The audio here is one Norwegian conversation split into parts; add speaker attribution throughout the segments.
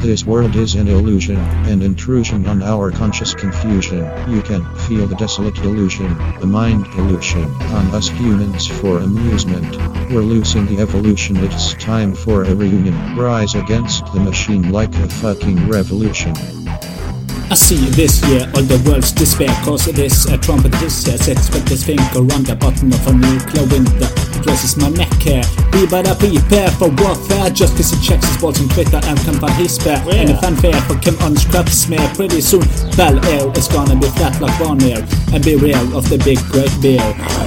Speaker 1: This world is an illusion, an intrusion on our conscious confusion. You can feel the desolate delusion, the mind pollution, on us humans for amusement. We're losing the evolution, it's time for a reunion. Rise against the machine like a fucking revolution.
Speaker 2: I see this year all the world's despair cause this a trumpet this year sex but this finger on the button of a nuclear window it raises my neck here we better prepare for warfare just cause he checks his balls on Twitter and can find his spare and the fanfare for Kim on scrap smear pretty soon Bel Air is gonna be flat like Von Air and be real of the big great beer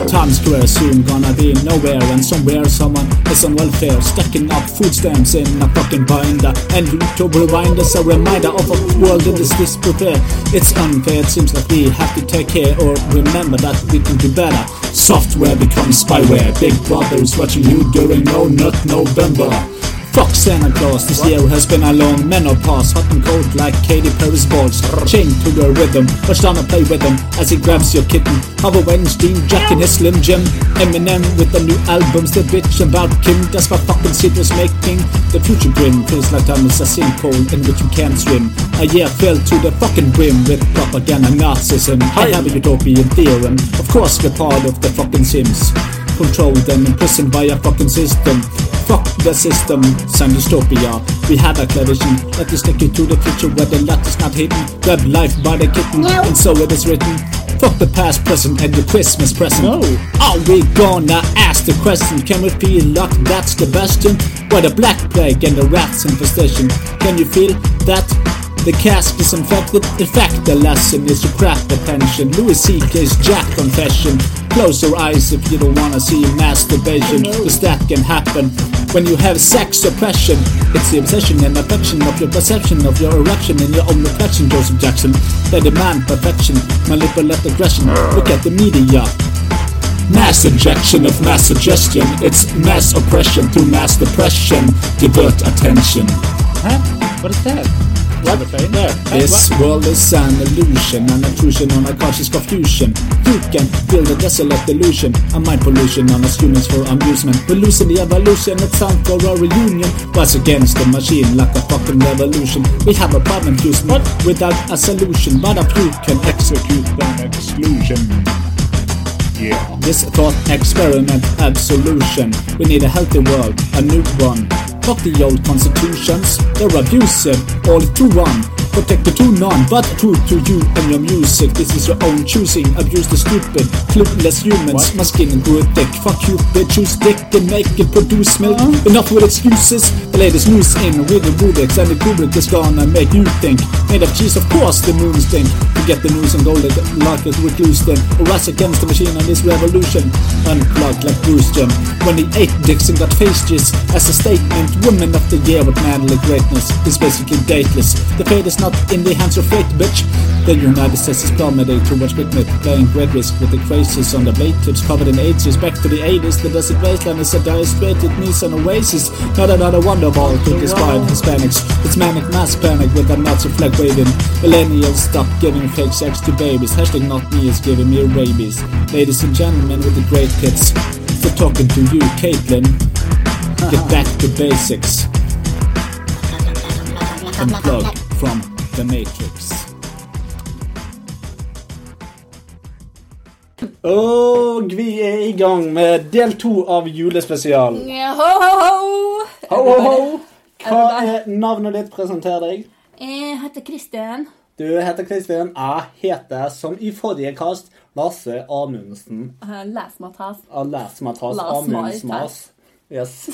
Speaker 2: Times Square soon gonna be nowhere and somewhere someone is on welfare stacking up food stamps in a fucking binder and to rewind us a reminder of a world that is disparate prepare. It's unfair, it seems like we have to take care or remember that we can do better. Software becomes spyware. Big brother is watching you during no not November. Fuck Santa Claus, this year has been a long menopause Hot and cold like Katy Perry's balls Chained to the rhythm, watch down and play with him As he grabs your kitten Have Weinstein, Jack in his Slim Jim Eminem with the new albums The bitch about Kim, that's what fucking shit was making The future grim feels like time is a sinkhole In which you can't swim A year filled to the fucking brim With propaganda and narcissism I have a utopian theorem Of course we're part of the fucking Sims Control them, imprisoned by a fucking system Fuck the system, some dystopia. We have a clear vision that is taking to the future where the lot is not hidden. Grab life by the kitten, and so it is written. Fuck the past, present, and the Christmas present. Are we gonna ask the question? Can we feel like that's the bastion? Where the black plague and the rats infestation? Can you feel that? The cask is infected. In fact, the lesson is to crack attention. Louis C.K.'s Jack confession. Close your eyes if you don't wanna see masturbation. Cause that can happen when you have sex oppression. It's the obsession and affection of your perception of your erection and your own reflection, Joseph Jackson. They demand perfection, manipulate aggression. Look at the media. Mass injection of mass suggestion. It's mass oppression through mass depression. Divert attention.
Speaker 3: Huh? What is that? What? There.
Speaker 2: This world is an illusion, an intrusion on our conscious confusion. You can feel the desolate delusion, a mind pollution on us humans for amusement. We're losing the evolution, it's time for a reunion. Rise against the machine like a fucking revolution. We have a problem, Houston, without a solution. But a few can
Speaker 3: Execute them exclusion. Yeah.
Speaker 2: This thought experiment absolution. We need a healthy world, a new one. Fuck the old constitutions, they're abusive, all to one. Protected to none, but true to you and your music. This is your own choosing. Abuse the stupid, clueless humans. My skin grew thick. Fuck you, bitch. Choose dick and make it produce milk. Enough with excuses. The latest news in with the Rubik's and the Kubrick is gonna make you think. Made of cheese, of course, the moon stink. Forget the news and go like like it recluse them. Or rise against the machine on this revolution. Unplugged like Bruce Jim. When he ate dicks and got face jizz as a statement. Woman of the year with manly greatness is basically dateless. The fate is not in the hands of fate, bitch. The United States is plummeting towards greatness, playing great risk with the crisis on the bait tips covered in ages. Back to the 80s, the desert wasteland is a dire strait, it needs an oasis. Not another wonderball to describe Hispanics. It's manic mass panic with a Nazi flag waving. Millennials stop giving fake sex to babies. Hashtag not me is giving me rabies. Ladies and gentlemen with the great hits, for talking to you, Caitlin. Get back to basics. Unplug from The Matrix.
Speaker 3: Og vi er i gang med del to av julespesial.
Speaker 4: Ja, Eh, Ho, ho, ho!
Speaker 3: Ho, ho, ho! Hva
Speaker 4: Er det
Speaker 3: er navnet ditt? Presenter deg.
Speaker 4: Eh, Jeg heter Kristin.
Speaker 3: Du heter Kristin. Jeg heter, som i forrige kast, Lasse Amundsen.
Speaker 4: Eh, Les meg tas.
Speaker 3: av Læsmatas
Speaker 4: Lars
Speaker 3: Amundsmas. Yes.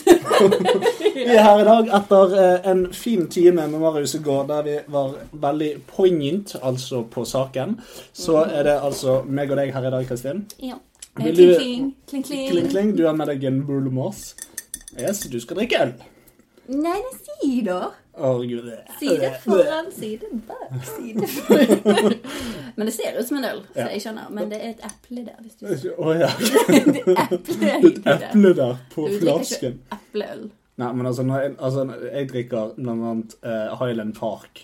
Speaker 3: vi er her i dag etter eh, en fin time med Marius i går, der vi var veldig poignant, altså på saken. Så er det altså meg og deg her i dag, Kristin.
Speaker 4: Ja. Eh,
Speaker 3: Vil
Speaker 4: Kling,
Speaker 3: du-
Speaker 4: kling, kling, kling.
Speaker 3: Kling, kling, du har med deg en Bulmos. Yes, du skal drikke øl.
Speaker 4: Nei, det sier da.
Speaker 3: Å, gud.
Speaker 4: Side foran, side bak, side foran. Men det ser ut som en øl, så
Speaker 3: Ja.
Speaker 4: jeg skjønner. Men det er et eple der, hvis du
Speaker 3: Å ja.
Speaker 4: Det er eple i
Speaker 3: Et
Speaker 4: det.
Speaker 3: eple der på
Speaker 4: Du drikker ikke
Speaker 3: flasken.
Speaker 4: epleøl.
Speaker 3: Nei, men altså, når jeg, altså, jeg drikker blant annet eh, Highland Park,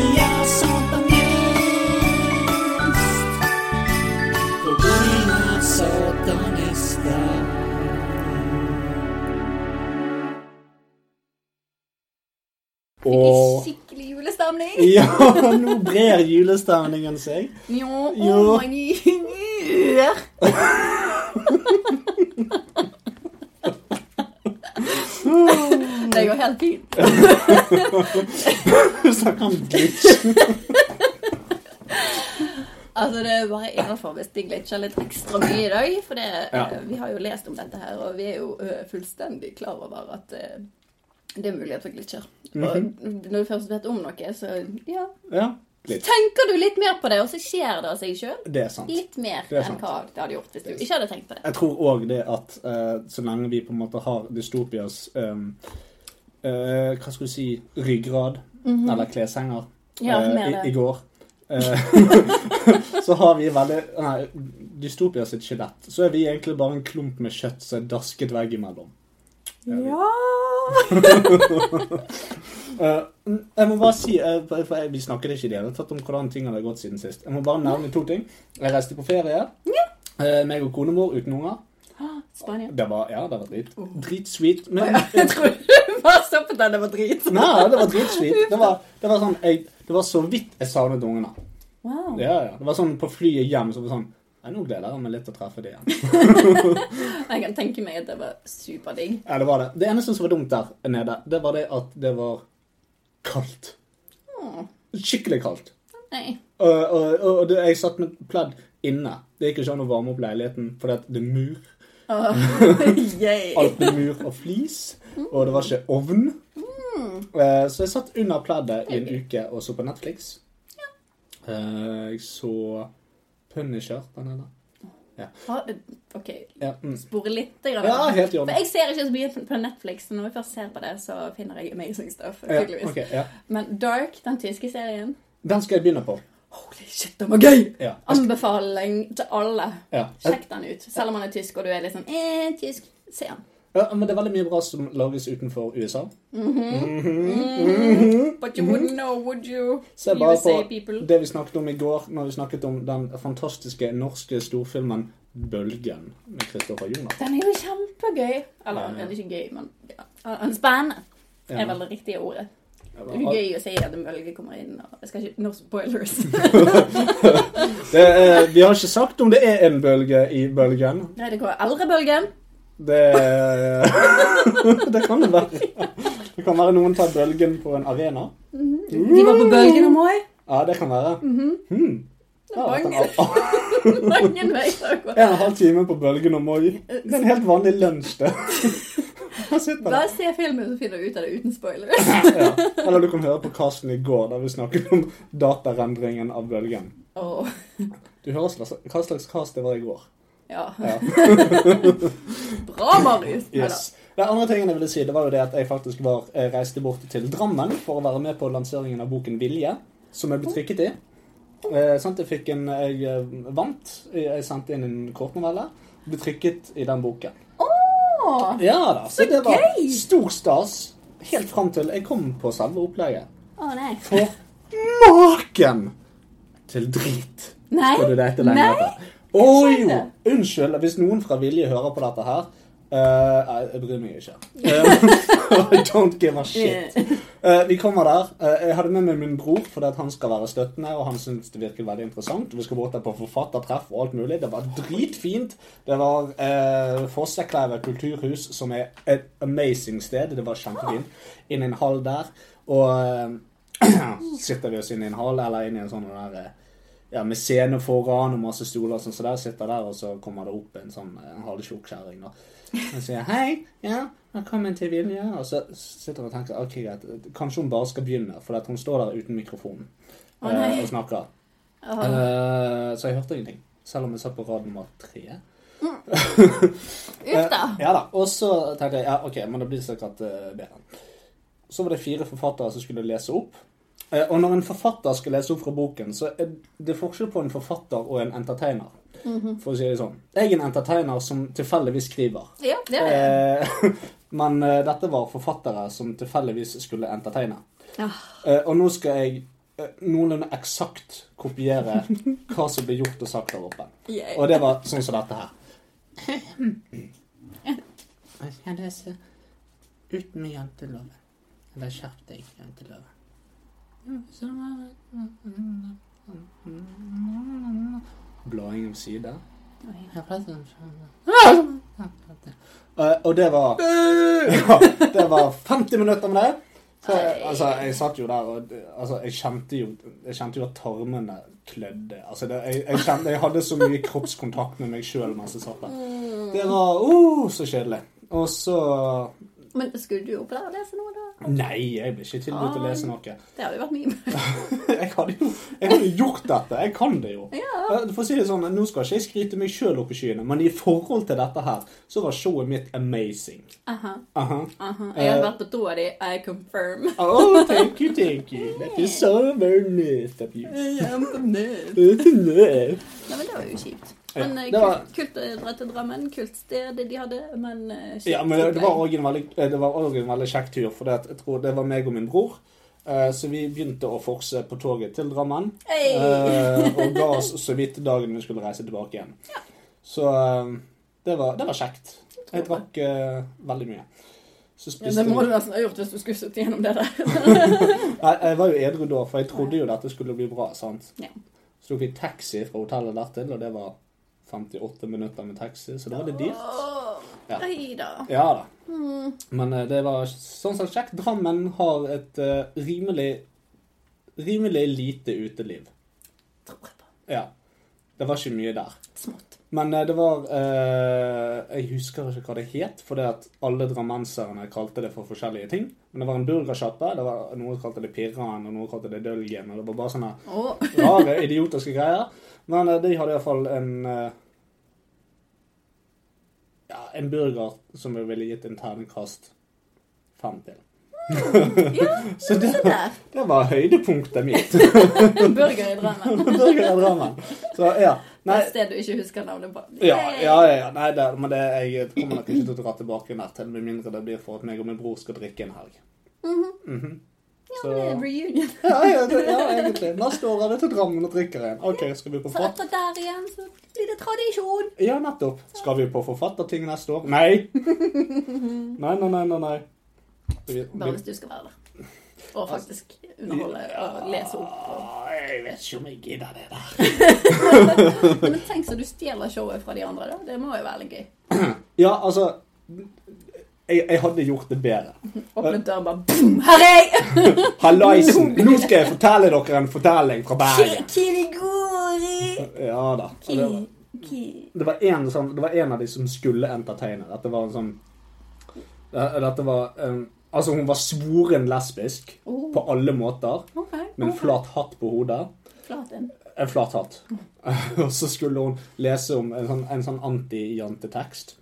Speaker 3: vi er satanist. For vi er satanister.
Speaker 4: Skikkelig julestemning.
Speaker 3: Ja, nå brer julestemningen seg.
Speaker 4: Jo,
Speaker 3: Jo.
Speaker 4: oh my nyr. Det går helt fint.
Speaker 3: Du snakker om glitch.
Speaker 4: Altså, det er bare innenfor hvis de glitcher litt ekstra mye i dag. For det,
Speaker 3: Ja.
Speaker 4: eh, vi har jo lest om dette her, og vi er jo eh, fullstendig klar over at eh, det er mulighet for glitcher.
Speaker 3: Mhm.
Speaker 4: Og når du først vet om noe, så ja,
Speaker 3: Ja, glitch.
Speaker 4: tenker du litt mer på det, og så skjer det av seg sjøl.
Speaker 3: Det er sant.
Speaker 4: Litt mer
Speaker 3: Det er
Speaker 4: enn
Speaker 3: sant.
Speaker 4: hva det hadde gjort hvis du ikke hadde tenkt på det.
Speaker 3: Jeg tror òg det at eh, så lenge vi på en måte har dystopias ehm, eh, Hva skal du si Ryggrad, eller kleshenger,
Speaker 4: Mhm. Ja,
Speaker 3: eh,
Speaker 4: mer
Speaker 3: i,
Speaker 4: det.
Speaker 3: i går eh, Så har vi veldig Nei, dystopia sitt skjelett. Så er vi egentlig bare en klump med kjøtt som er dasket veggimellom.
Speaker 4: Ja!
Speaker 3: Eh, jeg må bare si eh, for- for jeg- Vi snakket ikke i det hele tatt om hvordan ting hadde gått siden sist. Jeg må bare nevne to ting. Jeg reiste på ferie. Eh, meg og konemor uten unger.
Speaker 4: Spania.
Speaker 3: Det var, ja, det var drit, dritsweet. Men,
Speaker 4: Jeg trodde du bare stoppet den, det var drit.
Speaker 3: Nei, det var dritslit. Det var, det var sånn jeg, Det var så vidt jeg savnet ungene.
Speaker 4: Wow.
Speaker 3: Ja, ja. Det var sånn på flyet hjem så var det sånn Nei, nå gleder jeg meg litt til å treffe dem igjen.
Speaker 4: Jeg kan tenke meg at det var superdigg.
Speaker 3: Ja, det var det. Det eneste som var dumt der nede, det var det at det var kaldt.
Speaker 4: Åh,
Speaker 3: Skikkelig kaldt.
Speaker 4: Nei.
Speaker 3: Og, og, og, og det, jeg satt med pledd inne. Det gikk ikke an å varme opp leiligheten, for det, det er mur.
Speaker 4: Åh, Yay.
Speaker 3: Alt med mur og flis. Og det var ikke ovn. Eh, Så jeg satt under pleddet i en uke og så på Netflix. Eh, Jeg så Punisher, den ene. Ja.
Speaker 4: Ha, OK,
Speaker 3: Ja, mm.
Speaker 4: spore litt. Grann.
Speaker 3: ja helt i
Speaker 4: For
Speaker 3: orden.
Speaker 4: jeg ser ikke så mye på- på Netflix, så når jeg først ser på det, så finner jeg amazing stuff.
Speaker 3: Ja,
Speaker 4: tydeligvis.
Speaker 3: ok, ja.
Speaker 4: Men Dark, den tyske serien
Speaker 3: Den skal jeg begynne på.
Speaker 4: Holy shit, den var gøy!
Speaker 3: Ja.
Speaker 4: Anbefaling til alle.
Speaker 3: Ja.
Speaker 4: Sjekk den ut. Selv om man er tysk og du er litt sånn eh, tysk, se den.
Speaker 3: ja, Men det er veldig mye bra som lages utenfor USA.
Speaker 4: But you wouldn't know, would you?
Speaker 3: Se Mhm. bare
Speaker 4: USA
Speaker 3: på
Speaker 4: people.
Speaker 3: det vi snakket om i går, når vi snakket om den fantastiske norske storfilmen Bølgen med Kristoffer Jonas.
Speaker 4: Den er jo kjempegøy. Eller
Speaker 3: Ja.
Speaker 4: den er ikke gøy, men ja. Den er spennende. er vel det riktige ordet. Det er jo gøy å si at en bølge kommer inn. Og jeg skal ikke No spoilers.
Speaker 3: Det er, vi har ikke sagt om det er en bølge i bølgen.
Speaker 4: Nei, det går eldrebølgen.
Speaker 3: Det, det kan det være. Det kan være noen tar bølgen på en arena.
Speaker 4: De var på bølgen om òg.
Speaker 3: Ja, det kan være. Hmm.
Speaker 4: Mhm. Det
Speaker 3: Ja,
Speaker 4: var
Speaker 3: det kan
Speaker 4: mange-
Speaker 3: være.
Speaker 4: mange veier å gå.
Speaker 3: En og en halv time på bølgen og moi.
Speaker 4: Eh,
Speaker 3: Det er en helt vanlig lunsj, det. Her sitter man.
Speaker 4: Bare se filmen, så finner du ut av det uten spoilers.
Speaker 3: Ja. Eller du kan høre på casten i går, der vi snakket om datarendringen av bølgen.
Speaker 4: Åh,
Speaker 3: Du hører hva slags- hva slags cast det var i går.
Speaker 4: ja.
Speaker 3: Ja.
Speaker 4: Bra, Marius!
Speaker 3: Yes. Det andre tingen jeg ville si, det var jo det at jeg faktisk var, eh, reiste bort til Drammen for å være med på lanseringen av boken Vilje, som jeg ble trykket i. Eh, sant? Jeg fikk en, jeg eh, vant, jeg sendte inn en kortnovelle, ble trykket i den boken.
Speaker 4: Åh,
Speaker 3: Ja da, så
Speaker 4: Så
Speaker 3: det var
Speaker 4: gøy!
Speaker 3: stor stas, helt frem til jeg kom på selve opplegget.
Speaker 4: åh, nei.
Speaker 3: For maken til drit!
Speaker 4: Nei?
Speaker 3: Skal du lete lenge
Speaker 4: Nei?
Speaker 3: etter? Å
Speaker 4: Jeg
Speaker 3: jo!
Speaker 4: skjønner.
Speaker 3: Unnskyld hvis noen fra Vilje hører på dette her. Eh, nei, jeg bryr meg ikke. Eh, I don't give a shit.
Speaker 4: Eh,
Speaker 3: Eh, vi kommer der. Eh, jeg hadde med meg min bror fordi at han skal være støttende. Og han syns det virker veldig interessant. Vi skal bort der på forfattertreff og alt mulig. Det var dritfint. Det var uh, Fossekleivet kulturhus, som er et amazing sted. Det var kjempefint. Inn i en hall der. Og eh, sitter vi oss inn i en hall eller inn i en sånn der eh, ja, med scene foran og masse stoler og sånn, så der sitter der, og så kommer det opp en sånn eh, en halvtjukk kjerring, da. Og sier 'hei, ja, velkommen til Vilja', og så sitter hun og tenker 'ok, greit, kanskje hun bare skal begynne', for at hun står der uten mikrofon
Speaker 4: Å,
Speaker 3: eh,
Speaker 4: nei.
Speaker 3: og snakker.
Speaker 4: åh.
Speaker 3: Eh, så jeg hørte ingenting, selv om jeg satt på rad nummer tre.
Speaker 4: Uff da.
Speaker 3: Eh, Ja da, Og så tenkte jeg ja, ok, men det blir sikkert eh, bedre. Så var det fire forfattere som skulle lese opp. Eh, og når en forfatter skal lese opp fra boken, så er det forskjell på en forfatter og en entertainer.
Speaker 4: Mhm.
Speaker 3: For å si det sånn. Jeg er en entertainer som tilfeldigvis skriver.
Speaker 4: Ja, det er det.
Speaker 3: Eh, men eh, dette var forfattere som tilfeldigvis skulle entertaine.
Speaker 4: Ja.
Speaker 3: Eh, og nå skal jeg eh, noenlunde eksakt kopiere hva som ble gjort og sagt der oppe.
Speaker 4: Yay.
Speaker 3: Og det var sånn som dette her. Jeg skal lese uten med janteloven. Eller skjerp deg, janteloven. Blading om side. sånn. Eh, Og det var ja, Det var 50 minutter med det. Så, jeg- altså, jeg satt jo der og altså, jeg, kjente jo, jeg kjente jo at tarmene klødde. Altså, det, jeg, jeg, kjente, jeg hadde så mye kroppskontakt med meg sjøl mens jeg satt der.
Speaker 4: Mm.
Speaker 3: Det var uh, så kjedelig. Og så
Speaker 4: Men skulle du opp der og lese noe, da?
Speaker 3: Nei, jeg ble ikke tilbudt å lese noe.
Speaker 4: Det hadde jo vært mye.
Speaker 3: Jeg hadde jo jeg hadde jo gjort dette. Jeg kan det jo.
Speaker 4: Ja.
Speaker 3: Eh, For å si det sånn, Nå skal ikke jeg skryte meg sjøl opp i skyene, men i forhold til dette her, så var showet mitt amazing.
Speaker 4: Aha,
Speaker 3: Aha.
Speaker 4: aha. Jeg
Speaker 3: Eh,
Speaker 4: hadde vært på do av de. I confirm.
Speaker 3: Oh, thank you, thank you. That is so very nice of you.
Speaker 4: Jeg er på nød.
Speaker 3: It's nice.
Speaker 4: Nei, men det var jo kjipt.
Speaker 3: Ja,
Speaker 4: Men eh,
Speaker 3: det var-
Speaker 4: kult, kult å dra til Drammen. Kult sted de hadde, men eh, kjipt.
Speaker 3: Ja, men det, det var òg
Speaker 4: opplegg.
Speaker 3: en, veldig- eh, det var også en veldig kjekk tur, for det, at jeg tror det var meg og min bror. eh, Så vi begynte å forse på toget til Drammen.
Speaker 4: Hey!
Speaker 3: eh, Og ga oss så vidt dagen vi skulle reise tilbake igjen. Så eh, det var, det var kjekt. Jeg drakk eh, veldig mye. Så
Speaker 4: Ja,
Speaker 3: spiste
Speaker 4: det må
Speaker 3: vi
Speaker 4: du nesten ha gjort hvis du skulle sittet gjennom det der.
Speaker 3: Nei, jeg var jo edru da, for jeg trodde jo dette skulle bli bra. sant?
Speaker 4: Ja.
Speaker 3: Så tok vi taxi fra hotellet dertil, og det var 58 minutter med taxi, så da var det dyrt.
Speaker 4: Åh, Mm.
Speaker 3: Ja.
Speaker 4: Nei da.
Speaker 3: Ja da. Men eh, det var sånn sett kjekt. Drammen har et eh, rimelig rimelig lite uteliv.
Speaker 4: Tror jeg på.
Speaker 3: Ja. Det var ikke mye der.
Speaker 4: Smått.
Speaker 3: Men eh, det var eh, Jeg husker ikke hva det het, fordi at alle drammenserne kalte det for forskjellige ting. Men det var en burgersjappe. det var- Noen kalte det Pirran, og noen kalte det Dølgen. og det var bare sånne
Speaker 4: Åh,
Speaker 3: rare, idiotiske greier. Men eh, de hadde iallfall en eh, ja, en burger som jeg ville gitt en terningkast fem til.
Speaker 4: Mm, Ja,
Speaker 3: Så det,
Speaker 4: se der.
Speaker 3: det var høydepunktet mitt.
Speaker 4: Burger i Drammen.
Speaker 3: burger er Drammen. Så ja. Nei,
Speaker 4: Et sted du ikke husker navnet på.
Speaker 3: ja, ja, ja, ja. Nei, det, men det, jeg kommer nok ikke til å dra tilbake nær til, med mindre det blir for at meg og min bror skal drikke en helg. Mhm.
Speaker 4: Ja, men det er reunion.
Speaker 3: ja, ja, det, ja, egentlig. Neste år er det til Drammen og drikker en. OK, skal vi på
Speaker 4: Så
Speaker 3: fat?
Speaker 4: etter der igjen så blir det tradisjon.
Speaker 3: Ja, nettopp. Skal vi på forfatterting neste år? Nei! Nei, nei, nei, nei. nei. Vi-
Speaker 4: Bare
Speaker 3: vi-
Speaker 4: hvis du skal være der. Og faktisk underholde og lese opp. Og...
Speaker 3: Ah, Jeg vet ikke om jeg gidder det der.
Speaker 4: Nei, men tenk så du stjeler showet fra de andre, da. Det må jo være litt gøy.
Speaker 3: Ja, altså jeg, jeg hadde gjort det bedre.
Speaker 4: Åpnet døren bare boom! Her er jeg!
Speaker 3: Hallaisen! Nå skal jeg fortelle dere en fortelling fra
Speaker 4: Ki-
Speaker 3: Bergen.
Speaker 4: Kirigori!
Speaker 3: Ja da. Og Det var,
Speaker 4: Ki- ki-
Speaker 3: det, var en, sånn, det var en av de som skulle entertaine. Dette var en sånn det- Dette var um, Altså, hun var svoren lesbisk
Speaker 4: Oh.
Speaker 3: på alle måter.
Speaker 4: Ok.
Speaker 3: Med en flat hatt på hodet.
Speaker 4: Flat en.
Speaker 3: En flat hatt. Og så skulle hun lese om en sånn, en sånn anti-jantetekst.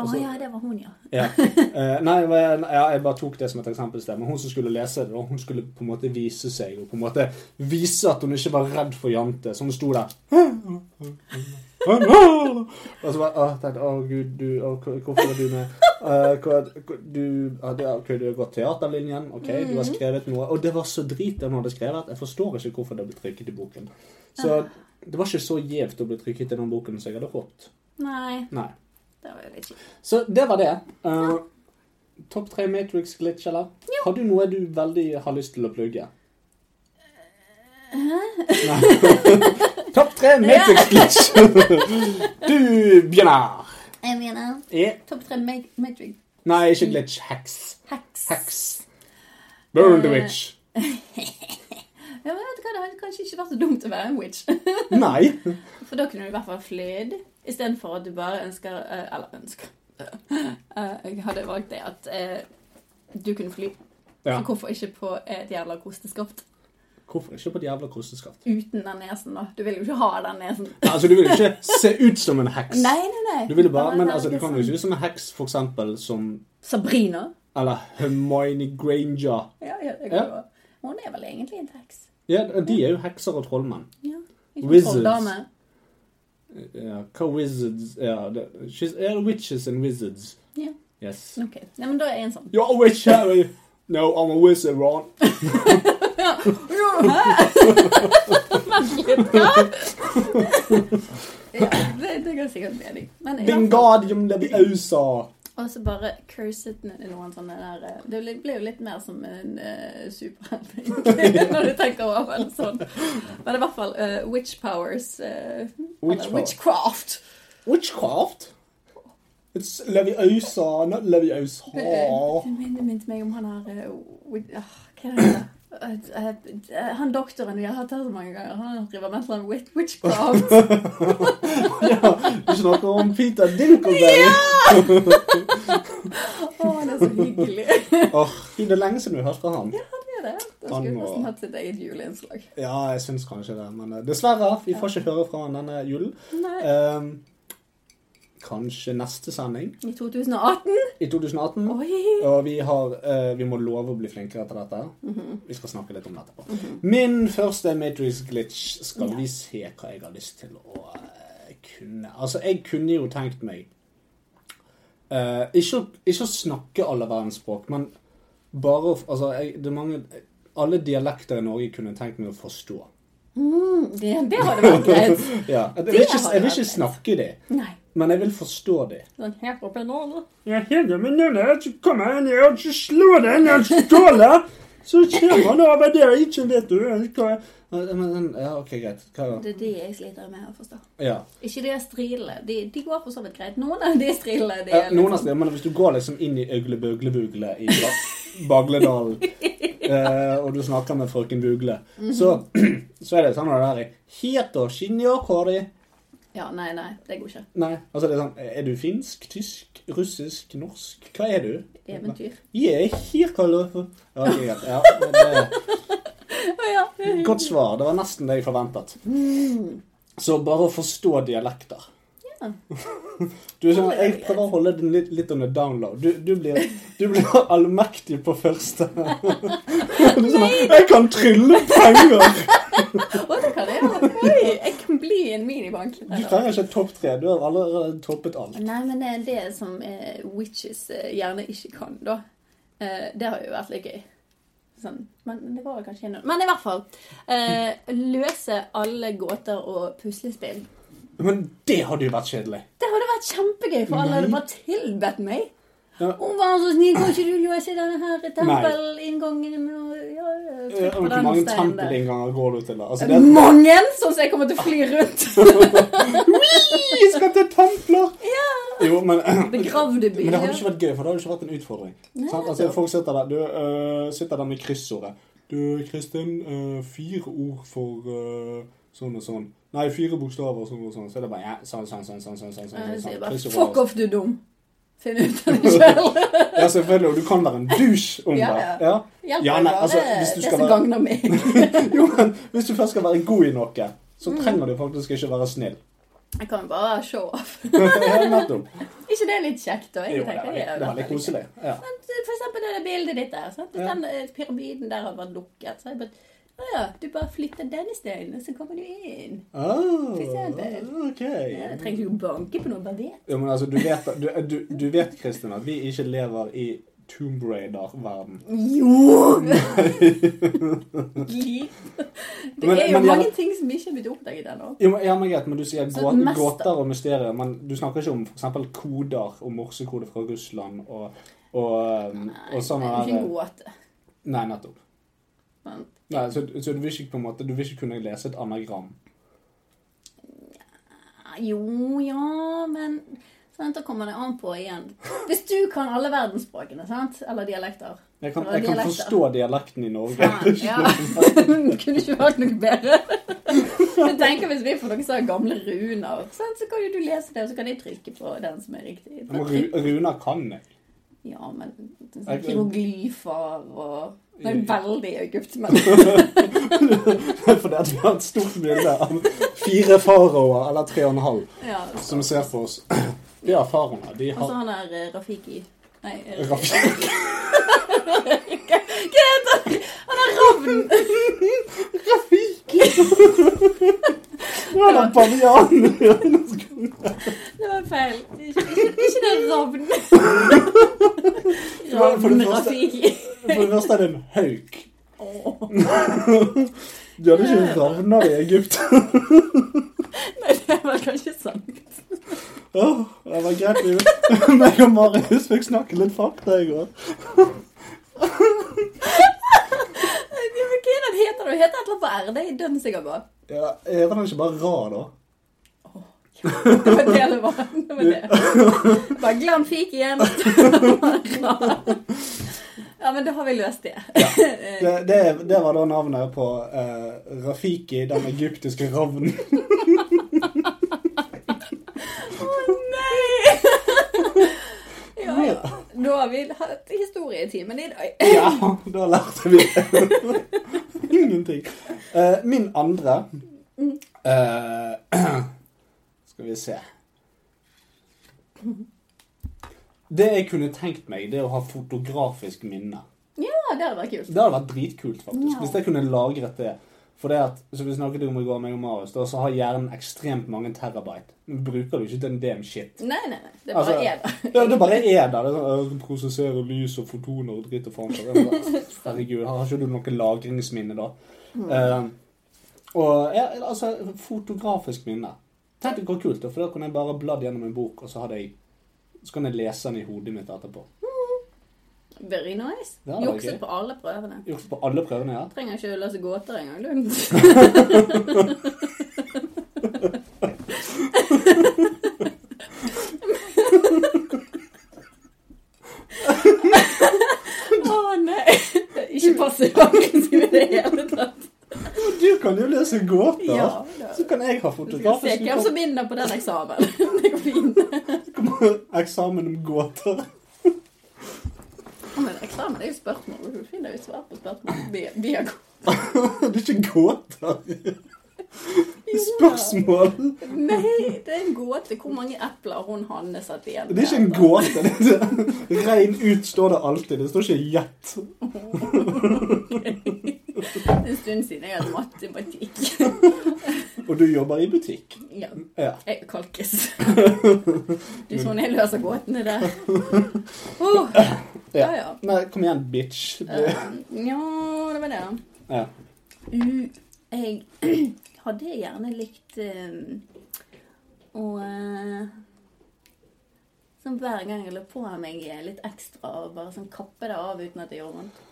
Speaker 4: Å ja, det var hun, ja.
Speaker 3: Ja. Eh, nei, men, ja, jeg bare tok det som et eksempelsted. Men hun som skulle lese det, da, hun skulle på en måte vise seg og på en måte vise at hun ikke var redd for jante. Så hun sto der Og så bare «Åh, tenkte, Å, gud, du å, hvor- Hvorfor var du med? Eh, hva- hva- du hadde ja, ok, du har gått teaterlinjen. OK, du har skrevet noe. Og det var så drit den hadde skrevet. Jeg forstår ikke hvorfor det ble trykket i boken. Så det var ikke så gjevt å bli trykket i den boken som jeg hadde håpet.
Speaker 4: Nei,
Speaker 3: Nei.
Speaker 4: det var jo litt kjipt.
Speaker 3: Så det var det. Eh, Topp tre Matrix glitch, eller? Har du noe du veldig har lyst til å plugge?
Speaker 4: Eh.
Speaker 3: Nei. Topp tre Matrix glitch! du, Bjørnar.
Speaker 4: Jeg mener
Speaker 3: er-
Speaker 4: topp tre mag- magic
Speaker 3: Nei, ikke glitch. Hacks.
Speaker 4: hacks.
Speaker 3: Hacks. Burn the witch.
Speaker 4: Ja, men vet du hva, Det hadde kanskje ikke vært så dumt å være en witch.
Speaker 3: Nei.
Speaker 4: For da kunne du i hvert fall flydd, istedenfor at du bare ønsker eh, Eller ønsker Eh, Jeg hadde valgt det at eh, du kunne fly.
Speaker 3: Ja.
Speaker 4: Så hvorfor ikke på et jævla kosteskaft
Speaker 3: Hvorfor ikke på et jævla kosteskaft?
Speaker 4: uten den nesen, da? Du vil jo ikke ha den nesen.
Speaker 3: Nei, Altså, du vil jo ikke se ut som en heks.
Speaker 4: Nei, nei, nei.
Speaker 3: Du vil jo bare, men altså, du
Speaker 4: det
Speaker 3: kan jo ikke se ut som en heks, for eksempel som
Speaker 4: Sabrina.
Speaker 3: Eller Hermione Granger.
Speaker 4: Ja, ja,
Speaker 3: Ja.
Speaker 4: det kan du også. Hun er vel egentlig en heks.
Speaker 3: Ja, de er jo hekser og trollmenn.
Speaker 4: Ja. Ikke en
Speaker 3: Wizards.
Speaker 4: trolldame.
Speaker 3: Ja, hva wizards Ja, det, she's, ja, witches and wizards.
Speaker 4: Ja.
Speaker 3: Yes.
Speaker 4: Ok. Nei, men da er jeg en sånn.
Speaker 3: You're a witch, Harry! No, I'm a wizard, Ron.
Speaker 4: Vent litt, hva? ja, det, det går sikkert mening. Men i hvert fall-
Speaker 3: Vingardium leviosa.
Speaker 4: Og så bare cursed ned i noen sånne der eh, Det blir- blir jo litt mer som en uh, superhelt, egentlig, når du tenker over det sånn. Men i hvert fall eh, witch powers. eh,
Speaker 3: Witch
Speaker 4: eller
Speaker 3: power.
Speaker 4: witchcraft.
Speaker 3: Witchcraft? It's leviosa, not leviosa.
Speaker 4: Eh, Det minner minte meg om han her eh, wi- ah, Hva er det? Eh, eh, eh, Han doktoren vi har hatt her så mange ganger, han driver med sånn wit- witchcraft.
Speaker 3: ja, du snakker om Peter Dinkelberry.
Speaker 4: Å, han er så hyggelig.
Speaker 3: Åh, det er lenge siden vi har hørt fra han.
Speaker 4: Det er det. Da
Speaker 3: Han
Speaker 4: skulle vi
Speaker 3: må-
Speaker 4: nesten hatt sitt eget juleinnslag.
Speaker 3: Ja, jeg syns kanskje det, men eh, dessverre. Vi får ikke høre fra han denne julen.
Speaker 4: Nei.
Speaker 3: Ehm, kanskje neste sending
Speaker 4: Eh, I 2018?
Speaker 3: i 2018.
Speaker 4: Oi!
Speaker 3: Og vi, har, eh, vi må love å bli flinkere til dette. Vi skal snakke litt om det etterpå. Min første Matrix glitch skal vi se hva jeg har lyst til å eh, kunne. Altså, jeg kunne jo tenkt meg eh, ikke, å- ikke å snakke alle verdens språk, men bare å f- Altså, jeg, det er mange Alle dialekter i Norge kunne jeg tenkt meg å forstå.
Speaker 4: Mm, Det, det hadde vært greit.
Speaker 3: Ja. Jeg,
Speaker 4: Det
Speaker 3: vil ikke,
Speaker 4: hadde
Speaker 3: jeg vil
Speaker 4: vært
Speaker 3: ikke snakke det,
Speaker 4: Nei.
Speaker 3: men jeg vil forstå det.
Speaker 4: Sånn helt oppe i Norge.
Speaker 5: Jeg heter min navn, og så kommer han her, og så slår den, og så ståler. Så kommer han over der, ikke vet du hva
Speaker 3: Men, men, ja, OK, greit. Hva da?
Speaker 4: Det er det jeg sliter med å forstå.
Speaker 3: Ja.
Speaker 4: Ikke de strilene. De, de går for så vidt greit. Noen av de strilene de
Speaker 3: Ja, Eh,
Speaker 4: er
Speaker 3: noen av
Speaker 4: liksom-
Speaker 3: stedene, men hvis du går liksom inn i Øglebøglebugle i Ba- Bagledalen, eh, og du snakker med frøken Bugle,
Speaker 4: Mhm.
Speaker 3: så, så er det sånn at det der Heter Shinjo Kori
Speaker 4: Ja, nei, nei. Det går ikke.
Speaker 3: Nei, altså det er sånn Er du finsk, tysk, russisk, norsk? Hva er du?
Speaker 4: Eventyr.
Speaker 3: Jeg er hirkaløfer. Ja, ok, greit. ja, men eh, det,
Speaker 4: Ja, ja.
Speaker 3: godt svar. Det var nesten det jeg forventet. Så bare å forstå dialekter. Du er sånn, Jeg prøver å holde den litt, litt under download. Du, du, blir, du blir allmektig på første. Du er sånn, jeg kan trylle penger!
Speaker 4: Å, det kan jeg gjøre. Oi, jeg kan bli en minibank.
Speaker 3: Du trenger ikke topp tre. Du har allerede toppet alt.
Speaker 4: Nei, men det er det som eh, witches eh, gjerne ikke kan, da. Eh, det har jo vært litt gøy. Sånn. Men det var vel kanskje gjennom Men i hvert fall. Eh, løse alle gåter og puslespill.
Speaker 3: Men det hadde jo vært kjedelig.
Speaker 4: Det hadde vært kjempegøy, for alle hadde bare tilbedt meg.
Speaker 3: Ja.
Speaker 4: Å, vær så snill, kan ikke du løse denne her tempelinngangen? Og, ja,
Speaker 3: Eh,
Speaker 4: trykk
Speaker 3: og
Speaker 4: på
Speaker 3: Hvor
Speaker 4: den
Speaker 3: mange
Speaker 4: steinen der.
Speaker 3: tempelinnganger går du til? da? Altså, det er,
Speaker 4: Mange! Sånn som jeg kommer til å fly rundt.
Speaker 3: Vi skal til templer! Jo, men, men
Speaker 4: Begravde
Speaker 3: det hadde
Speaker 4: byer.
Speaker 3: ikke vært gøy, for det hadde ikke vært en utfordring. Sant? Altså, folk sitter der, du, øh, sitter der med kryssordet. Du, Kristin, øh, fire ord for øh, sånn og sånn. Nei, fire bokstaver sånn og sånn. Så er det bare ja, sånn, sånn, sånn, sånn, sånn, sånn,
Speaker 4: Ja,
Speaker 3: sånn,
Speaker 4: jeg sier
Speaker 3: sånn.
Speaker 4: bare,
Speaker 3: Kryssordet.
Speaker 4: Fuck off, du er dum. Finn ut av det sjøl.
Speaker 3: Ja, selvfølgelig. Og du kan være en dusj om
Speaker 4: Ja,
Speaker 3: det.
Speaker 4: ja.
Speaker 3: Ja.
Speaker 4: Hjelp
Speaker 3: Ja,
Speaker 4: meg
Speaker 3: nei,
Speaker 4: bare.
Speaker 3: altså, hvis du
Speaker 4: det
Speaker 3: skal
Speaker 4: som
Speaker 3: være-
Speaker 4: gagner meg.
Speaker 3: Jo, men hvis du først skal være god i noe, så
Speaker 4: Mm.
Speaker 3: trenger du faktisk ikke være snill.
Speaker 4: Jeg kan jo bare show off.
Speaker 3: Ja, nettopp.
Speaker 4: ikke det er litt kjekt, da?
Speaker 3: Jo,
Speaker 4: Jeg
Speaker 3: det var
Speaker 4: tenker, det
Speaker 3: litt-
Speaker 4: er
Speaker 3: det
Speaker 4: jo
Speaker 3: var litt
Speaker 4: veldig
Speaker 3: koselig. Ja.
Speaker 4: kjekt. eh, For eksempel det der bildet ditt der. Sant? Hvis
Speaker 3: Ja.
Speaker 4: Den eh, pyramiden der hadde vært lukket, så hadde jeg bare Å ja, du bare flytter denne steinen, og så kommer du inn.
Speaker 3: Oh,
Speaker 4: For eksempel.
Speaker 3: ok.
Speaker 4: Ja, Jeg trenger ikke å banke på noe, bare vet.
Speaker 3: Ja, men altså, du vet, du, du, du vet Kristin, at vi ikke lever i Tomb Raider-verden.
Speaker 4: Jo! Liv. Det
Speaker 3: Men-
Speaker 4: er
Speaker 3: men
Speaker 4: jo
Speaker 3: jeg-
Speaker 4: mange ting som ikke er blitt oppdaget ennå.
Speaker 3: Jo, men, ja, men greit, men du sier
Speaker 4: Så
Speaker 3: gå
Speaker 4: mest-
Speaker 3: gåter og mysterier, men du snakker ikke om for eksempel koder og morsekode fra Russland og, og, um, og sånn
Speaker 4: det er
Speaker 3: her
Speaker 4: ikke en gåte.
Speaker 3: Nei, nettopp.
Speaker 4: Men
Speaker 3: Nei, så, så du vil ikke på en måte, du vil ikke kunne lese et anagram.
Speaker 4: Ah, Jo, ja, men sant, Da kommer det an på igjen. Hvis du kan alle verdensspråkene, sant? Eller dialekter.
Speaker 3: Jeg kan,
Speaker 4: Eller
Speaker 3: jeg kan
Speaker 4: dialekter.
Speaker 3: forstå dialekten i Norge.
Speaker 4: Faen, ja. Kunne ikke vært noe bedre. Jeg tenker Hvis vi får noen sånne gamle runer, sant, så kan jo du lese det, og så kan de trykke på den som er riktig.
Speaker 3: Men Ru- Runar kan jeg.
Speaker 4: Ja, men sånn
Speaker 3: Jeg-
Speaker 4: Hieroglyfer og Det er veldig Egypt, men
Speaker 3: For det at vi har et stort bilde av fire faraoer, eller tre og en halv,
Speaker 4: ja.
Speaker 3: som ser for oss. De har faraoene. De
Speaker 4: Og så
Speaker 3: har
Speaker 4: han der eh, Rafiki. Nei, eh,
Speaker 3: Raff-
Speaker 4: hva heter han? Han er ravn!
Speaker 3: Ja, det er bavian.
Speaker 4: Det var feil. Ikke, ikke, ikke det ravn.
Speaker 3: For det
Speaker 4: Ravn
Speaker 3: første-
Speaker 4: Rafiki.
Speaker 3: For det første er det en hauk.
Speaker 4: Åh.
Speaker 3: Du hadde ikke ravner i Egypt.
Speaker 4: Nei, det var kanskje sant.
Speaker 3: Åh, det var greit, vi meg og Marius fikk snakke litt fakta i går.
Speaker 4: Ja, men Hva er det den heter du? Heter et eller annet på R? Det er dønn sikkert bra.
Speaker 3: Ja, Heter den ikke bare Ra, da?
Speaker 4: Det var det det var. Det var det. Bare glem fik igjen. Ja, men da har vi løst det.
Speaker 3: Det, det, det var da navnet på eh, Rafiki, den egyptiske ravnen.
Speaker 4: Å nei! Ja, ja. Da har vi hatt historietimen i dag.
Speaker 3: Ja, da lærte vi det. Ingenting. Eh, min andre eh, Skal vi se Det jeg kunne tenkt meg, det er å ha fotografisk minne.
Speaker 4: Ja, det hadde vært kult.
Speaker 3: Det hadde vært dritkult, faktisk.
Speaker 4: Ja.
Speaker 3: Hvis jeg kunne lagret det. For det at, som vi snakket om i går, meg og Marius, da, så har hjernen ekstremt mange terabyte. Men bruker du ikke den damn shit?
Speaker 4: Nei, nei, nei. Det bare
Speaker 3: Altså,
Speaker 4: er det.
Speaker 3: Ja, det bare er der. Det er sånn, øh, Prosesserer lys og fotoner og dritt og faen. så det er bare, Herregud, har ikke du noe lagringsminne da?
Speaker 4: Mm.
Speaker 3: Eh, og ja, altså, fotografisk minne. Tenk det går kult, da, for da kan jeg bare bladd gjennom en bok, og så, hadde jeg, så kan jeg lese den i hodet mitt etterpå.
Speaker 4: Very nice.
Speaker 3: Det hadde vært
Speaker 4: Jukset
Speaker 3: gøy.
Speaker 4: på alle prøvene.
Speaker 3: Gjort på alle prøvene, ja.
Speaker 4: Trenger ikke å løse gåter engang, du. Å nei! Ikke passiv aggressiv i det hele tatt.
Speaker 3: Du kan jo lese gåter!
Speaker 4: Ja, da.
Speaker 3: Så kan jeg ha
Speaker 4: Vi skal se
Speaker 3: fotografisk
Speaker 4: hvem som vinner på den eksamen. Det går fint.
Speaker 3: eksamen om gåter.
Speaker 4: Ja, Men eksamen er jo spørsmål. Du finner jo svar på spørsmål via- via
Speaker 3: Det er ikke gåter.
Speaker 5: spørsmål.
Speaker 4: Nei, det er en gåte hvor mange epler hun Hanne satt igjen
Speaker 3: Det er ikke en gåte. det er- Rein ut står det alltid. Det står ikke gjett.
Speaker 4: Det er en stund siden jeg hadde matematikk.
Speaker 3: Og du jobber i butikk.
Speaker 4: Ja,
Speaker 3: Ja.
Speaker 4: jeg er kalkes. Du er sånn jeg løser gåtene der. Åh, ja, ja.
Speaker 3: Nei, kom igjen, bitch. Det,
Speaker 4: Eh, Ja, det var det.
Speaker 3: ja.
Speaker 4: Mm, jeg hadde gjerne likt eh, å eh, Sånn hver gang jeg la på meg litt ekstra og bare sånn kappe det av uten at det gjorde vondt.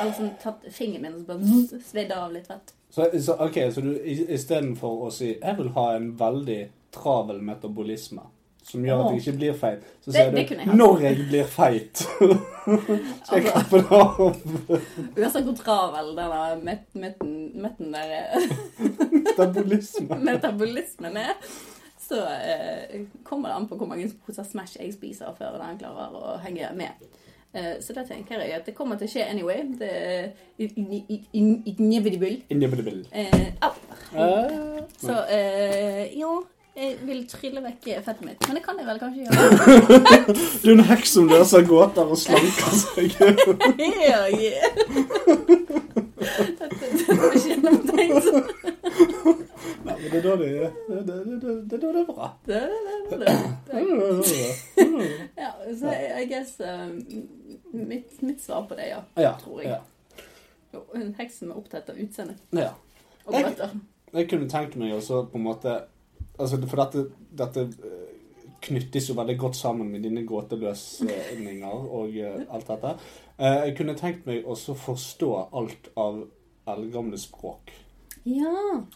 Speaker 4: Eller sånn tatt fingeren min og så bare svidde av litt fett.
Speaker 3: Så, så, ok, så du i- istedenfor å si 'jeg vil ha en veldig travel metabolisme', som gjør at jeg ikke blir feit, så
Speaker 4: Det-
Speaker 3: sier
Speaker 4: det
Speaker 3: du
Speaker 4: kunne jeg hatt.
Speaker 3: 'når jeg blir feit', skal jeg
Speaker 4: Altså-
Speaker 3: kappe det av.
Speaker 4: Uansett hvor travel den der met- metten- metten der eh,
Speaker 3: Metabolisme.
Speaker 4: metabolismen er, så eh, kommer det an på hvor mange poser Smash jeg spiser før den klarer å henge med. Eh, så da tenker jeg at det kommer til å skje anyway. Det er in- in- in- inevitable.
Speaker 3: Individuell.
Speaker 4: Eh, au.
Speaker 3: Eh,
Speaker 4: Så eh, ja, jeg vil trylle vekk fettet mitt. Men det kan jeg vel kanskje gjøre.
Speaker 3: Du er en heks som løser gåter og slanker seg.
Speaker 4: yeah, yeah. Dette dette var ikke gjennomtenkt.
Speaker 3: Nei, men det er da det er det, det, det, det, er da det er bra.
Speaker 4: Det, det, det, det.
Speaker 3: Det er da det er
Speaker 4: Ja, så jeg I guess eh, mitt, mitt svar på det, ja.
Speaker 3: bra. Ja,
Speaker 4: Tror jeg.
Speaker 3: ja,
Speaker 4: Jo, En heks som er opptatt av utseende
Speaker 3: ja.
Speaker 4: og båter.
Speaker 3: Jeg kunne tenkt meg også på en måte altså, For dette, dette eh, knyttes jo veldig godt sammen med dine gåteløsninger og eh, alt dette. Eh, Jeg kunne tenkt meg også forstå alt av eldgamle språk.
Speaker 4: Ja.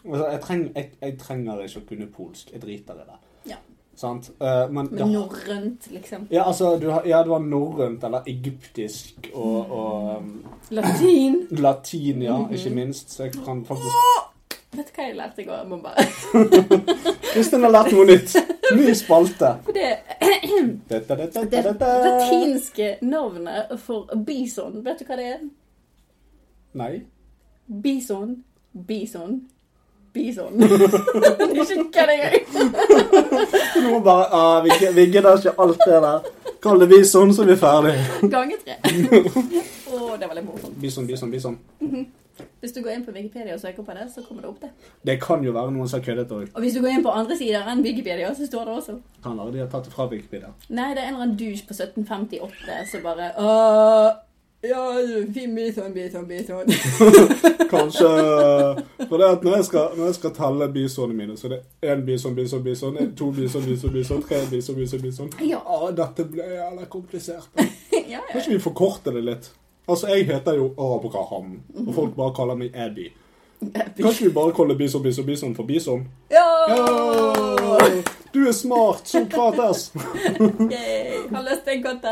Speaker 3: Altså, jeg, treng, jeg, jeg trenger ikke å kunne polsk. Jeg driter i det.
Speaker 4: Ja.
Speaker 3: Sant? Eh, Men,
Speaker 4: Med
Speaker 3: det-
Speaker 4: norrønt, liksom.
Speaker 3: ja, altså, du, har- ja, det var norrønt eller egyptisk og, og um,
Speaker 4: Latin.
Speaker 3: latin, ja,
Speaker 4: Mhm.
Speaker 3: ikke minst. Så jeg kan faktisk
Speaker 4: Vet du hva jeg lærte i går? Jeg må bare
Speaker 3: Kristin har lært noe nytt! Ny spalte.
Speaker 4: For det
Speaker 3: Dette, dette,
Speaker 4: det
Speaker 3: dette, dette.
Speaker 4: latinske navnet for bison, vet du hva det er?
Speaker 3: Nei.
Speaker 4: Bison, bison, bison. det er ikke hva det er.
Speaker 3: Nå bare ah, vi, gi- vi gidder ikke alt det der. Kaller vi sånn, så er vi ferdig.
Speaker 4: Gangetre. Å, det var litt morsomt.
Speaker 3: Bison, bison, bison.
Speaker 4: Hvis du går inn på Wikipedia og søker på det, så kommer det opp, det.
Speaker 3: Det kan jo være noen som har køddet òg.
Speaker 4: Og hvis du går inn på andre sider enn Wikipedia, så står det også
Speaker 3: Kan være de har tatt det fra Wikipedia.
Speaker 4: Nei, det er en eller annen douche på 1758 som bare «Åh, Ja, fin bison, bison, bison.
Speaker 3: Kanskje For det at når jeg skal, når jeg skal telle bisonene mine, så det er én bison, bison, bison, en- to bison, bison, bison, tre bison, bison, bison.
Speaker 4: Ja.
Speaker 3: Ah, dette ble jævla komplisert.
Speaker 4: ja, ja.
Speaker 3: Kan ikke vi forkorte det litt? Altså, jeg heter jo Abraham, og folk bare kaller meg Abby. Kan ikke vi bare kalle bison, bison, bison for bison?
Speaker 4: Ja!
Speaker 3: Du er smart, Sokrates!
Speaker 4: Yay, Har lyst til en katt.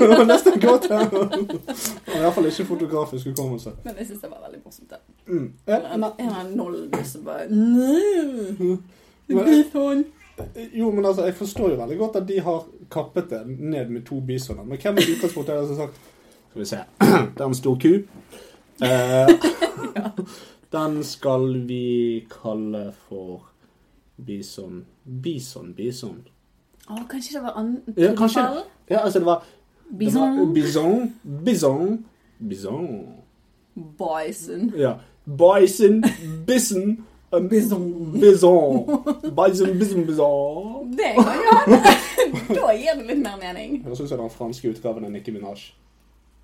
Speaker 3: Det var nesten godt. ja. Det var I hvert fall ikke fotografisk hukommelse.
Speaker 4: Men jeg syns det var veldig morsomt. da.
Speaker 3: Mm. Ja,
Speaker 4: En
Speaker 3: nei,
Speaker 4: eller annen nollbuss som bare «Nei,
Speaker 3: men,
Speaker 4: Bison.
Speaker 3: jo, men altså, Jeg forstår jo veldig godt at de har kappet det ned med to bisoner. Men hvem i utgangspunktet er det som har sagt Skal vi se. Det er en stor ku. Eh, den skal vi kalle for bison. Bison, bison.
Speaker 4: Å, kanskje det var annen
Speaker 3: Ja, kanskje. Ja, altså, det var det var-
Speaker 4: Bison.
Speaker 3: Bison. Bison. Bison.
Speaker 4: Bison.
Speaker 3: Ja. Bison, bison, um, bison, bison. Bison, bison, bison.
Speaker 4: Det kan jeg ha. Da gir det litt mer mening.
Speaker 3: Høres ut som den franske utgaven av Nicki Minaj.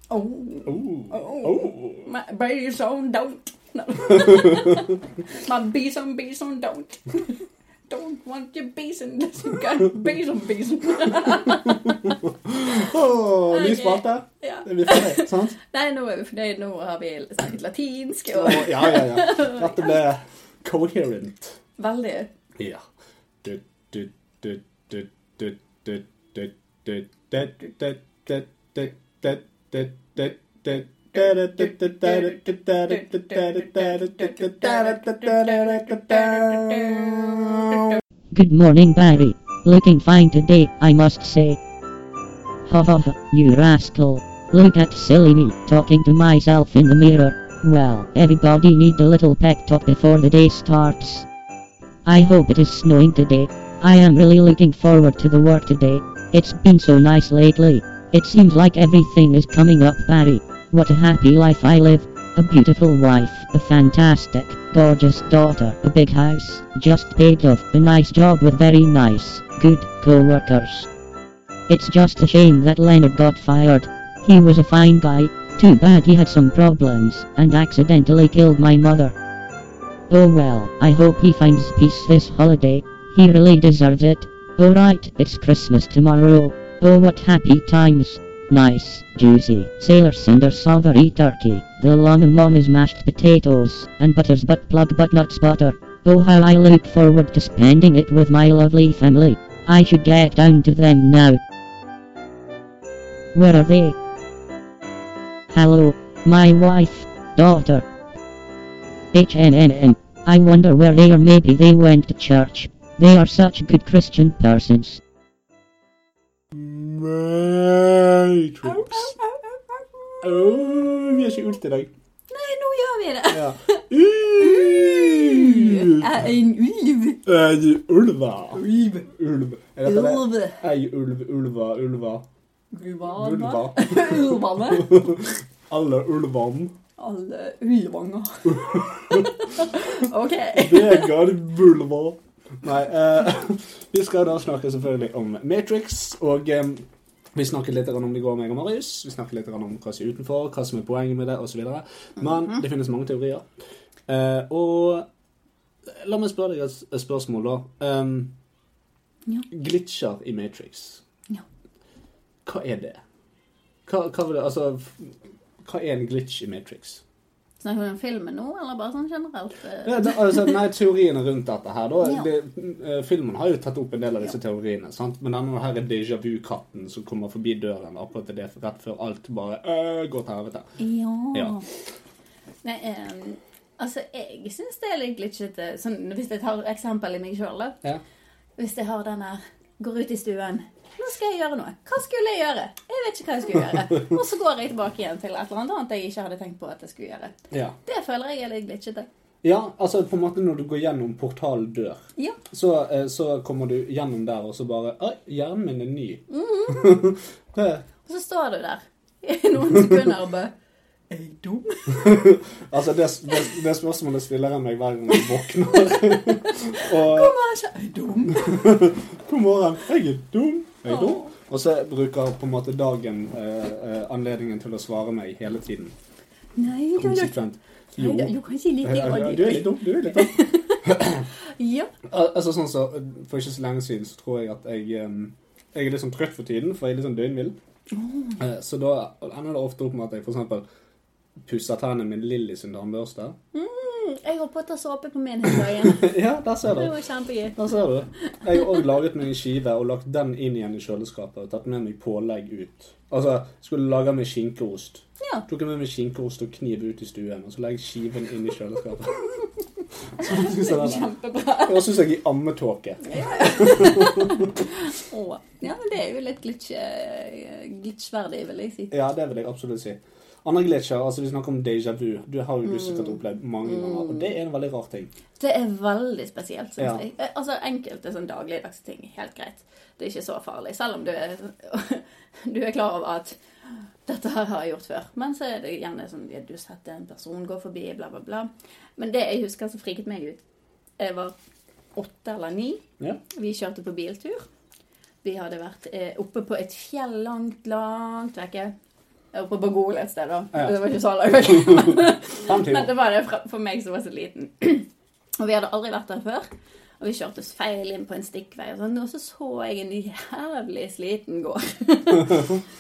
Speaker 4: Oh,
Speaker 3: Oh.
Speaker 4: oh. My bison don't. No. My bison, bison don't. Don't want your bison. Got bison, bison.
Speaker 3: Åh, Oh, ny
Speaker 4: Ok.
Speaker 3: spalte.
Speaker 4: Ja.
Speaker 3: Det blir ferdig, sant?
Speaker 4: Nei, nå er vi fornøyd. Nå har vi snakket latinsk
Speaker 3: Åh,
Speaker 4: og
Speaker 3: Ja, ja, ja. Dette ble coherent.
Speaker 4: veldig
Speaker 3: Ja. Du, du, du, du, du, du, du, du, du, du, du, du, du, du, du, du.
Speaker 6: Good morning, Barry. Looking fine today, I must say. Ha ha ha, you rascal. Look at silly me, talking to myself in the mirror. Well, everybody needs a little pep talk before the day starts. I hope it is snowing today. I am really looking forward to the work today. It's been so nice lately. It seems like everything is coming up, Barry. What a happy life I live. A beautiful wife, a fantastic, gorgeous daughter, a big house, just paid off, a nice job with very nice, good co workers. It's just a shame that Leonard got fired. He was a fine guy, too bad he had some problems, and accidentally killed my mother. Oh well, I hope he finds peace this holiday. He really deserves it. Alright, it's Christmas tomorrow. Oh what happy times. Nice, juicy, sailor cinder savory turkey. The llama mom is mashed potatoes, and butter's butt plug but nuts butter. Oh how I look forward to spending it with my lovely family. I should get down to them now. Where are they? Hello, my wife, daughter. HNNN. I wonder where they are. Maybe they went to church. They are such good Christian persons.
Speaker 3: Matrix. Åh, vi har ikke ult i dag.
Speaker 4: Nei, nå gjør vi det!
Speaker 3: Ja. Uh,
Speaker 4: Jeg er en ulv.
Speaker 3: er du ulva? Ulv. Er dette det?
Speaker 4: Ulv.
Speaker 3: Ei ulv, ulva, ulva.
Speaker 4: Ulvane.
Speaker 3: Ulva.
Speaker 4: Ulvane.
Speaker 3: Alle ulvene.
Speaker 4: Alle ulvanger. OK.
Speaker 3: Vegard Bulva. Nei, eh, vi skal da snakke selvfølgelig om Matrix, og eh, vi snakket litt grann om det i går, meg og Marius. Vi snakket litt grann om hva som er utenfor, hva som er poenget med det, osv. Men
Speaker 4: Mhm.
Speaker 3: det finnes mange teorier. Eh, og la meg spørre deg et et spørsmål, da. Um,
Speaker 4: Ja.
Speaker 3: Glitcher i Matrix.
Speaker 4: Ja.
Speaker 3: Hva er det? Hva, hva, vil det altså, f- hva er en glitch i Matrix?
Speaker 4: Snakker vi om filmen nå, eller bare sånn generelt? eh?
Speaker 3: Ja, da, altså, nei, teoriene rundt dette her, da.
Speaker 4: Ja.
Speaker 3: Det, eh, filmen har jo tatt opp en del av disse teoriene. sant? Men denne her er déjà vu-katten som kommer forbi døren akkurat til det rett før alt bare øh, går til helvete.
Speaker 4: Ja.
Speaker 3: Ja.
Speaker 4: Nei, em, altså, jeg syns det er litt glitchete. Sånn, hvis jeg tar eksempel i meg sjøl, da.
Speaker 3: Ja.
Speaker 4: Hvis jeg har den her, går ut i stuen. Nå skal jeg gjøre noe. Hva skulle jeg gjøre? Jeg vet ikke hva jeg skulle gjøre. Og så går jeg tilbake igjen til et eller annet annet jeg ikke hadde tenkt på at jeg skulle gjøre.
Speaker 3: Ja.
Speaker 4: Det føler jeg er litt glitchete.
Speaker 3: ja, altså på en måte når du går gjennom portaldør,
Speaker 4: Ja.
Speaker 3: så, eh, så kommer du gjennom der, og så bare Oi, hjernen min er ny.
Speaker 4: Mhm.
Speaker 3: det,
Speaker 4: Og så står du der i noen sekunder og bare Er jeg dum?
Speaker 3: altså, det, det, det spørsmålet stiller jeg meg hver gang jeg våkner. og
Speaker 4: Kommer jeg ikke? Er jeg dum?
Speaker 3: God morgen, jeg er dum. Jeg er dum.
Speaker 4: Åh.
Speaker 3: Og så bruker på en måte dagen eh, eh, anledningen til å svare meg hele tiden.
Speaker 4: Nei, du, du,
Speaker 3: Konsekvent. Jo.
Speaker 4: Nei, du kan ikke
Speaker 3: Eh,
Speaker 4: like
Speaker 3: eh,
Speaker 4: det.
Speaker 3: Du er litt dum. du er litt dum.
Speaker 4: Ja.
Speaker 3: Al- Altså sånn så, eh, For ikke så lenge siden så tror jeg at jeg eh, Jeg er litt sånn trøtt for tiden, for jeg er litt sånn døgnvill. Eh, Så da ender det ofte opp med at jeg f.eks. pusser tennene med Lilly sin tannbørste.
Speaker 4: Mm, Jeg har putta såpe på min hele dagen.
Speaker 3: Ja, der ser
Speaker 4: Det
Speaker 3: du.
Speaker 4: var kjempegøy.
Speaker 3: Der ser du. Jeg har òg laget meg en skive og lagt den inn igjen i kjøleskapet. Og tatt med meg pålegg ut. Altså, skulle lage meg skinkeost.
Speaker 4: Ja.
Speaker 3: Tok jeg med meg skinkeost og kniv ut i stuen, og så legger jeg skiven inn i kjøleskapet. Så jeg synes jeg den-
Speaker 4: Kjempebra.
Speaker 3: Og så synes jeg i ammetåke.
Speaker 4: Å, Ja, men det er jo litt glitch, eh, glitchverdig, vil jeg si.
Speaker 3: Ja, det vil jeg absolutt si. Andre glitcher, altså vi snakker om déjà vu. Du har jo du
Speaker 4: Mm.
Speaker 3: sikkert opplevd mange ganger, og det er en veldig rar ting.
Speaker 4: Det er veldig spesielt, syns
Speaker 3: Ja.
Speaker 4: jeg. Eh, Altså, Enkelte sånn dagligdagse ting er helt greit. Det er ikke så farlig. Selv om du er, du er klar over at 'dette her har jeg gjort før'. Men så er det gjerne sånn ja, du setter en person, går forbi, bla, bla, bla. Men det jeg husker som friket meg ut Jeg var åtte eller ni.
Speaker 3: Ja.
Speaker 4: Vi kjørte på biltur. Vi hadde vært eh, oppe på et fjell langt, langt vekke. Oppe på Gol et sted, da.
Speaker 3: Ja.
Speaker 4: Det var ikke så langt vekke.
Speaker 3: Fem
Speaker 4: Men
Speaker 3: timer.
Speaker 4: det var det fra- for meg som var så liten. Og vi hadde aldri vært der før. Og vi kjørte oss feil inn på en stikkvei, og, sånn, og så så jeg en jævlig sliten gård.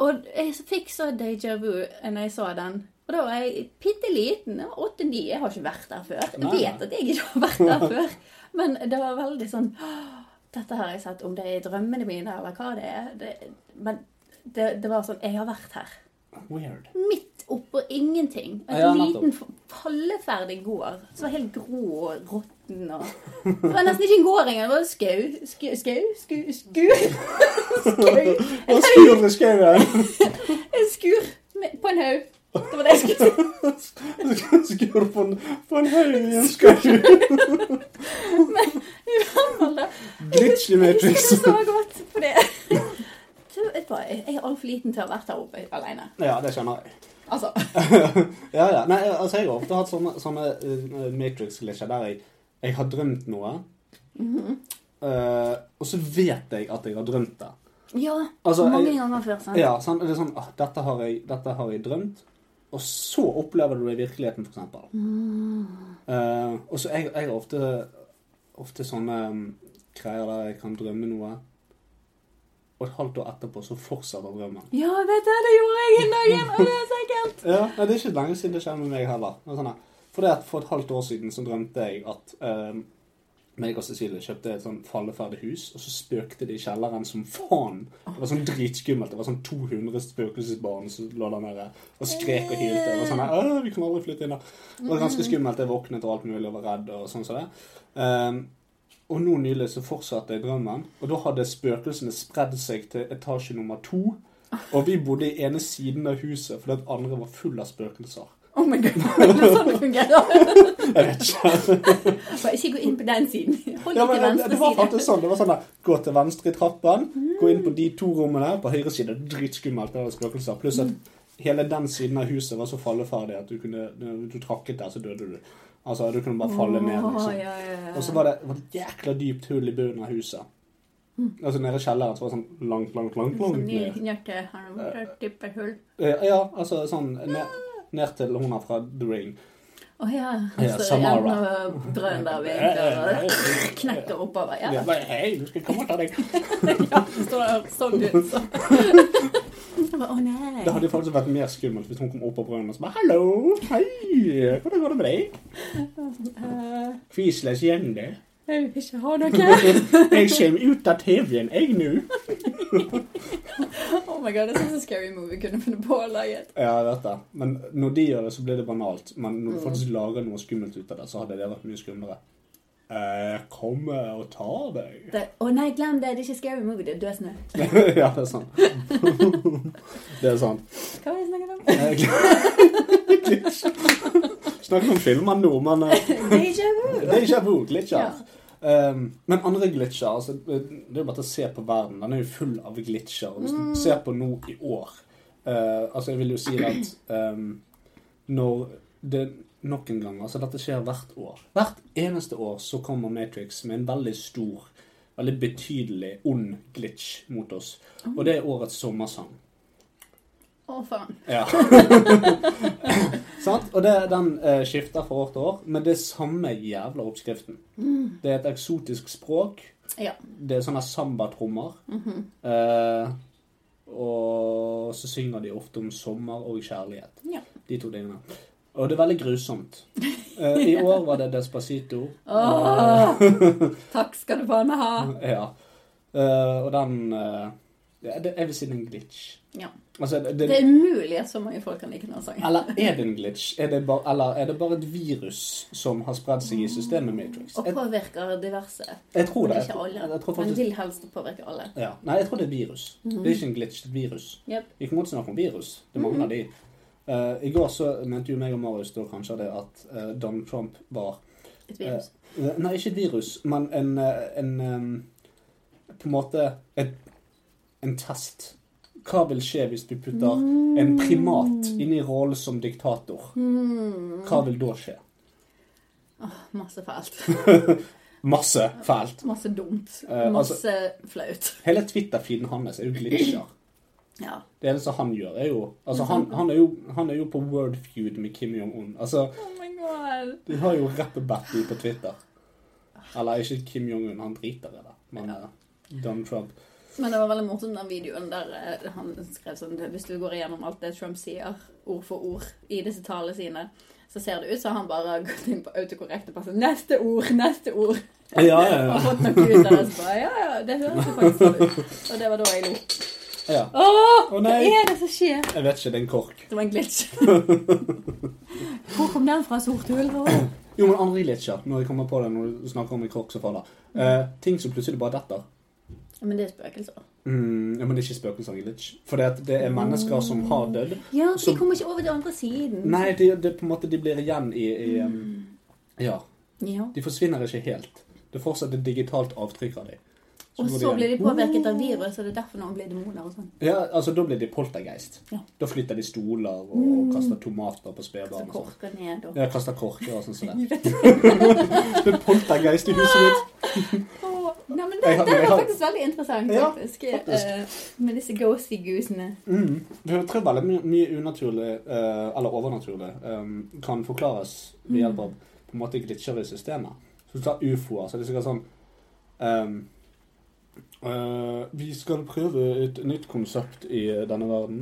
Speaker 4: og jeg fikk så déjà vu når jeg så den. Og da var jeg bitte liten. Åtte-ni. Jeg har ikke vært der før.
Speaker 3: Nei,
Speaker 4: Jeg vet
Speaker 3: nei.
Speaker 4: at jeg ikke har vært der før. Men det var veldig sånn «Åh, Dette har jeg sett, om det er i drømmene mine eller hva det er. Det, men det, det var sånn Jeg har vært her
Speaker 3: Weird.
Speaker 4: midt oppå ingenting. En
Speaker 3: Ja, nettopp.
Speaker 4: liten falleferdig gård som var helt grå og råtten og Det var nesten ikke en gård engang. Det var skau Skau? Skau? Sku, skur?
Speaker 3: Og
Speaker 4: Skau?
Speaker 3: skur med skauen!
Speaker 4: En skur med, på en haug. Det var det jeg skulle si.
Speaker 5: Skrur på en, på en høy i en skøy.
Speaker 4: I hvert fall da.
Speaker 5: Glitch i
Speaker 4: Jeg
Speaker 5: Matrix.
Speaker 4: husker det så godt for det. Så Jeg bare- jeg er altfor liten til å ha vært her oppe alene.
Speaker 3: Ja, det skjønner jeg.
Speaker 4: Altså.
Speaker 3: ja, ja. Nei, altså, jeg har ofte hatt sånne, sånne eh, Matrix-glitcher der jeg, jeg har drømt noe, eh, og så vet jeg at jeg har drømt det.
Speaker 4: Ja,
Speaker 3: Altså,
Speaker 4: mange
Speaker 3: jeg-
Speaker 4: ganger før, sant?
Speaker 3: Ja, sant? Det er sånn, «Åh, dette, har jeg, dette har jeg drømt, og så opplever du det i virkeligheten, for eksempel. Eh, og så jeg, jeg har ofte, ofte sånne mm, greier der jeg kan drømme noe, og et halvt år etterpå så fortsetter drømmen.
Speaker 4: Ja, vet du, det gjorde jeg en dag igjen, og det er så ekkelt.
Speaker 3: Ja, nei, Det er ikke lenge siden det skjedde med meg heller. Men Sånn her. for, det at for et halvt år siden så drømte jeg at eh, meg og Cecilie kjøpte et sånn falleferdig hus, og så spøkte det i kjelleren som faen. Det var sånn dritskummelt. Det var sånn 200 spøkelsesbarn som lå der nede og skrek og hylte. Det var sånn her, «Åh, vi kan aldri flytte inn der. Det var ganske skummelt. Jeg våknet og alt mulig og var redd og sånn som det. Eh, og nå nylig så fortsatte jeg drømmen, og da hadde spøkelsene spredd seg til etasje nummer to. Og vi bodde i ene siden av huset fordi at andre var full av spøkelser.
Speaker 4: Oh my god, det er sånn det fungerer.
Speaker 3: Jeg vet ikke.
Speaker 4: Bare ikke gå inn på den siden. Hold
Speaker 3: Ja, men
Speaker 4: deg til
Speaker 3: det,
Speaker 4: venstre
Speaker 3: det var
Speaker 4: side. Mm.
Speaker 3: faktisk sånn. Det var sånn der, Gå til venstre i trappen, gå inn på de to rommene. På høyre side dritskummelt med spøkelser. Pluss
Speaker 4: Mm.
Speaker 3: at hele den siden av huset var så falleferdig at du kunne Når du trakket der, så døde du. Altså, du kunne bare falle ned,
Speaker 4: Å,
Speaker 3: liksom.
Speaker 4: ja, ja, ja.
Speaker 3: Og så var det, var det et jækla dypt hull i bunnen av huset.
Speaker 4: Mm.
Speaker 3: Altså nede i kjelleren så var det sånn langt, langt, langt, langt ned.
Speaker 4: Knirke, har du vært der, tipper hull?
Speaker 3: Eh, Ja, altså sånn ned, ned til hun her fra The Ring.
Speaker 4: Å ja.
Speaker 3: Ja,
Speaker 4: Så
Speaker 3: Samara.
Speaker 4: er det brønn der ved
Speaker 3: Eh, eh,
Speaker 4: egentlig,
Speaker 3: eh,
Speaker 4: og knekker oppover. Ja,
Speaker 3: Ja, bare, hei, du skal komme og ta deg.
Speaker 4: står der sånn ut. Så. Jeg bare, Å nei.
Speaker 3: Det hadde jo faktisk vært mer skummelt hvis hun kom opp av brønnen og så bare Hallo, hei, hvordan går det med deg?
Speaker 4: Eh,
Speaker 3: Quisles gjende.
Speaker 4: jeg vil ikke ha noe.
Speaker 3: Jeg kommer ut av TV-en, jeg nå.
Speaker 4: Oh my god, det er sånn scary movie kunne funnet på å lage.
Speaker 3: Ja, jeg vet det. Men når de gjør det, så blir det banalt. Men når du faktisk lager noe skummelt ut av det, så hadde det vært mye skumlere. Eh, komme og ta deg.
Speaker 4: Det- Å nei, glem det. Det er ikke scary movie, det er død snø.
Speaker 3: ja, det er sant. det er sant.
Speaker 4: Hva var det jeg snakket om?
Speaker 3: Eh, Snakker om filmer nå, men eh,
Speaker 4: Deja vu.
Speaker 3: Det er ikke vu, glitcher. Um, men andre glitcher altså, Det er jo bare til å se på verden. Den er jo full av glitcher. Og hvis du ser på nå i år eh, Altså, jeg vil jo si at um, når det Nok en gang, altså dette skjer hvert år. Hvert eneste år så kommer Matrix med en veldig stor, veldig betydelig ond glitch mot oss. Og det er årets sommersang.
Speaker 4: Å faen.
Speaker 3: Ja. Sant? Og det, den eh, skifter fra år til år, men det er samme jævla oppskriften. Det er et eksotisk språk.
Speaker 4: Mm. Ja. Mhm.
Speaker 3: Det er sånne sambatrommer. eh, og så synger de ofte om sommer og kjærlighet.
Speaker 4: Ja.
Speaker 3: De to tingene. Og det er veldig grusomt. Eh, I år var det Despacito. Eh,
Speaker 4: Åh, takk skal du faen meg ha.
Speaker 3: Ja. Eh, og den eh, ja, det, Jeg vil si det er en glitch.
Speaker 4: Ja.
Speaker 3: Altså, det,
Speaker 4: Det er umulig at så mange folk kan like denne sangen.
Speaker 3: Eller er det en glitch? Er det bare, eller er det bare et virus som har spredd seg i systemet Matrix?
Speaker 4: Mm. Og
Speaker 3: Jeg,
Speaker 4: påvirker diverse.
Speaker 3: jeg tror
Speaker 4: Men
Speaker 3: det.
Speaker 4: ikke alle.
Speaker 3: Jeg, jeg tror
Speaker 4: Men Mm-hmm.
Speaker 3: faktisk,
Speaker 4: vil helst påvirke alle.
Speaker 3: ja. Nei, jeg tror det er et virus. Det er ikke en glitch, det er et virus.
Speaker 4: Jep.
Speaker 3: Vi kan godt snakke om virus. Det mangler de.
Speaker 4: Mm-hmm.
Speaker 3: Eh, I går så mente jo meg og Marius da kanskje det at eh, Donald Trump var
Speaker 4: Et virus.
Speaker 3: eh, Nei, ikke et virus, men en, eh, en eh, På en måte et, en test. Hva vil skje hvis du putter en primat
Speaker 4: Mm.
Speaker 3: inn i rollen som diktator? Hva vil da skje?
Speaker 4: Ah, Masse fælt.
Speaker 3: Masse fælt.
Speaker 4: Masse dumt.
Speaker 3: Eh,
Speaker 4: Masse flaut.
Speaker 3: Hele Twitter-feeden hans er jo glitcher.
Speaker 4: Ja.
Speaker 3: Det eneste han gjør, er jo Altså, han, han, er, jo, han er jo på word feud med Kim Jong-un. Altså,
Speaker 4: Oh my god.
Speaker 3: de har jo rap-battle på Twitter. Eller ikke Kim Jong-un, han driter i det, men eh, Donald Trump.
Speaker 4: Men det var veldig morsomt den videoen der eh, han skrev sånn Hvis du går igjennom alt det Trump sier, ord for ord, i disse talene sine, så ser det ut som han bare har gått inn på autokorrekte passer. sånn, Neste ord, neste ord.
Speaker 3: Ja, ja,
Speaker 4: Og
Speaker 3: ja.
Speaker 4: fått noe ut av det. Så bare, ja, ja, det høres jo faktisk sånn ut. Og det var da jeg lo.
Speaker 3: ja. Å,
Speaker 4: Åh, hva
Speaker 3: nei.
Speaker 4: er det som skjer?
Speaker 3: Jeg vet ikke, det er en kork.
Speaker 4: Det var en glitch. Hvor kom den fra? Sort hull? Åh.
Speaker 3: Jo, men andre glitcher, når jeg kommer på det når du snakker om en kork som faller. Eh, ting som plutselig bare detter.
Speaker 4: Men det er spøkelser.
Speaker 3: Mm, ja, men det er ikke spøkelsesangelic. For det, at det er mennesker som har dødd.
Speaker 4: Ja, for
Speaker 3: Så-
Speaker 4: de kommer ikke over til andre siden.
Speaker 3: Nei, det, det, er på en måte, de blir igjen i, i um, Ja.
Speaker 4: Ja.
Speaker 3: De forsvinner ikke helt. Det er fortsatt et digitalt avtrykk av dem.
Speaker 4: Og så blir de påvirket av virus, og det er derfor noen blir demoner og sånn.
Speaker 3: Ja, altså Da blir de poltergeist.
Speaker 4: Ja.
Speaker 3: Da flytter de stoler og, og kaster tomater på
Speaker 4: Så
Speaker 3: spedbarn. og sånn.
Speaker 4: korker ned og
Speaker 3: Ja, kaster korker og sånn. sånn der. det er poltergeist i huset mitt.
Speaker 4: Åh, Nei, men det,
Speaker 3: Jeg har-
Speaker 4: det
Speaker 3: jeg
Speaker 4: var
Speaker 3: har-
Speaker 4: faktisk veldig interessant,
Speaker 3: Ja,
Speaker 4: faktisk.
Speaker 3: faktisk.
Speaker 4: eh, med disse ghosty goosene.
Speaker 3: Mm. Jeg tror veldig mye, mye unaturlig, eh, eller overnaturlig, eh, kan forklares
Speaker 4: Mm.
Speaker 3: ved hjelp av på en måte glitcher i systemet. Så du tar ufoer, så er det sikkert sånn eh, eh, Vi skal prøve et nytt konsept i denne verden.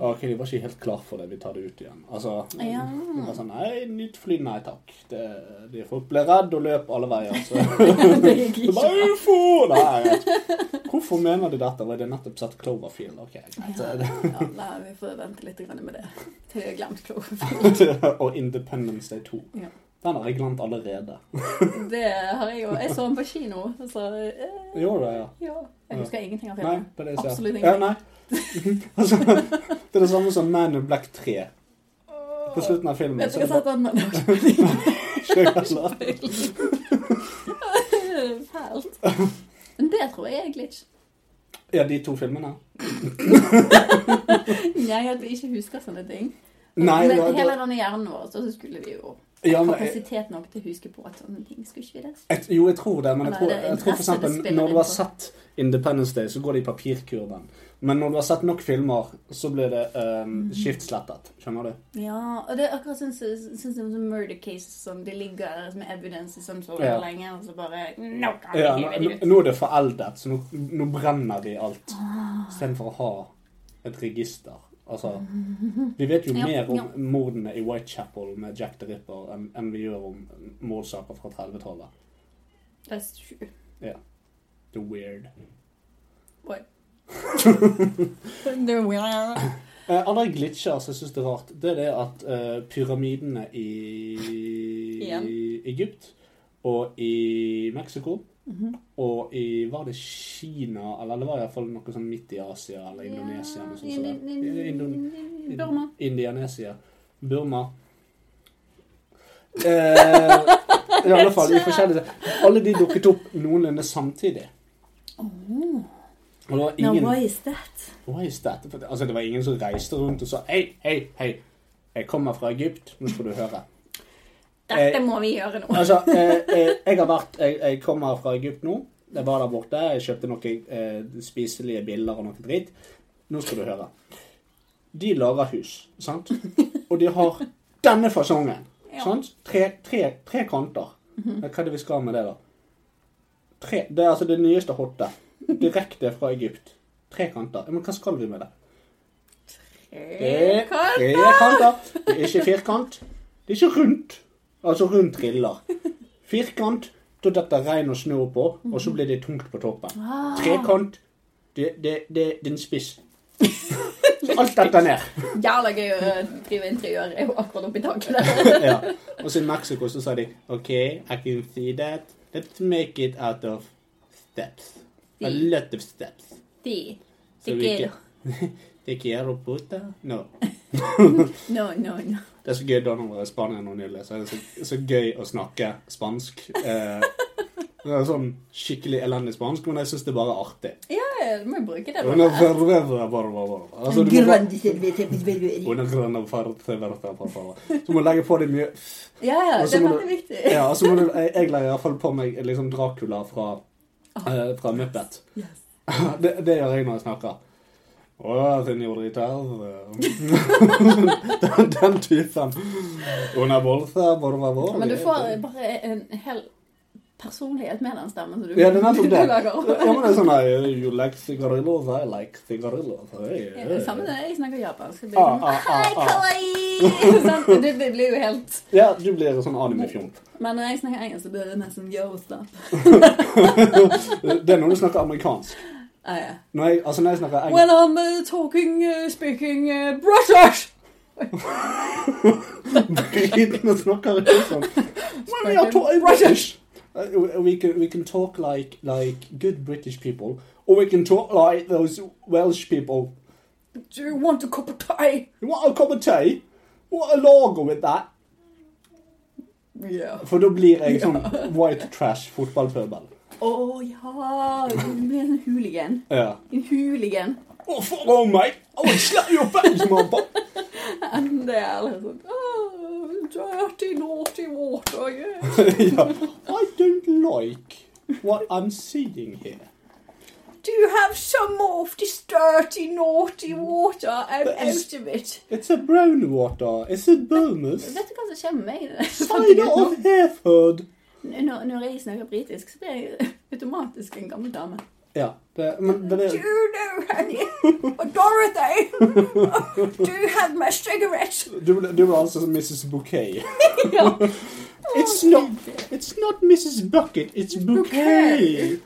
Speaker 3: OK, vi var ikke helt klar for det. Vi tar det ut igjen. Altså,
Speaker 4: Ja.
Speaker 3: det var sånn, Nei, nytt fly. Nei takk. Det, de folk ble redd og løp alle veier. Så
Speaker 4: Det gikk
Speaker 3: det
Speaker 4: ikke.
Speaker 3: var ufo! Nei, jeg vet ikke. hvorfor mener de dette? Var det nettopp sett Cloverfield? OK, greit.
Speaker 4: Ja, nei, vi får vente litt grann med det til vi har glemt Cloverfield.
Speaker 3: og Independence Day 2.
Speaker 4: Ja.
Speaker 3: Den har jeg glemt allerede.
Speaker 4: Det har jeg jo. Jeg så den på kino, så eh,
Speaker 3: Gjorde jeg, ja.
Speaker 4: ja. Jeg husker ingenting av
Speaker 3: Nei,
Speaker 4: filmen.
Speaker 3: på det jeg ser.
Speaker 4: Absolutt
Speaker 3: ja,
Speaker 4: ingenting.
Speaker 3: nei. altså, det er det samme som Man in Black 3. På slutten av filmen
Speaker 4: Vet
Speaker 3: så
Speaker 4: du hva
Speaker 3: er
Speaker 4: jeg
Speaker 3: det
Speaker 4: satt den med? Det var
Speaker 3: bare skjønner.
Speaker 4: ikke Fælt. Men det tror jeg er glitch.
Speaker 3: Ja, de to filmene.
Speaker 4: Nei, at vi ikke husker sånne ting.
Speaker 3: Nei,
Speaker 4: men
Speaker 3: det,
Speaker 4: hele
Speaker 3: det,
Speaker 4: denne hjernen vår, så skulle vi jo
Speaker 3: ja, men, jeg,
Speaker 4: kapasitet nok til å huske på at sånne ting skulle ikke vi det?
Speaker 3: jeg, jo, jeg tror det, men jeg
Speaker 4: Nei,
Speaker 3: tror,
Speaker 4: det er
Speaker 3: jeg tror for
Speaker 4: interesse det
Speaker 3: eksempel
Speaker 4: spiller
Speaker 3: når du har
Speaker 4: inn på.
Speaker 3: sett Independence Day, så går det i papirkurven. Men når du har sett nok filmer, så blir det um, skiftslettet. Skjønner du?
Speaker 4: Mhm. Ja, og det er akkurat sånn som sånn, som murder cases som de ligger som evidence i sånn så
Speaker 3: Ja.
Speaker 4: lenge, og så bare no, kan
Speaker 3: Ja,
Speaker 4: vi
Speaker 3: nå,
Speaker 4: hive det ut.
Speaker 3: nå er det foreldet, så nå, nå brenner de alt.
Speaker 4: Ah.
Speaker 3: Istedenfor å ha et register. Altså, vi vet jo
Speaker 4: Ja,
Speaker 3: mer om
Speaker 4: ja.
Speaker 3: mordene i Whitechapel med Jack the Ripper enn enn vi gjør om mordsaker fra 30-tallet.
Speaker 4: That's true.
Speaker 3: The weird.
Speaker 4: What? The weird.
Speaker 3: Eh, andre glitcher som jeg syns er rart, det er det at eh, pyramidene i
Speaker 4: Igjen.
Speaker 3: Egypt og i Mexico og i Var det Kina, eller det var iallfall noe sånn midt i Asia eller Indonesia? eller noe sånt som det. Indon-
Speaker 4: Mm-hmm. Burma.
Speaker 3: Indianesia. Burma. Eh, I alle fall i forskjellige Alle de dukket opp noenlunde samtidig. Og det var
Speaker 4: Now
Speaker 3: ingen
Speaker 4: why is that?
Speaker 3: Why is that? For det- Altså, det var ingen som reiste rundt og sa Hei, hei, hei, jeg kommer fra Egypt, nå får du høre.
Speaker 4: Dette
Speaker 3: Eh,
Speaker 4: må vi gjøre nå.
Speaker 3: Altså, eh, eh, jeg har vært jeg, jeg kommer fra Egypt nå. Jeg var der borte, jeg kjøpte noen eh, spiselige biller og noe dritt. Nå skal du høre. De lager hus, sant? Og de har denne fasongen.
Speaker 4: Ja.
Speaker 3: Sant? Tre, tre, tre kanter. Hva er det vi skal med det, da? Tre, det er altså det nyeste hotte. Direkte fra Egypt. Tre kanter. Men hva skal vi med det?
Speaker 4: Eh,
Speaker 3: Det er
Speaker 4: Kan-
Speaker 3: kanter. Det er ikke firkant. Det er ikke rundt. Altså rundt triller. Firkant, da detter regn og snø på, og så blir det tungt på toppen. Trekant, det, det, det, det er en spiss. Alt detter ned.
Speaker 4: Jævla gøy å drive interiør. Jeg var akkurat oppe i taket der.
Speaker 3: Ja. Og så i Mexico så sa de OK, I can see that. Let's make it out of steps. A
Speaker 4: Si.
Speaker 3: lot of steps.
Speaker 4: De.
Speaker 3: Så
Speaker 4: De
Speaker 3: vi ikke
Speaker 4: quiero.
Speaker 3: Te quiero puta. No.
Speaker 4: No, no, no.
Speaker 3: Det er så gøy da når man er i Spania nå nylig, så er det så, så gøy å snakke spansk. Eh, det er sånn skikkelig elendig spansk, men jeg syns det er bare artig.
Speaker 4: Ja, ja, du må jo bruke det.
Speaker 3: Una
Speaker 4: da.
Speaker 3: fervera, bara, bara. Altså, du må bare- Una grande fervera, bara, bara. Så må du legge på deg mye
Speaker 4: Ja, ja,
Speaker 3: Og så
Speaker 4: det er
Speaker 3: må
Speaker 4: veldig
Speaker 3: du-
Speaker 4: viktig.
Speaker 3: Ja, altså, må du, jeg, jeg legger i hvert fall på meg liksom Dracula fra, eh, fra Muppet.
Speaker 4: Yes.
Speaker 3: Det, det gjør jeg når jeg snakker. Å, señorita den, den typen. Una bolsa, por favor.
Speaker 4: Men du får bare en hel personlighet med den stemmen. Så du,
Speaker 3: Ja, det er nettopp det.
Speaker 4: du lager.
Speaker 3: Ja, men det er sånn der, You like cigarillos, I like cigarillos. Hey,
Speaker 4: Ja,
Speaker 3: hey.
Speaker 4: Samme når jeg snakker japansk. så blir
Speaker 3: Ah,
Speaker 4: det
Speaker 3: ah,
Speaker 4: sånn,
Speaker 3: ah,
Speaker 4: Hei,
Speaker 3: ah.
Speaker 4: kawaii! Sånn, det, det blir jo helt
Speaker 3: Ja, du blir sånn anime-fjomp.
Speaker 4: Men når jeg snakker engelsk, så blir det nesten yo, stop.
Speaker 3: Det er når du snakker amerikansk.
Speaker 4: Ah, ja.
Speaker 3: Når jeg, altså, når jeg snakker
Speaker 4: When
Speaker 3: engelsk
Speaker 4: I'm uh, talking, uh, speaking uh, British!
Speaker 3: Britene snakker ikke sånn. When we are to- Uh, we- we can we can talk like like good British people, or we can talk like those Welsh people.
Speaker 4: Do you want a cup of tea?
Speaker 3: You want a cup of tea? What a lager with that?
Speaker 4: Yeah.
Speaker 3: For da blir jeg sånn white trash fotballpøbel.
Speaker 4: Å Oh, ja, du blir en hooligan.
Speaker 3: Ja. Oh,
Speaker 4: En hooligan.
Speaker 3: Å, follow me! I will slap your face, mother!
Speaker 4: Enn det, eller sånn oh, Dirty, naughty water, yeah.
Speaker 3: ja. I don't like what I'm seeing here.
Speaker 4: Do you have some more of this dirty, naughty water? I'm
Speaker 3: um,
Speaker 4: out of it.
Speaker 3: It's a brown water. It's a bonus.
Speaker 4: Vet du hva som skjer med meg?
Speaker 3: Side of Hereford.
Speaker 4: Når, når jeg snakker britisk, så blir jeg automatisk en gammel dame.
Speaker 3: Ja, det, men det
Speaker 4: Do
Speaker 3: er
Speaker 4: you know, honey? Dorothy! Do you have my cigarette?
Speaker 3: Du, ble- du var altså Mrs. Bouquet.
Speaker 4: Ja.
Speaker 3: It's not, it's not Mrs. Bucket, it's Bouquet.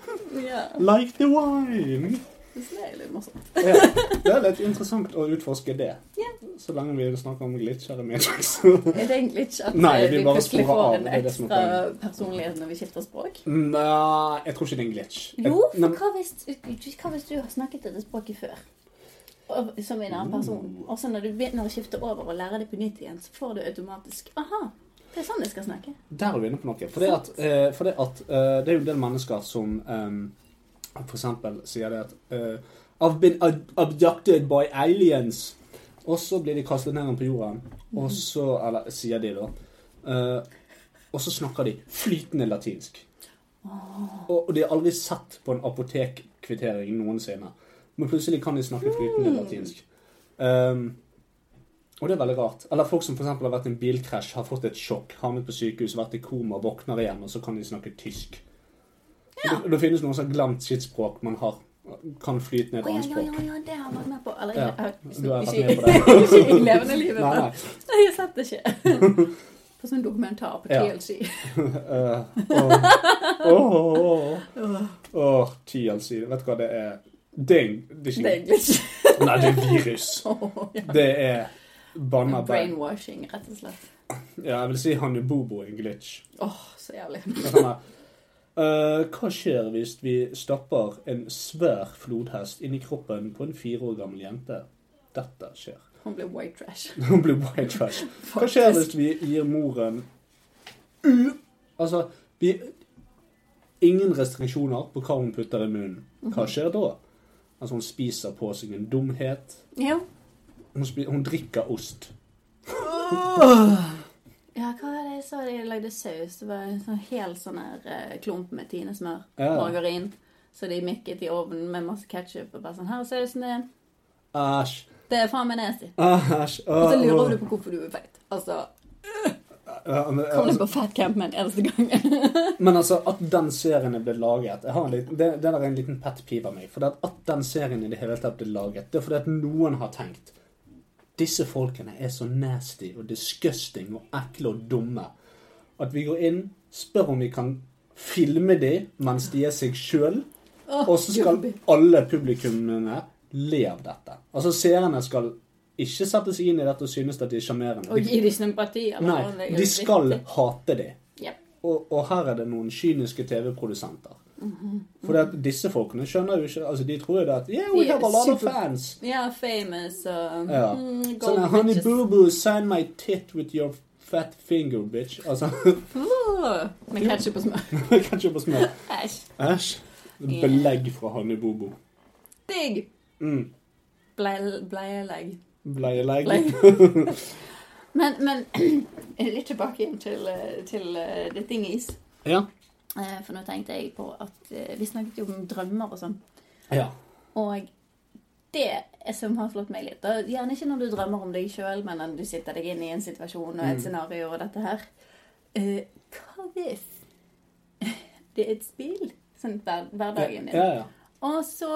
Speaker 4: ja.
Speaker 3: Like the wine.
Speaker 4: Så det er litt morsomt.
Speaker 3: Ja, det er litt interessant å utforske det.
Speaker 4: Ja.
Speaker 3: Så lenge vi snakker om glitchere med så-
Speaker 4: Jeg tenker litt ikke at
Speaker 3: Nei,
Speaker 4: eh,
Speaker 3: vi
Speaker 4: vi
Speaker 3: bare
Speaker 4: plutselig
Speaker 3: sporer av,
Speaker 4: får en
Speaker 3: det er det som er
Speaker 4: ekstra personlighet når vi skifter språk.
Speaker 3: Nei, jeg tror ikke det er en glitch. Jeg-
Speaker 4: Jo,
Speaker 3: nei,
Speaker 4: for hva hvis, hva hvis du har snakket dette språket før? Og- Som en annen person.
Speaker 3: Mm.
Speaker 4: Og så når du begynner å skifte over og lære det på nytt igjen, så får du automatisk Aha, det er sånn jeg skal snakke.
Speaker 3: Der er vi inne på noe. For det at, eh, for det, at eh, det er jo en del mennesker som eh, for eksempel sier det at eh, I've been ab- abducted by aliens. Og så blir de kastet ned igjen på jorden. Og så, eller sier de da. eh, og så snakker de flytende latinsk. Og, og de har aldri sett på en apotekkvittering noensinne. Men plutselig kan de snakke flytende latinsk. Um, og det er veldig rart. Eller folk som for eksempel har vært i en bilkrasj, har fått et sjokk, havnet på sykehus, vært i koma, våkner igjen, og så kan de snakke tysk. Og Det, det finnes noen som har glemt sitt språk man har, kan flyte ned
Speaker 4: Å
Speaker 3: et annet
Speaker 4: ja, ja, ja,
Speaker 3: språk.
Speaker 4: ja, det har jeg vært med på.
Speaker 3: Ja,
Speaker 4: Eller jeg har
Speaker 3: du har vært
Speaker 4: ikke,
Speaker 3: med på det.
Speaker 4: ikke i levende livet.
Speaker 3: Nei,
Speaker 4: men-
Speaker 3: nei.
Speaker 4: Nei, jeg satt det ikke. På sånn dokumentar på
Speaker 3: Ja.
Speaker 4: TLC.
Speaker 3: Eh, Åh, åh, åh, åh. Åh, TLC. Vet du hva det er? Det er, det
Speaker 4: Det er
Speaker 3: er
Speaker 4: egentlig ikke
Speaker 3: ikke Nei, det er virus.
Speaker 4: Å, ja.
Speaker 3: Det er banna bein.
Speaker 4: Brainwashing, rett og slett.
Speaker 3: Ja, jeg vil si han er bobo i en glitch.
Speaker 4: Åh, så jævlig.
Speaker 3: Det er sånn her, «Eh, hva skjer hvis vi stapper en svær flodhest inn i kroppen på en fire år gammel jente? Dette skjer.
Speaker 4: Hun ble white trash.
Speaker 3: Hun blir white trash. Hva skjer hvis vi gir moren u... Altså, vi Ingen restriksjoner på hva hun putter i munnen. Hva skjer da? Altså, hun spiser på seg en dumhet.
Speaker 4: Ja.
Speaker 3: Hun, spi, hun drikker ost.
Speaker 4: Ja, hva var det jeg så jeg lagde saus? Det var en sånn hel sånn her eh, klump med tinesmør,
Speaker 3: Ja.
Speaker 4: margarin. Så de mikket i ovnen med masse ketsjup og bare sånn Her er sausen din.
Speaker 3: Æsj.
Speaker 4: Det er faen meg nasty.
Speaker 3: Æsj.
Speaker 4: Og
Speaker 3: Åh,
Speaker 4: så lurer du på hvorfor du er feit. Altså,
Speaker 3: åh. Ja, altså-
Speaker 4: kom deg på fatcamp med en eneste gang.
Speaker 3: Men altså, at den serien er blitt laget jeg har en liten, det, det der er en liten pet peeve av meg. For det at, at den serien i det hele tatt ble laget, det er fordi at noen har tenkt Disse folkene er så nasty og disgusting og ekle og dumme at vi går inn, spør om vi kan filme dem mens de er seg sjøl, og så skal
Speaker 4: Gubbi.
Speaker 3: alle publikummene le av dette. Altså, seerne skal ikke sette seg inn i dette og synes at de er sjarmerende.
Speaker 4: Og gi dem sympati. eller
Speaker 3: Nei,
Speaker 4: noe, det er jo
Speaker 3: de skal
Speaker 4: viktig.
Speaker 3: hate dem.
Speaker 4: Ja.
Speaker 3: Og, og her er det noen kyniske TV-produsenter. For at disse folkene skjønner jo ikke altså De tror jo det at Yeah, we
Speaker 4: Mhm. De er
Speaker 3: have a lot of
Speaker 4: super-
Speaker 3: fans.
Speaker 4: ja, famous og
Speaker 3: Ja.
Speaker 4: mm,
Speaker 3: Sånn
Speaker 4: gold
Speaker 3: her, Honey
Speaker 4: bitches.
Speaker 3: boo boo, sign my tit with your fat finger, bitch. Altså
Speaker 4: Åh, Med ketsjup og smør.
Speaker 3: Kanskje på smør.
Speaker 4: Æsj.
Speaker 3: Æsj. Belegg fra Honey boo boo.
Speaker 4: Digg.
Speaker 3: Mm.
Speaker 4: Blei- Bleielegg.
Speaker 3: Bleielegg.
Speaker 4: Men, men litt tilbake igjen til, eh, til eh, The Thing Is.
Speaker 3: Ja.
Speaker 4: Eh, For nå tenkte jeg på at eh, vi snakket jo om drømmer og sånn.
Speaker 3: ja.
Speaker 4: Og det er som har slått meg litt. da, Gjerne ikke når du drømmer om deg sjøl, men når du sitter deg inn i en situasjon og
Speaker 3: Mm.
Speaker 4: et scenario og dette her. Eh, hva hvis det er et spill? Sånn hver, hverdagen din.
Speaker 3: Ja, ja.
Speaker 4: Og så,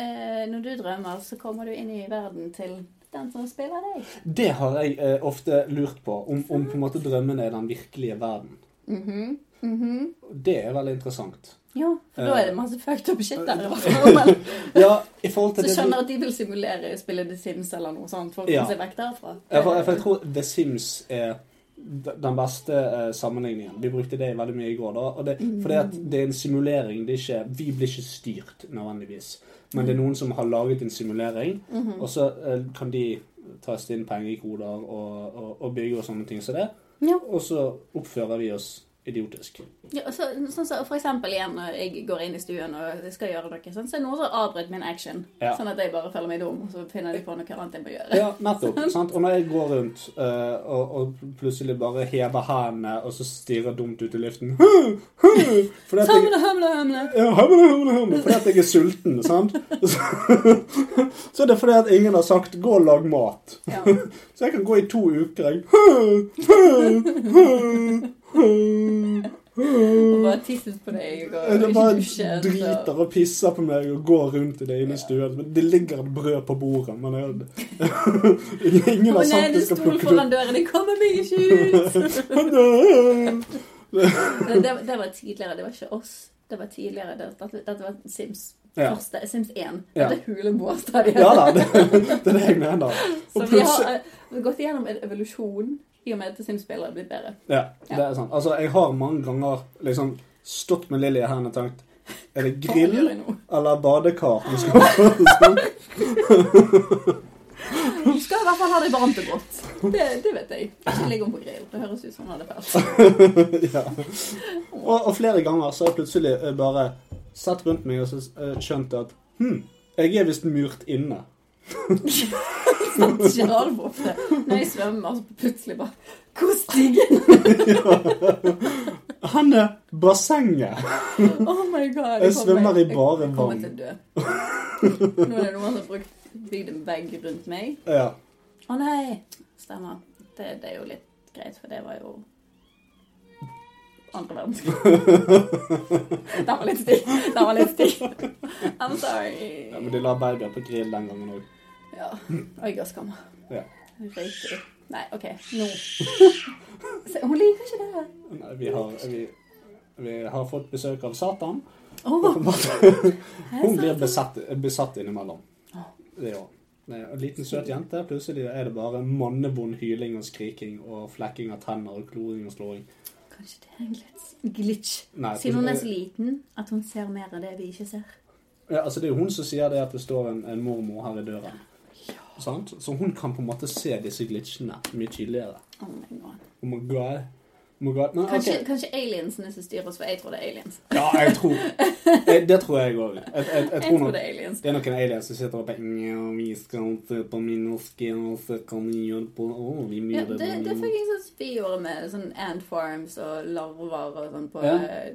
Speaker 4: eh, når du drømmer, så kommer du inn i verden til den som spiller deg.
Speaker 3: Det har jeg eh, ofte lurt på. Om, om på en måte drømmen er den virkelige verden. Mm-hmm.
Speaker 4: Mhm, mhm.
Speaker 3: Det er veldig interessant.
Speaker 4: Jo, for da
Speaker 3: Eh,
Speaker 4: er det masse fucked up shit der. i hvert fall, men-
Speaker 3: Ja, i forhold til
Speaker 4: Så
Speaker 3: det vi-
Speaker 4: skjønner at de vil simulere å spille The Sims eller noe sånt for å komme
Speaker 3: Ja.
Speaker 4: seg vekk derfra.
Speaker 3: Ja, for, for jeg tror The Sims er d- den beste eh, sammenligningen. Vi brukte det veldig mye i går. da, og det, fordi at det er en simulering. det er ikke, Vi blir ikke styrt nødvendigvis. Men det er noen som har laget en simulering,
Speaker 4: Mm-hmm.
Speaker 3: og så eh, kan de taste inn penger i koder og, og, og bygge og sånne ting som det.
Speaker 4: Ja.
Speaker 3: Og så oppfører vi oss idiotisk.
Speaker 4: Ja, så, sånn så, for eksempel igjen når jeg går inn i stuen og skal gjøre noe, sånn, så er det noen som avbryter min action.
Speaker 3: Ja.
Speaker 4: Sånn at jeg bare føler meg dum, og så finner de på noe annet jeg må gjøre.
Speaker 3: Ja, nettopp. sant? Og når jeg går rundt eh, og, og plutselig bare hever hendene og så stirrer dumt ut i luften Fordi at jeg,
Speaker 4: Hamle, hamle, hamle.
Speaker 3: ja, hamle, hamle, hamle, fordi at jeg er sulten, sant? Så, så det er fordi at ingen har sagt 'gå og lag mat'.
Speaker 4: Ja.
Speaker 3: Så jeg kan gå i to uker, jeg.
Speaker 4: Og bare tisset på deg og
Speaker 3: Det
Speaker 4: ikke
Speaker 3: bare
Speaker 4: dusjet, og-
Speaker 3: driter og pisser på meg og går rundt i det inne i stuen. Men Det ligger et brød på bordet, men jeg, ingen
Speaker 4: Å
Speaker 3: har
Speaker 4: nei,
Speaker 3: sagt at jeg
Speaker 4: det
Speaker 3: skal
Speaker 4: sto
Speaker 3: plukke det opp.
Speaker 4: foran døren, jeg kommer meg ikke ut! Men det, det var tidligere, det var ikke oss. Det var tidligere, det, dette, dette var Sims.
Speaker 3: Ja.
Speaker 4: Første, Sims 1.
Speaker 3: Ja.
Speaker 4: Det huleboerstadiet.
Speaker 3: Ja da, det, det er det jeg mener.
Speaker 4: Så
Speaker 3: Og
Speaker 4: vi har
Speaker 3: plutselig
Speaker 4: eh, vi har gått igjennom en evolusjon i og med at Sims-spillere har blitt bedre.
Speaker 3: Ja, det er sant. Altså, jeg har mange ganger liksom stått med Lilly i hendene og tenkt Er det
Speaker 4: Hva gjør
Speaker 3: grill
Speaker 4: jeg nå?
Speaker 3: eller badekar vi skal ha? Sånn.
Speaker 4: Du skal i hvert fall ha det varmt og godt. Det, det vet jeg. Ikke ligge om på grill. Det høres ut som han hadde fælt.
Speaker 3: ja. og, og flere ganger så har jeg plutselig eh, bare sett rundt meg og så eh, skjønt at Hm, jeg er visst murt inne.
Speaker 4: Generalbofte. Når jeg svømmer, så plutselig bare Hvor stigen?
Speaker 3: Han er bassenget!
Speaker 4: Oh my god.
Speaker 3: Jeg svømmer i bare
Speaker 4: Jeg kommer til å dø. Nå er det noen som har brukt, bygd en vegg rundt meg.
Speaker 3: Ja.
Speaker 4: Å nei! Stemmer. Det, det er jo litt greit, for det var jo andre verdenskrig. Den var litt stygg. Den var litt stygg. I'm
Speaker 3: ja men de
Speaker 4: sorry.
Speaker 3: la babyer på grill den gangen òg.
Speaker 4: Ja. Oi, gasskammer.
Speaker 3: Ja.
Speaker 4: Røyker. Nei, OK. Nå. Se, Hun liker ikke det.
Speaker 3: Nei, Vi, har- vi, vi har fått besøk av Satan.
Speaker 4: Oh,
Speaker 3: Hun blir besatt, besatt innimellom. Det er jo det er En liten søt jente. Plutselig er det bare mannevond hyling og skriking og flekking av tenner og kloring og slåing.
Speaker 4: Kanskje det er en glitch. glitch.
Speaker 3: Nei,
Speaker 4: Siden hun er så
Speaker 3: eh,
Speaker 4: liten at hun ser mer av det vi ikke ser.
Speaker 3: ja, altså det er jo hun som sier det at det står en, en mormor her i døren. Sant? Så hun kan på en måte se disse glitchene mye tydeligere.
Speaker 4: Oh my god.
Speaker 3: Oh my god. Oh my god. Men, ok.
Speaker 4: Kanskje, kanskje aliensene som styrer oss, for jeg tror det er aliens.
Speaker 3: Ja, jeg tror jeg, Det tror jeg òg. Jeg, jeg, jeg,
Speaker 4: Jeg
Speaker 3: tror
Speaker 4: tror
Speaker 3: nok
Speaker 4: det er aliens.
Speaker 3: Det er noen aliens som sitter og bare «Nja, Vi skal se på min norske og så kan vi gjøre på Å, vi må
Speaker 4: Ja,
Speaker 3: gjøre
Speaker 4: det,
Speaker 3: på
Speaker 4: det er
Speaker 3: min-
Speaker 4: faktisk sånn som vi gjorde med sånn ant farms og larver og sånn på
Speaker 3: Ja.
Speaker 4: eh,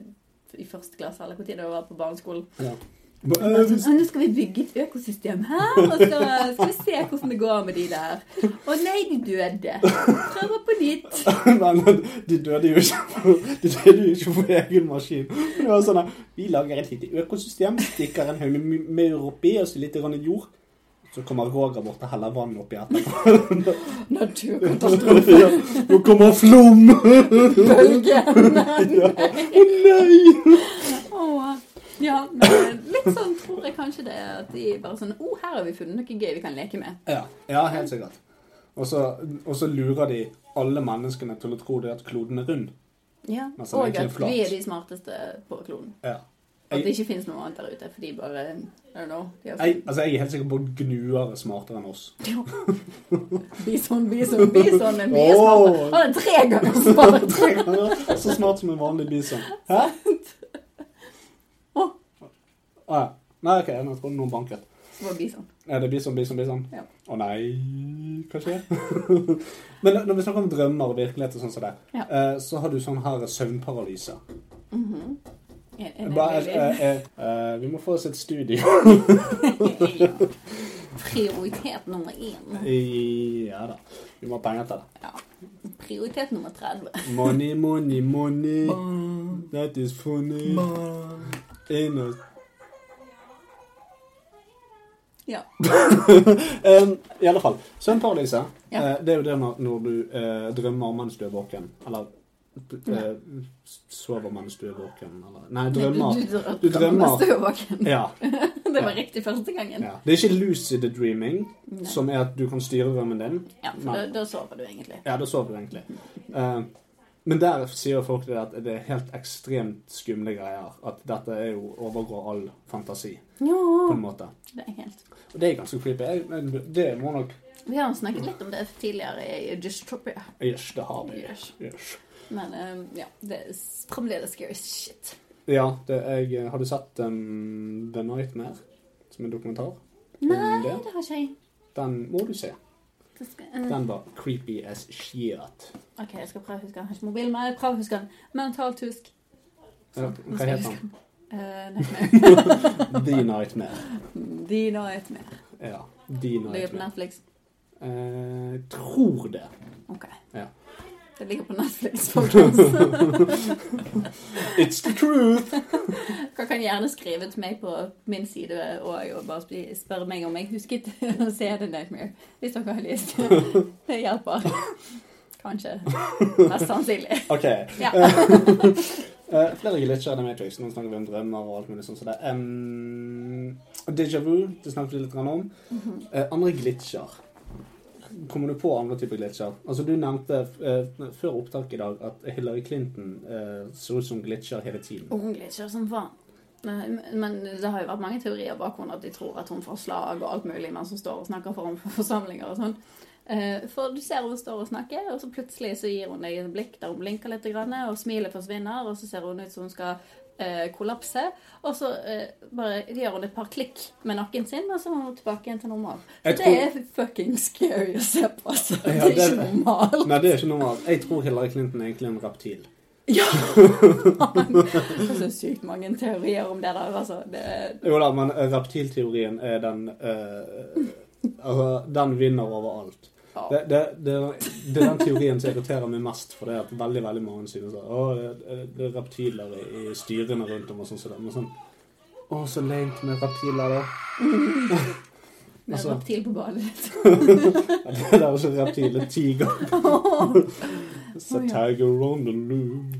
Speaker 4: i første klasse, eller hvor tid det var på barneskolen.
Speaker 3: Ja.
Speaker 4: Bare Sånn, «Å, nå skal vi bygge et økosystem her, og så skal vi se hvordan det går med de der. Å nei, de døde. Prøver på nytt.
Speaker 3: Nei, men de døde jo ikke De døde jo ikke på egen maskin. Det var sånn at Vi lager et lite økosystem, stikker en haug med mu- maur oppi og så litt grann jord. Så kommer Roger bort og heller vann oppi etterpå.
Speaker 4: Naturkatastrofe.
Speaker 3: Ja, Nå kommer flom!
Speaker 4: Bølgen.
Speaker 3: Nei!
Speaker 4: Åh. Ja, men litt sånn tror jeg kanskje det er at de bare sånn Å, oh, her har vi funnet noe gøy vi kan leke med.
Speaker 3: Ja, ja helt sikkert. Og så, og så lurer de alle menneskene til å tro det at kloden er rund.
Speaker 4: Ja.
Speaker 3: Men så er det
Speaker 4: Og
Speaker 3: egentlig
Speaker 4: at
Speaker 3: flat.
Speaker 4: vi er de smarteste på kloden.
Speaker 3: Ja.
Speaker 4: At det
Speaker 3: Jeg,
Speaker 4: ikke finnes noe annet der ute, for de bare I don't know. De har
Speaker 3: jeg, altså, jeg er helt sikker på at gnuere er smartere enn oss.
Speaker 4: Bison, bison, bison, men vi er
Speaker 3: Åh.
Speaker 4: smartere. Han er tre ganger smartere.
Speaker 3: Så smart som en vanlig bison. Hæ?
Speaker 4: Åh.
Speaker 3: Ah, ja. nei, ok, jeg trodde noen banket.
Speaker 4: Det var bison.
Speaker 3: Er det bison, bison, bison?
Speaker 4: Ja.
Speaker 3: Å nei, hva skjer? Men når vi snakker om drømmer og virkelighet og sånn som det,
Speaker 4: Ja.
Speaker 3: eh, så har du sånn her søvnparalyse.
Speaker 4: En- en-
Speaker 3: Bare,
Speaker 4: en- en-
Speaker 3: eh, eh, eh, vi må få oss et studio.
Speaker 4: Ja. Prioritet nummer én.
Speaker 3: ja da. Vi må ha penger til det.
Speaker 4: Ja. Prioritet nummer 30.
Speaker 3: Money, money, money. That is funny. Inner
Speaker 4: Ja.
Speaker 3: Um, I alle fall. Søvnparalyse.
Speaker 4: Ja.
Speaker 3: eh, det er jo det når, når du eh, drømmer mens du er våken. Eller eh, sover mens du er våken. Eller, nei, drømmer.
Speaker 4: Du,
Speaker 3: Du drømmer.
Speaker 4: mens Du er våken.
Speaker 3: Ja,
Speaker 4: Det var riktig første gangen.
Speaker 3: ja. Det er ikke lucid dreaming, som er at du kan styre drømmen din.
Speaker 4: Ja, for
Speaker 3: Nei.
Speaker 4: da, da sover du egentlig.
Speaker 3: Ja, da sover du egentlig. Eh, men der sier folk det at det er helt ekstremt skumle greier. At dette er jo overgår all fantasi, på en
Speaker 4: Ja.
Speaker 3: måte.
Speaker 4: Det er helt
Speaker 3: Og det er ganske creepy. Jeg, men det må nok
Speaker 4: Vi har snakket litt om det tidligere i Dystopia.
Speaker 3: Yes, det har vi.
Speaker 4: Yes.
Speaker 3: Yes.
Speaker 4: Men eh, ja, det er s- fremdeles scary as shit.
Speaker 3: Ja, det, jeg, eh, har du sett um, The Nightmare? Som en dokumentar?
Speaker 4: Nei,
Speaker 3: det?
Speaker 4: det har ikke jeg.
Speaker 3: Den må du se.
Speaker 4: Det skal- eh,
Speaker 3: Den var creepy as shit.
Speaker 4: OK, jeg skal prøve å huske den. Jeg har ikke mobilen, men jeg prøver å huske den. Mentalt husk.
Speaker 3: Ja, Hva
Speaker 4: skal jeg
Speaker 3: heter den?
Speaker 4: Eh, nei,
Speaker 3: The Nightmare.
Speaker 4: De Nightmare.
Speaker 3: Ja, The
Speaker 4: Det er på
Speaker 3: Nightmare.
Speaker 4: Netflix.
Speaker 3: Eh, tror det.
Speaker 4: OK.
Speaker 3: Ja.
Speaker 4: Det ligger på Netflix, folkens.
Speaker 3: It's the truth!
Speaker 4: Dere kan gjerne skrive til meg på min side og, og bare sp- spørre meg om jeg husket å se The Nightmare. Hvis dere har lyst. Det hjelper. Kanskje. Mest sannsynlig.
Speaker 3: OK.
Speaker 4: Ja.
Speaker 3: Eh, flere glitcher i The Matrix. Nå snakker vi om drømmer og alt mulig sånt. som det. Um, Déjà vu, det snakket vi litt grann om. Eh, andre glitcher. Kommer du på andre typer glitcher? Altså, Du nevnte eh, før opptak i dag at Hillary Clinton eh, ser ut som glitcher hele tiden.
Speaker 4: Ungelig, ikke som faen. Nei, Men det har jo vært mange teorier bak henne at de tror at hun får slag og alt mulig mens hun står og snakker foran forsamlinger og sånn. Eh, For du ser hun står og snakker, og så plutselig så gir hun deg et blikk der hun blinker litt, grann, og smilet forsvinner, og så ser hun ut som hun skal eh, kollapse. Og så eh, bare gjør hun et par klikk med nakken sin, og så er hun tilbake igjen til normal.
Speaker 3: Jeg
Speaker 4: Så det
Speaker 3: tror-
Speaker 4: er fucking scary å se på, altså. Det
Speaker 3: Ja,
Speaker 4: er
Speaker 3: det er
Speaker 4: ikke normalt.
Speaker 3: Nei, det er ikke normalt. Jeg tror Hillary Clinton er egentlig en reptil.
Speaker 4: Ja! Det er så sykt mange teorier om det der, altså. Det er
Speaker 3: Jo da, men eh, reptilteorien er den eh, Altså, den vinner over alt.
Speaker 4: Ja.
Speaker 3: Det, det, det, det er den teorien som irriterer meg mest, for det er at veldig veldig mange synes at å, det, det er reptiler i, i styrene rundt om og sånn. som det, Men sånn Å, så lame med reptiler, da.
Speaker 4: Med
Speaker 3: Altså-
Speaker 4: reptil på badet ditt.
Speaker 3: Ja, Det er jo ikke reptiler. Tiger. It's a
Speaker 4: Å, ja.
Speaker 3: tiger on the loose.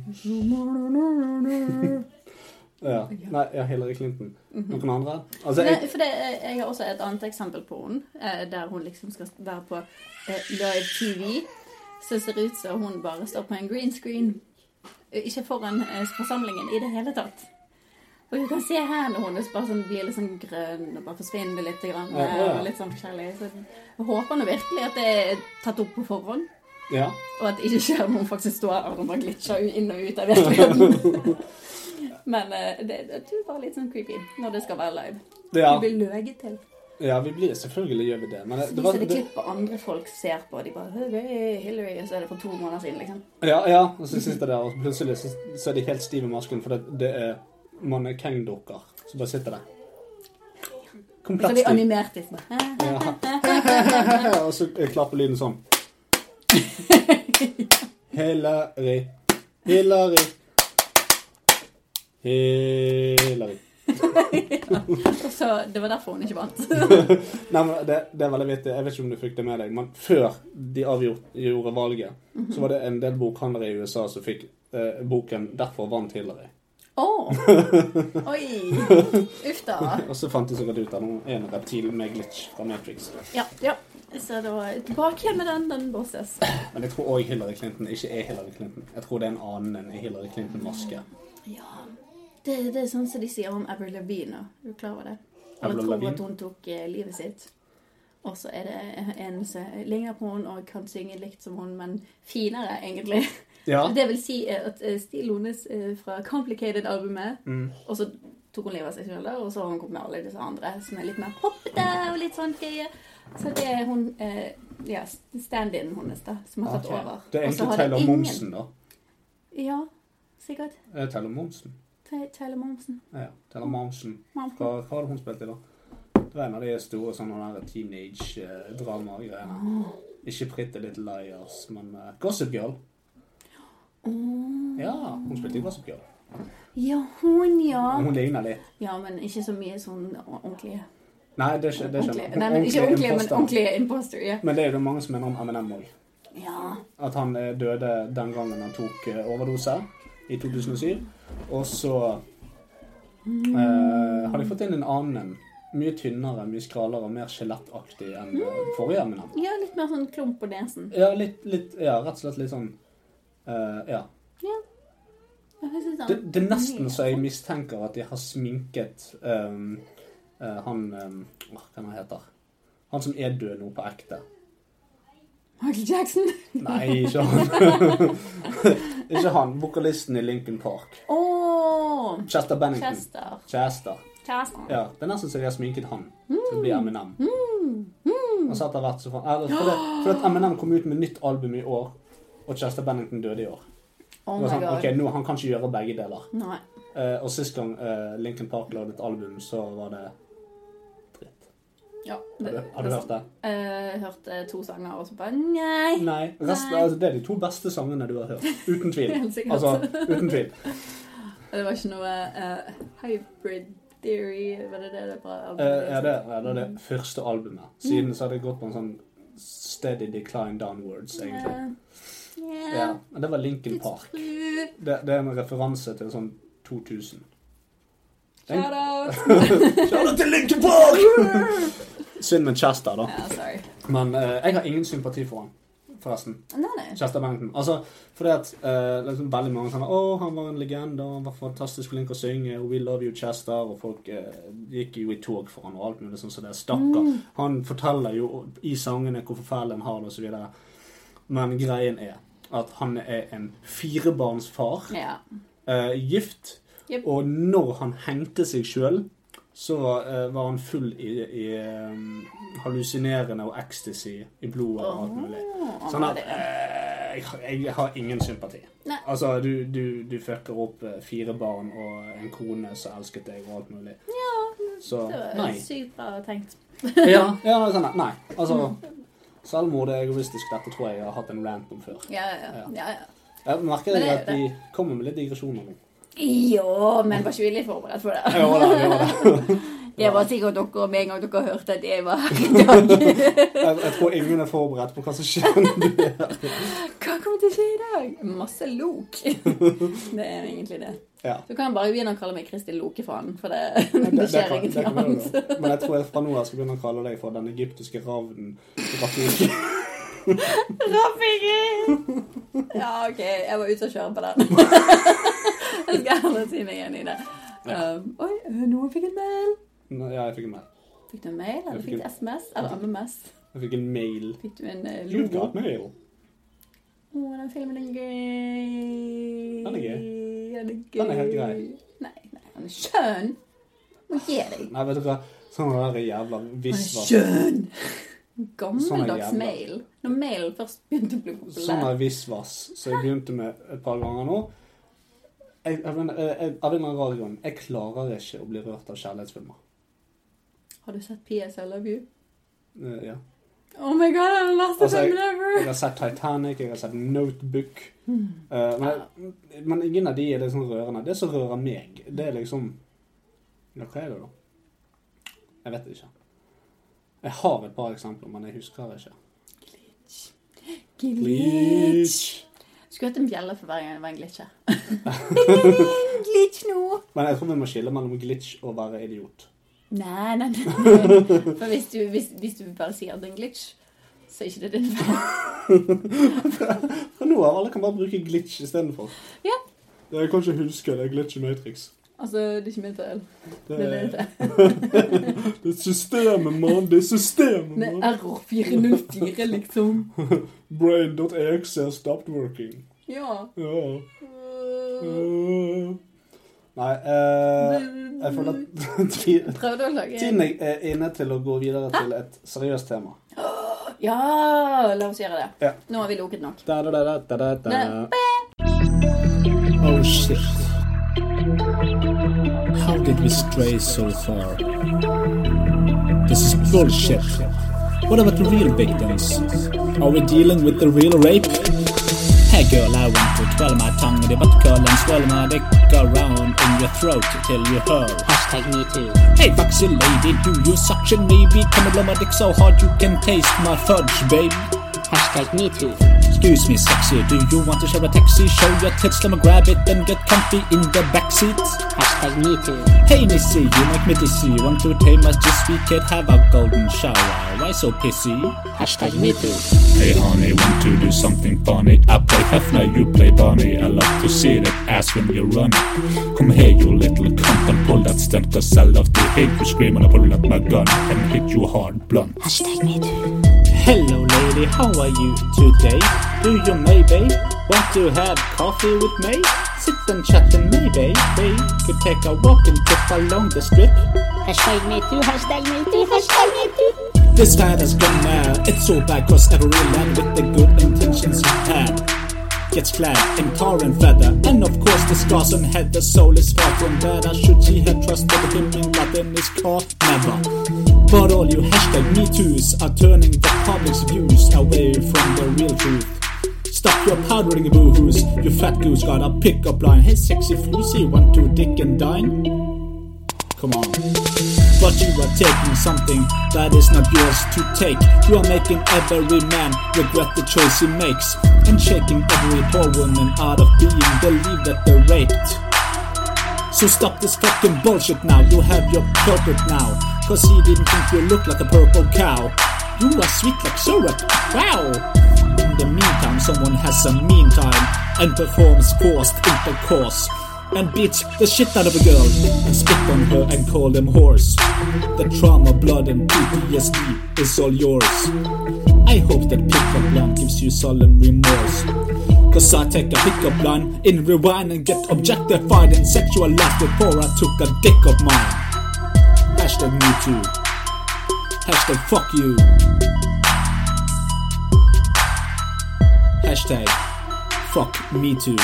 Speaker 3: Ja. Nei, ja, Hillary Clinton. Noen andre? Altså,
Speaker 4: Mhm. Nei,
Speaker 3: jeg,
Speaker 4: for det, eh, jeg har også et annet eksempel på henne, eh, der hun liksom skal være på eh, live TV. Så ser det ut som hun bare står på en green screen, eh, ikke foran eh, forsamlingen i det hele tatt. Og du kan se hendene hennes bare sånn, blir litt sånn grønn og bare forsvinner litt. Grann,
Speaker 3: Ja, ja.
Speaker 4: og litt sånn forskjellig. Så jeg håper nå virkelig at det er tatt opp på forhånd,
Speaker 3: ja.
Speaker 4: og at det ikke skjer når hun faktisk står her og bare glitcher inn og ut av virkeligheten. Men eh, det, det er bare litt sånn creepy når det skal være live.
Speaker 3: Ja,
Speaker 4: Du blir løyet til.
Speaker 3: ja, vi blir selvfølgelig gjør vi det. Men det,
Speaker 4: Så
Speaker 3: det var
Speaker 4: viser det
Speaker 3: det,
Speaker 4: klipp og andre folk ser på, og de bare «Hei, hei, Hillary, og så er det for to måneder siden, liksom.
Speaker 3: Ja, ja. Og så sitter der, og plutselig så, så er de helt stive i masken, for det, det er mannekengdukker som bare sitter der.
Speaker 4: Så
Speaker 3: Komplett
Speaker 4: de
Speaker 3: stiv.
Speaker 4: animerte liksom.
Speaker 3: Ja, og så eh, klapper lyden sånn. Hillary. Hillary. Hillary.
Speaker 4: Og Så det var derfor hun ikke vant.
Speaker 3: Nei, men det, det er veldig vittig. Jeg vet ikke om du fikk det med deg, men før de avgjorde valget,
Speaker 4: Mhm.
Speaker 3: så var det en del bokhandlere i USA som fikk eh, boken 'Derfor vant Hillary'.
Speaker 4: Å! Oi! Uff da.
Speaker 3: Og så fant de sikkert ut at noen er en reptil med glitch fra Matrix.
Speaker 4: Ja, ja. Så da tilbake igjen med den, den bør ses.
Speaker 3: Men jeg tror òg Hillary Clinton ikke er Hillary Clinton. Jeg tror det er en annen enn Hillary Clinton-maske.
Speaker 4: Ja. Det, det er sånn som de sier om Avril Lavigne nå. Er du klar over det? Alle
Speaker 3: Avril
Speaker 4: tror
Speaker 3: Lavigne?
Speaker 4: at hun tok eh, livet sitt. Og så er det en som ligner på henne og kan synge likt som hun, men finere, egentlig.
Speaker 3: Ja.
Speaker 4: Det vil si eh, at eh, stilen hennes eh, fra Complicated-albumet
Speaker 3: Mm.
Speaker 4: Og så tok hun livet av seg selv, og så har hun kommet med alle disse andre som er litt mer poppete og litt sånn gøye. Så det er hun eh, ja, stand-in hennes, da, som har tatt
Speaker 3: Ok.
Speaker 4: over.
Speaker 3: Det er
Speaker 4: Og så
Speaker 3: egentlig
Speaker 4: har det
Speaker 3: Taylor
Speaker 4: ingen-
Speaker 3: Momsen, da.
Speaker 4: Ja, sikkert.
Speaker 3: Eh, Taylor Momsen.
Speaker 4: Ta- Taylor Momsen.
Speaker 3: Ja, ja. Taylor
Speaker 4: Mm.
Speaker 3: Momsen.
Speaker 4: Momsen.
Speaker 3: Hva, hva hadde hun spilt i, da? Det var en av de store sånne
Speaker 4: Ah.
Speaker 3: teenage-drama-greiene. Ikke Pretty Little Liars, men eh, Gossip Girl. Ja, hun spilte i Gossip Girl.
Speaker 4: Ja, hun, ja.
Speaker 3: Hun ligner litt.
Speaker 4: Ja, men ikke så mye sånn ordentlige.
Speaker 3: Nei, det skj- det skjønner
Speaker 4: ordentlige.
Speaker 3: jeg.
Speaker 4: Nei, men ikke ordentlige, men
Speaker 3: imposter.
Speaker 4: ordentlige imposter. Ja.
Speaker 3: Men det er jo det mange som mener om Eminem òg.
Speaker 4: ja.
Speaker 3: At han eh, døde den gangen han tok eh, overdose i 2007. Og så eh, har de fått inn en annen en. Mye tynnere, mye skralere, mer skjelettaktig enn eh, forrige Eminem.
Speaker 4: ja, litt mer sånn klump på nesen.
Speaker 3: Ja, litt, litt, ja, rett og slett litt sånn Eh, ja.
Speaker 4: Jeg synes han-
Speaker 3: Det, det er nesten så jeg mistenker at de har sminket ehm, eh, han ehm, Hva kan han heter? Han som er død nå på ekte.
Speaker 4: Michael Jackson.
Speaker 3: Nei, ikke han. ikke han. Vokalisten i Lincoln Park.
Speaker 4: Åh!
Speaker 3: Chester Bennington. Chester.
Speaker 4: Chester. Chester.
Speaker 3: Ja, Det er nesten så de har sminket han til å bli
Speaker 4: Mm.
Speaker 3: Eminem. Og så etter hvert så får eller, for det, for at Eminem kom ut med nytt album i år, og Chester Bennington døde i år.
Speaker 4: Oh
Speaker 3: Det
Speaker 4: my
Speaker 3: var sånn,
Speaker 4: god.
Speaker 3: ok, nå, Han kan ikke gjøre begge deler.
Speaker 4: Nei.
Speaker 3: Eh, og sist gang eh, Linkin Park lagde et album, så var det dritt.
Speaker 4: Ja,
Speaker 3: Har du, har du hørt det?
Speaker 4: Eh, hørte to sanger, og så bare nei.
Speaker 3: Nei. Resten,
Speaker 4: Nei.
Speaker 3: altså, det er de to beste sangene du har hørt. Uten tvil.
Speaker 4: Helt sikkert.
Speaker 3: Altså, uten tvil.
Speaker 4: Det var ikke noe eh, hybrid theory, var det det det var?
Speaker 3: Eh, ja, det ja, det er det første albumet. Siden så har det gått på en sånn steady decline downwards, egentlig.
Speaker 4: Yeah.
Speaker 3: Ja, men Det var Linkin Park.
Speaker 4: Shout
Speaker 3: Det, det er en referanse til sånn 2000.
Speaker 4: out!
Speaker 3: Shout out til Linkin Park! Synd med Chester, da.
Speaker 4: Ja, sorry.
Speaker 3: Men eh, jeg har ingen sympati for han, forresten.
Speaker 4: Nei, nei.
Speaker 3: Chester Bennington. Altså, fordi at eh, liksom veldig mange sånn Å, han var en legende, og han var fantastisk flink å synge, og we love you, Chester, og folk eh, gikk jo i tog for han og alt mulig sånn som det. Stakkar.
Speaker 4: Mm.
Speaker 3: Han forteller jo i sangene hvor forferdelig han har det, og så videre. Men greien er at han er en firebarnsfar,
Speaker 4: Ja.
Speaker 3: eh, gift,
Speaker 4: Jep.
Speaker 3: og når han hengte seg sjøl, så eh, var han full i, i eh, hallusinerende og ecstasy i blodet og
Speaker 4: Oh,
Speaker 3: alt mulig.
Speaker 4: Åh,
Speaker 3: Sånn at
Speaker 4: det er-
Speaker 3: eh, jeg, jeg har ingen sympati.
Speaker 4: Nei.
Speaker 3: Altså, du, du, du fucker opp eh, fire barn og en kone som elsket deg, og alt mulig.
Speaker 4: Ja,
Speaker 3: Så
Speaker 4: det var
Speaker 3: nei.
Speaker 4: sykt bra tenkt.
Speaker 3: Ja, ja sånn, at, nei. Altså Selvmord er egoistisk. Dette tror jeg jeg har hatt en rant om før.
Speaker 4: Ja, ja, ja.
Speaker 3: Ja.
Speaker 4: ja, ja.
Speaker 3: Jeg merker
Speaker 4: Men det er
Speaker 3: at de kommer med litt digresjoner nå.
Speaker 4: Jo, men var ikke vi litt forberedt på det?
Speaker 3: Ja, det var det, det var det.
Speaker 4: Det var sikkert dere med en gang dere hørte at jeg var
Speaker 3: Jeg, jeg tror ingen er forberedt på hva som skjer.
Speaker 4: Hva kommer til å skje i dag? Masse lok. Det er egentlig det.
Speaker 3: Ja.
Speaker 4: Du kan bare begynne å kalle meg Kristin Lokefan, for det,
Speaker 3: Det,
Speaker 4: det
Speaker 3: det
Speaker 4: skjer
Speaker 3: kan- det
Speaker 4: ingenting
Speaker 3: kan vi
Speaker 4: annet.
Speaker 3: gjøre. Men jeg tror jeg fra nå av skal begynne å kalle deg for den egyptiske ravnen. Rafiki.
Speaker 4: Raffingen! Ja, OK, jeg var ute og kjøre på den. Jeg skal aldri si meg enig i det. Um, oi, noen fikk en mail.
Speaker 3: Nå- Ja, jeg fikk en mail.
Speaker 4: Fikk du en mail, eller
Speaker 3: Jeg fikk
Speaker 4: fikk du SMS, eller MMS?
Speaker 3: Jeg fikk en mail.
Speaker 4: Fikk du en eh,
Speaker 3: You've
Speaker 4: logo?
Speaker 3: got mail.
Speaker 4: Å, den filmen er gøy.
Speaker 3: Den er gøy.
Speaker 4: Den er gøy.
Speaker 3: Den er helt grei.
Speaker 4: Nei, nei, den er skjønn. Må gi deg.
Speaker 3: Nei, vet du hva? Sånn der jævla
Speaker 4: Den er
Speaker 3: visvas...
Speaker 4: skjønn!
Speaker 3: Sånn er
Speaker 4: Gammeldags
Speaker 3: jævla.
Speaker 4: mail. Når mailen først begynte å bli
Speaker 3: Sånn
Speaker 4: populær.
Speaker 3: der visvas som jeg begynte med et par ganger nå. Jeg, jeg, mener, eh, jeg, jeg, av en eller annen rar grunn, jeg klarer ikke å bli rørt av kjærlighetsfilmer.
Speaker 4: Har du sett PS I Love You?
Speaker 3: Eh, ja.
Speaker 4: Oh my god, det er den verste
Speaker 3: Altså, jeg-
Speaker 4: filmen ever!
Speaker 3: Jeg har sett Titanic, jeg har sett Notebook.
Speaker 4: Hmm.
Speaker 3: Eh, men, men ingen av de er liksom rørende. Det som rører meg, det er liksom Ja, hva er det, da? Jeg vet ikke. Jeg har et par eksempler, men jeg husker ikke.
Speaker 4: Glitch. Skulle hatt en bjelle for hver gang det var en glitch her. glitch nå!
Speaker 3: Men jeg tror vi må skille mellom glitch og være idiot.
Speaker 4: Nei, nei, nei. For hvis du, hvis, hvis du bare sier at det er en glitch, så er ikke det din feil.
Speaker 3: Fra nå av alle kan bare bruke glitch istedenfor.
Speaker 4: Ja.
Speaker 3: Jeg kan ikke huske det. er Glitch i Matrix.
Speaker 4: Altså, det er ikke min feil.
Speaker 3: Det
Speaker 4: Det er
Speaker 3: er,
Speaker 4: det.
Speaker 3: det er systemet, mann. Det er systemet,
Speaker 4: Det er
Speaker 3: mann.
Speaker 4: error 404, liksom.
Speaker 3: Brain.exe has stopped working.
Speaker 4: Ja.
Speaker 3: Ja.
Speaker 4: Øh,
Speaker 3: Øh. Nei eh, Jeg føler at ti-
Speaker 4: Prøvde å lage
Speaker 3: tiden er inne til å gå videre til et seriøst tema.
Speaker 4: Ja, la oss gjøre det.
Speaker 3: Ja.
Speaker 4: Nå har vi loket nok.
Speaker 3: Da, da, da, da, da, da, da.
Speaker 4: Nei.
Speaker 3: Oh shit.
Speaker 2: How did we stray so far? This is bullshit. What about the real victims? Are we dealing with the real rape? Hey girl, I want to twirl my tongue in your butt curl and swirl my dick around in your throat till you hurl.
Speaker 7: Hashtag me too.
Speaker 2: Hey foxy lady, do you suction maybe? Come and blow my dick so hard you can taste my fudge, baby.
Speaker 7: Hashtag me too.
Speaker 2: Excuse me, sexy, do you want to share a taxi? Show your tits, let me grab it, then get comfy in the backseat.
Speaker 7: Hashtag me too.
Speaker 2: Hey Missy, you make me dizzy. Want to tame us? Just we could have a golden shower. Why so pissy?
Speaker 7: Hashtag me too.
Speaker 8: Hey honey, want to do something funny? I play Hefner, you play Barney. I love to see that ass when you run. Come here, you little cunt, and pull that stunt, cause I love to hate you scream and I pull up my gun and hit you hard blunt.
Speaker 2: Hello, lady, how are you today? Do you maybe want to have coffee with me? Sit and chat and maybe we could take a walk and trip along the strip.
Speaker 7: Hashtag me too, hashtag me too, hashtag me too.
Speaker 2: This fight has gone mad. It's all bad 'cause every land with the good intentions you had gets clad in tar and feather. And of course, the scars on head, the soul is far from better. Should she have trusted him in blood in his car? Never. But all you hashtag me too's are turning the public's views away from the real truth. Stop your powdering boohoos, you fat goose got a pickup line. Hey, sexy floozy, want to dick and dine? Come on. But you are taking something that is not yours to take. You are making every man regret the choice he makes. And shaking every poor woman out of being believed that they're raped. So stop this fucking bullshit now. You have your culprit now. Cause he didn't think you looked like a purple cow. You are sweet like syrup. Wow! In the meantime, someone has some mean time and performs forced intercourse. And beats the shit out of a girl and spit on her and call them horse. The trauma, blood, and PTSD is all yours. I hope that pickup line gives you solemn remorse. Cause I take a pickup line in rewind and get objectified and sexualized before I took a dick of mine. Hashtag me too. Hashtag fuck you. Hashtag fuck me too.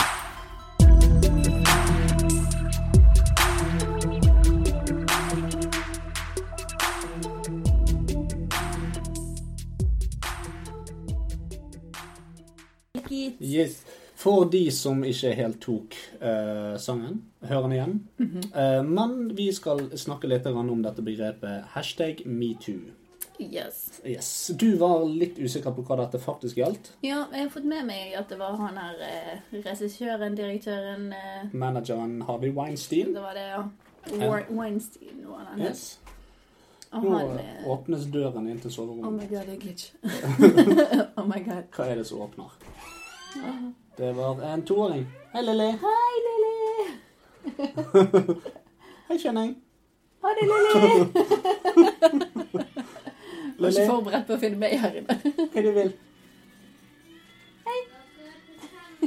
Speaker 4: Ikke-
Speaker 3: Yes. For de som ikke helt tok eh, sangen, hør den igjen.
Speaker 4: Mhm.
Speaker 3: Eh, men vi skal snakke litt grann om dette begrepet hashtag metoo.
Speaker 4: Yes.
Speaker 3: Yes. Du var litt usikker på hva dette faktisk gjaldt.
Speaker 4: Ja, jeg har fått med meg at det var han her eh, regissøren, direktøren eh,
Speaker 3: Manageren Harvey Weinstein.
Speaker 4: Det var det, ja. War- Weinstein var han het.
Speaker 3: Yes.
Speaker 4: Og
Speaker 3: Nå
Speaker 4: han
Speaker 3: eh,
Speaker 4: eh,
Speaker 3: åpnes døren inn til
Speaker 4: Oh my
Speaker 3: soverommet.
Speaker 4: god, jeg glitch. oh my god.
Speaker 3: Hva er det som åpner? Det var en toåring. Hei, Lilly.
Speaker 4: Hei, Lilly!
Speaker 3: Hei, kjenning.
Speaker 4: Ha det, Lilly! Jeg var
Speaker 3: Lilly,
Speaker 4: ikke forberedt på å finne meg her inne.
Speaker 3: hva du vil?
Speaker 4: Hei.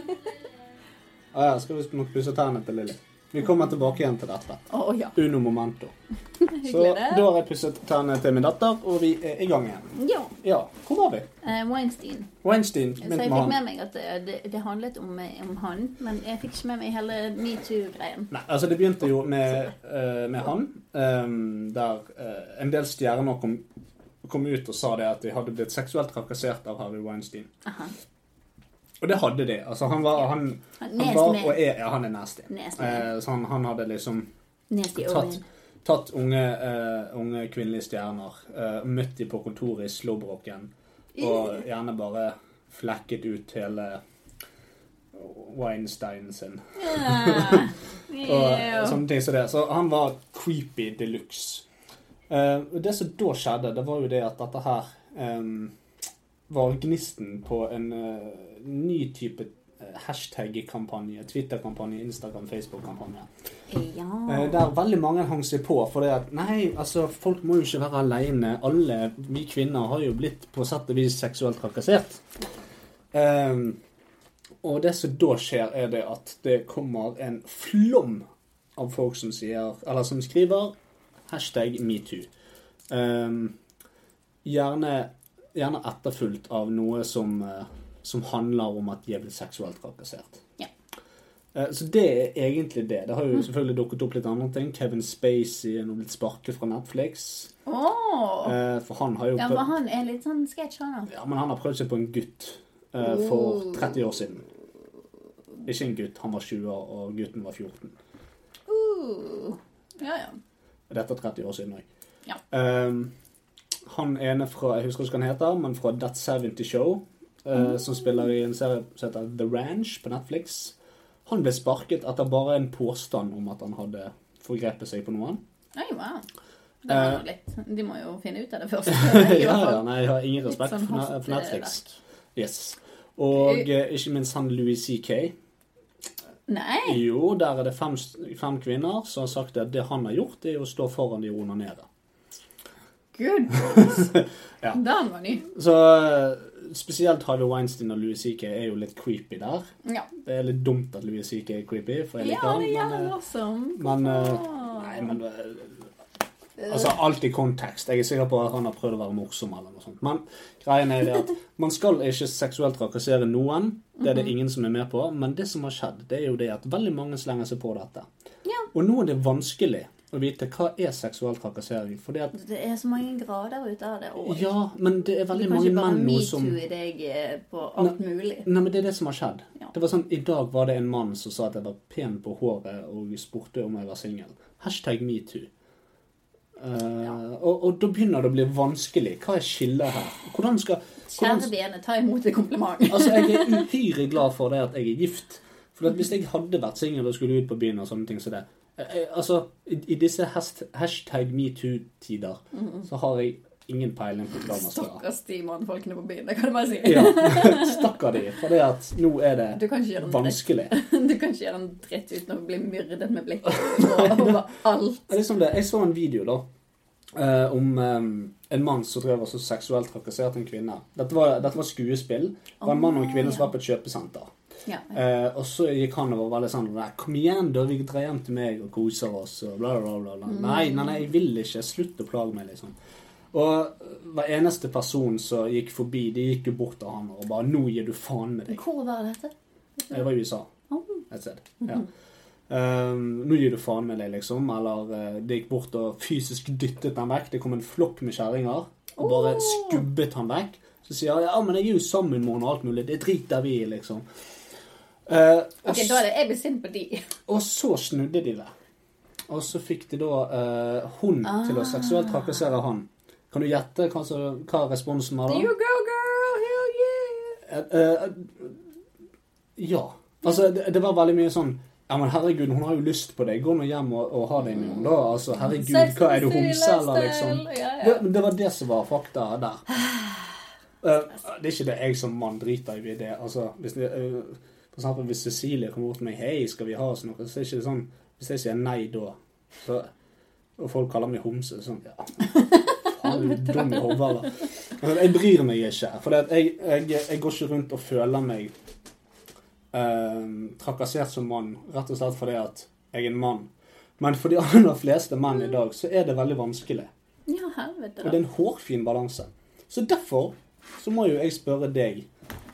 Speaker 3: Å ja, skal vi nok pusse tærne til Lilly. Vi kommer tilbake igjen til dette.
Speaker 4: Å ja.
Speaker 3: Uno momento. Så
Speaker 4: Hyggelig,
Speaker 3: da
Speaker 4: det.
Speaker 3: har jeg pusset tennene til min datter, og vi er i gang igjen.
Speaker 4: Ja.
Speaker 3: Ja, hvor var vi?
Speaker 4: Eh, Weinstein.
Speaker 3: Weinstein.
Speaker 4: Så
Speaker 3: begynte
Speaker 4: jeg
Speaker 3: med
Speaker 4: fikk
Speaker 3: han.
Speaker 4: med meg at det, det, det handlet om, eh, om han, men jeg fikk ikke med meg hele metoo-greien.
Speaker 3: Nei, altså Det begynte jo med, eh, med han, ehm, der eh, en del stjerner kom, kom ut og sa det at de hadde blitt seksuelt trakassert av Harvey Weinstein.
Speaker 4: Aha.
Speaker 3: Og det hadde de. altså Han var, han,
Speaker 4: Han-
Speaker 3: han
Speaker 4: Nasty
Speaker 3: var
Speaker 4: man.
Speaker 3: og er ja, han er nasty.
Speaker 4: Nasty man.
Speaker 3: Eh, så han, han hadde liksom
Speaker 4: Nasty
Speaker 3: tatt,
Speaker 4: Owen.
Speaker 3: tatt unge, eh, unge kvinnelige stjerner, eh, møtt de på kontoret i slåbroken, og gjerne bare flekket ut hele Weinstein sin.
Speaker 4: Ja.
Speaker 3: Og eh, sånn.
Speaker 4: Ew.
Speaker 3: sånne ting som det. Så han var creepy de luxe. Eh, og det som da skjedde, det var jo det at dette her em, var gnisten på en eh, ny type eh, hashtag-kampanje. Twitter-kampanje, Instagram, Facebook-kampanje. Eh,
Speaker 4: Ja.
Speaker 3: Der veldig mange hang seg på for det at nei, altså folk må jo ikke være alene. Alle vi kvinner har jo blitt på sett og vis seksuelt trakassert. Ehm, og det som da skjer, er det at det kommer en flom av folk som sier, eller som skriver hashtag metoo. Ehm, gjerne gjerne etterfulgt av noe som, eh, som handler om at de er blitt seksuelt trakassert. Eh, Så det er egentlig det. Det har
Speaker 4: Mm.
Speaker 3: jo selvfølgelig dukket opp litt andre ting. Kevin Spacey er nå blitt sparket fra Netflix.
Speaker 4: Åh.
Speaker 3: Eh, For han har jo
Speaker 4: Ja,
Speaker 3: prøvd,
Speaker 4: men han er litt sånn sketsj, han da.
Speaker 3: ja, men han har prøvd seg på en gutt eh, for
Speaker 4: Oh.
Speaker 3: 30 år siden. Ikke en gutt. Han var 20 år, og gutten var 14.
Speaker 4: Uh. Ja, ja.
Speaker 3: Dette er 30 år siden òg.
Speaker 4: Ja.
Speaker 3: han ene fra jeg husker ikke hva han heter, men fra That 70 Show, eh,
Speaker 4: Mm.
Speaker 3: som spiller i en serie som heter The Ranch på Netflix, han ble sparket etter bare en påstand om at han hadde forgrepet seg på noen.
Speaker 4: Oi, wow. Det var
Speaker 3: Eh.
Speaker 4: nok litt. De må jo finne ut av det først.
Speaker 3: ja, ja, nei, jeg har ingen
Speaker 4: Litt
Speaker 3: respekt
Speaker 4: sånn
Speaker 3: for, ne- for
Speaker 4: hastverk.
Speaker 3: Netflix.
Speaker 2: Yes. Og eh, ikke minst han Louis C.K.
Speaker 4: Nei.
Speaker 2: Jo, der er det fem, fem kvinner som har sagt at det han har gjort, det er å stå foran de og onanere.
Speaker 4: Good.
Speaker 2: Ja.
Speaker 4: Den var ny.
Speaker 2: Så eh, spesielt Harvey Weinstein og Louis C.K. er jo litt creepy der.
Speaker 4: Ja.
Speaker 2: Det er litt dumt at Louis C.K. er creepy, for jeg
Speaker 4: Ja,
Speaker 2: liker
Speaker 4: det
Speaker 2: han,
Speaker 4: gjør det
Speaker 2: men,
Speaker 4: også.
Speaker 2: eh, men eh, Nei, men eh,
Speaker 4: eh,
Speaker 2: Altså, alt i kontekst. Jeg er sikker på at han har prøvd å være morsom eller noe sånt. Men greien er det at man skal ikke seksuelt trakassere noen. Det
Speaker 4: Mhm.
Speaker 2: er det ingen som er med på. Men det som har skjedd, det er jo det at veldig mange slenger seg på dette.
Speaker 4: Ja.
Speaker 2: Og nå er det vanskelig å vite hva er seksuell trakassering. Fordi at
Speaker 4: Det er så mange grader ute av det òg.
Speaker 2: Ja, men det er
Speaker 4: du
Speaker 2: veldig
Speaker 4: kan
Speaker 2: mange
Speaker 4: ikke bare
Speaker 2: menn nå som
Speaker 4: metoo deg eh, på alt mulig.
Speaker 2: Nei, men det er det som har skjedd.
Speaker 4: Ja.
Speaker 2: Det var sånn, I dag var det en mann som sa at jeg var pen på håret og spurte om jeg var singel. Hashtag metoo. Eh, og, og da begynner det å bli vanskelig. Hva er skillet her? Hvordan skal hvordan,
Speaker 4: Kjære vene, ta imot et kompliment.
Speaker 2: Altså, Jeg er uhyre glad for det at jeg er gift. For at Hvis jeg hadde vært singel og skulle ut på byen og sånne ting som det eh, eh, Altså, I, i disse hast, hashtag metoo-tider så har jeg ingen peiling på hva man skal gjøre.
Speaker 4: Stakkars de mannfolkene på byen. Det kan jeg bare si.
Speaker 2: Ja, Stakkar de. For det at nå er
Speaker 4: Du
Speaker 2: det
Speaker 4: kan ikke gjøre noe
Speaker 2: vanskelig.
Speaker 4: Du kan ikke gjøre en dritt uten å bli myrdet med blikk over alt.
Speaker 2: Det er liksom det. Jeg så en video da eh, om eh, en mann som drev og så seksuelt trakasserte en kvinne. Dette var, dette var skuespill. Det var en mann og en kvinne som var på et kjøpesenter.
Speaker 4: Ja.
Speaker 2: Eh, og så gikk han over veldig sånn Nei, kom igjen, da. Vi drar hjem til meg og koser oss og bla, bla, bla. bla. Nei, nei, nei, jeg vil ikke. Slutt å plage meg, liksom. Og eh, hver eneste person som gikk forbi, de gikk jo bort til han og bare Nå gir du faen med deg.
Speaker 4: Hvor var dette?
Speaker 2: Jeg var i USA
Speaker 4: Ah.
Speaker 2: et sted. Ja. Um, nå gir du faen med deg, liksom. Eller eh, det gikk bort og fysisk dyttet han vekk. Det kom en flokk med kjerringer og bare skubbet han vekk. Så sier han ja, men jeg er jo sammen med henne og alt mulig. Det driter vi i, liksom. Eh, og,
Speaker 4: Ok,
Speaker 2: s-
Speaker 4: Da er det jeg blir sint på de.
Speaker 2: og så snudde de det. Og så fikk de da eh, hun
Speaker 4: Ah.
Speaker 2: til å seksuelt trakassere han. Kan du gjette hva, som- hva responsen var da?
Speaker 4: You go, girl! Hell yeah!
Speaker 2: Eh, eh, ja. Altså, det, det var veldig mye sånn ja, men herregud, hun har jo lyst på deg. Gå nå hjem og, og ha deg med henne, da. Altså, herregud,
Speaker 4: Sex
Speaker 2: hva er du
Speaker 4: and the City
Speaker 2: homse, eller
Speaker 4: lifestyle.
Speaker 2: liksom?
Speaker 4: Ja, ja.
Speaker 2: Det, men det var det som var fakta der. Eh, det er ikke det jeg som mann driter i det. Altså, hvis det, eh, for eksempel hvis Cecilie kommer bort til meg 'Hei, skal vi ha oss noe?' så er det ikke sånn Hvis jeg sier nei da, så, og folk kaller meg homse, så er det sånn ja. Faen, er du dum i hodet, eller? Altså, Jeg bryr meg ikke. For det at jeg, jeg, jeg går ikke rundt og føler meg eh, trakassert som mann, rett og slett fordi at jeg er en mann. Men for de aller fleste menn i dag, så er det veldig vanskelig.
Speaker 4: Ja,
Speaker 2: Og
Speaker 4: helvete.
Speaker 2: det
Speaker 4: da.
Speaker 2: er en hårfin balanse. Så derfor så må jo jeg spørre deg,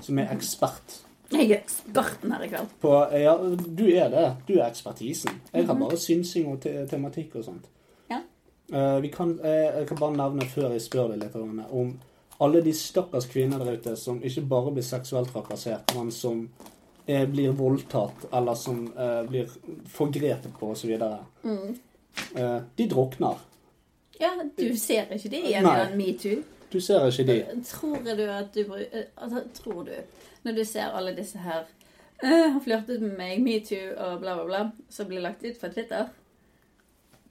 Speaker 2: som er ekspert
Speaker 4: Jeg er eksperten her i kveld.
Speaker 2: på Ja, du er det. Du er ekspertisen. Jeg har bare synsing og te tematikk og sånt.
Speaker 4: Mhm. Ja.
Speaker 2: Eh, vi kan, eh, jeg kan bare nevne før jeg spør deg litt Rune, om alle de stakkars kvinner der ute som ikke bare blir seksuelt trakassert, men som eh, blir voldtatt, eller som eh, blir forgrepet på osv. Mm. Eh, de drukner.
Speaker 4: Ja, Du ser ikke de igjen i
Speaker 2: Nei.
Speaker 4: den metoo?
Speaker 2: Du ser ikke de.
Speaker 4: Tror du at du bru- eh, Altså, tror du Når du ser alle disse her «Eh, Har flørtet med meg, metoo og bla, bla, bla, som blir lagt ut fra Twitter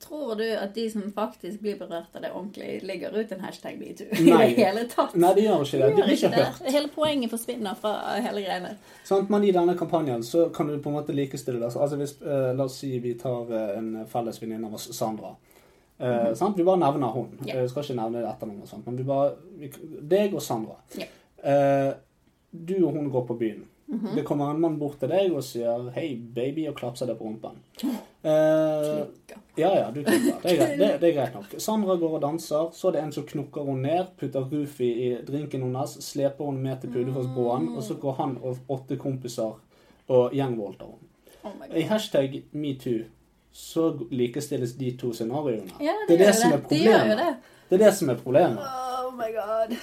Speaker 4: Tror du at de som faktisk blir berørt av det ordentlig, legger ut en hashtag metoo i det
Speaker 2: Nei.
Speaker 4: hele tatt?
Speaker 2: Nei, de gjør ikke det.
Speaker 4: Gjør
Speaker 2: De blir ikke
Speaker 4: ikke det.
Speaker 2: hørt.
Speaker 4: Hele poenget forsvinner fra hele greiene.
Speaker 2: Sant? Men i denne kampanjen så kan du på en måte likestille det. Altså hvis, eh, La oss si vi tar eh, en felles venninne av oss, Sandra. Eh, sant? Vi bare nevner hun.
Speaker 4: Mhm. Ja.
Speaker 2: Eh, Vi skal ikke nevne etternavn og sånt, men vi bare vi, Deg og Sandra.
Speaker 4: Ja.
Speaker 2: Eh, du og hun går på byen.
Speaker 4: Mm-hmm. Mm.
Speaker 2: Det kommer en mann bort til deg og sier 'hei, baby', og klapser deg på rumpen. Eh, ja, ja, du tenker. Det er, greit. det, det er greit nok. Sandra går og danser, så er det en som knokker henne ned, putter Rufi i drinken hennes, sleper henne med til Pulefossbroen, og så går han og åtte kompiser og gjengvoldtar henne.
Speaker 4: Oh my
Speaker 2: I
Speaker 4: God.
Speaker 2: hashtag metoo så likestilles de to scenarioene.
Speaker 4: Ja, det
Speaker 2: det er
Speaker 4: gjør
Speaker 2: det som
Speaker 4: det.
Speaker 2: er
Speaker 4: De gjør jo
Speaker 2: problemet.
Speaker 4: det.
Speaker 2: Det er det som er problemet.
Speaker 4: Oh my god.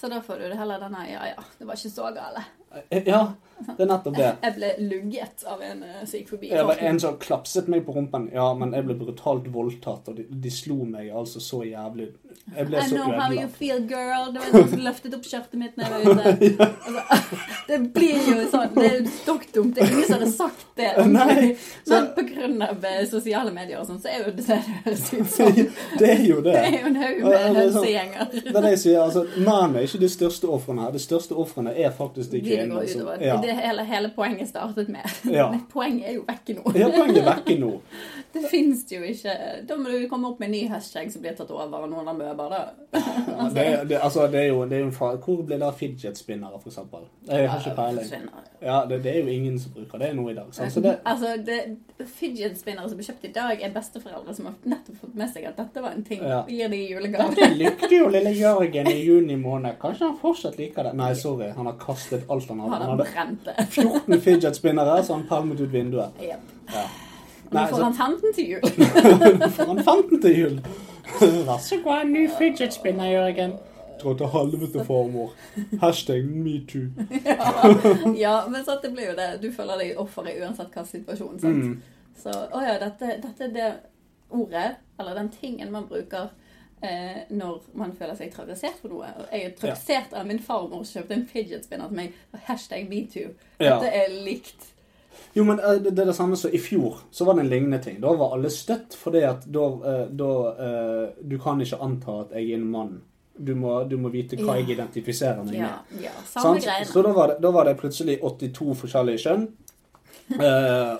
Speaker 4: Så da får du det heller denne ja ja, det var ikke så gale.
Speaker 2: Ja, det er nettopp det.
Speaker 4: Jeg ble lugget av en eh, som gikk forbi.
Speaker 2: Det var en som klapset meg på rumpen. Ja, men jeg ble brutalt voldtatt, og de, de slo meg altså så jævlig. Jeg ble
Speaker 4: I
Speaker 2: så
Speaker 4: know how you
Speaker 2: ødelagt.
Speaker 4: feel, girl. Det var noen som løftet opp skjørtet mitt når jeg var ute. Altså, det blir jo sånn. Det er stokkdumt. Det er ingen som har sagt det.
Speaker 2: Nei,
Speaker 4: Men
Speaker 2: så-
Speaker 4: på grunn av eh, sosiale medier og sånn, så er jo det det det høres ut som.
Speaker 2: Det er jo det.
Speaker 4: Det er jo en haug
Speaker 2: Og- og
Speaker 4: med
Speaker 2: det er sånn-
Speaker 4: hønsegjenger.
Speaker 2: Det er det jeg sier. altså, Mannen er ikke de største ofrene her. De største ofrene er faktisk de
Speaker 4: De det
Speaker 2: kvinnene.
Speaker 4: går
Speaker 2: som-
Speaker 4: utover.
Speaker 2: Ja.
Speaker 4: Det er hele, hele poenget startet med.
Speaker 2: Ja.
Speaker 4: Men poenget er jo vekke nå.
Speaker 2: ja, poenget er vekke nå.
Speaker 4: Det fins jo ikke Da må du komme opp med en ny hashtag som blir tatt over av noen amøber, da.
Speaker 2: Ja, det, det, altså, det er jo, det er jo en fare. Hvor ble det av fidget spinnere, for eksempel? Jeg har ikke peiling.
Speaker 4: Forsvinner.
Speaker 2: Ja, det, det er jo ingen som bruker det nå i dag. Sant? Så det,
Speaker 4: Altså, det, fidget spinnere som ble kjøpt i dag, er besteforeldre som har nettopp fått med seg at dette var en ting.
Speaker 2: Ja.
Speaker 4: Gir de i
Speaker 2: det
Speaker 4: julegave.
Speaker 2: likte jo lille Jørgen i juni måned. Kanskje han fortsatt liker det? Nei, sorry. Han har kastet alt han hadde.
Speaker 4: Har
Speaker 2: Han
Speaker 4: han
Speaker 2: hadde
Speaker 4: brent det?
Speaker 2: 14 fidget spinnere, så han palmet ut vinduet.
Speaker 4: Jep.
Speaker 2: Ja.
Speaker 4: Nå
Speaker 2: Nei,
Speaker 4: får
Speaker 2: så
Speaker 4: han 15 til jul.
Speaker 2: for han fant den til jul. Vær så
Speaker 9: Hva er en ny fidget spinner, Jørgen?
Speaker 2: Dra til helvete, farmor. Hashtag metoo.
Speaker 4: Ja, men sant, det blir jo det. Du føler deg offer i uansett hva situasjon. Sant?
Speaker 2: Mm.
Speaker 4: Så å ja, dette, dette er det ordet, eller den tingen man bruker eh, når man føler seg trakassert for noe. Og Jeg er trakassert av min farmor som kjøpte en fidget spinner til meg. og Hashtag metoo.
Speaker 2: Ja.
Speaker 4: Dette er likt.
Speaker 2: Jo, men eh, det det er det samme som i fjor. Så var det en lignende ting. Da var alle støtt, fordi at da, eh, da eh, Du kan ikke anta at jeg er en mann. Du må, du må vite hva
Speaker 4: Ja.
Speaker 2: jeg identifiserer meg
Speaker 4: Ja,
Speaker 2: med.
Speaker 4: ja samme
Speaker 2: Sant?
Speaker 4: greiene.
Speaker 2: Så da var, det, da var det plutselig 82 forskjellige kjønn. Eh,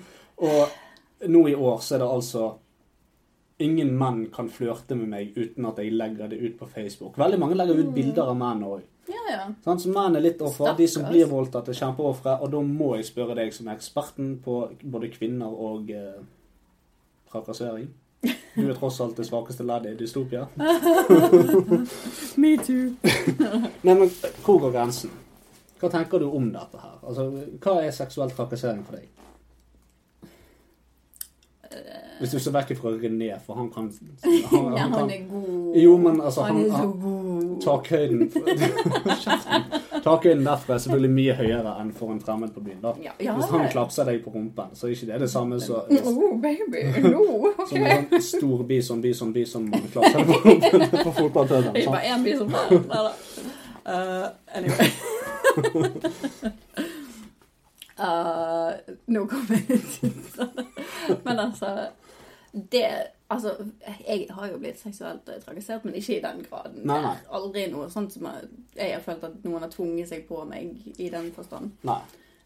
Speaker 2: og nå i år så er det altså Ingen menn kan flørte med meg uten at jeg legger det ut på Facebook. Veldig mange legger
Speaker 4: Mm.
Speaker 2: ut bilder av menn òg.
Speaker 4: Ja, ja.
Speaker 2: Sant, så menn er litt offer. De som
Speaker 4: Stakkars.
Speaker 2: blir voldtatt, er kjempeofre. Og da må jeg spørre deg som er eksperten på både kvinner og eh, trakassering. Du er tross alt det svakeste leddet i dystopia. Me too. Nei, men hvor går grensen? Hva tenker du om dette her? Altså, Hva er seksuell trakassering for deg? Hvis du ser vekk fra René, for han kan han,
Speaker 4: Ja,
Speaker 2: han
Speaker 4: han
Speaker 2: kan
Speaker 4: er god.
Speaker 2: Jo, men altså,
Speaker 4: han,
Speaker 2: han-
Speaker 4: er så
Speaker 2: han-
Speaker 4: god.
Speaker 2: Takhøyden Takhøyden derfra er selvfølgelig mye høyere enn for en fremmed på byen. da.
Speaker 4: Ja, ja.
Speaker 2: Hvis han klapser deg på rumpen, så er ikke det det samme som
Speaker 4: Oh, baby. No. ok.
Speaker 2: som en sånn stor bison, bison, bison man klapser deg på rumpen på
Speaker 4: Det er
Speaker 2: fotballtønnen.
Speaker 4: bare én bil som faller. Nei da. Eh, anyway. Eh, nå kom jeg litt ut av det. Men altså Det Altså, jeg har jo blitt seksuelt trakassert, men ikke i den graden.
Speaker 2: Nei, nei.
Speaker 4: Det er Aldri noe sånt som jeg, jeg har følt at noen har tvunget seg på meg i den forstand.
Speaker 2: Nei.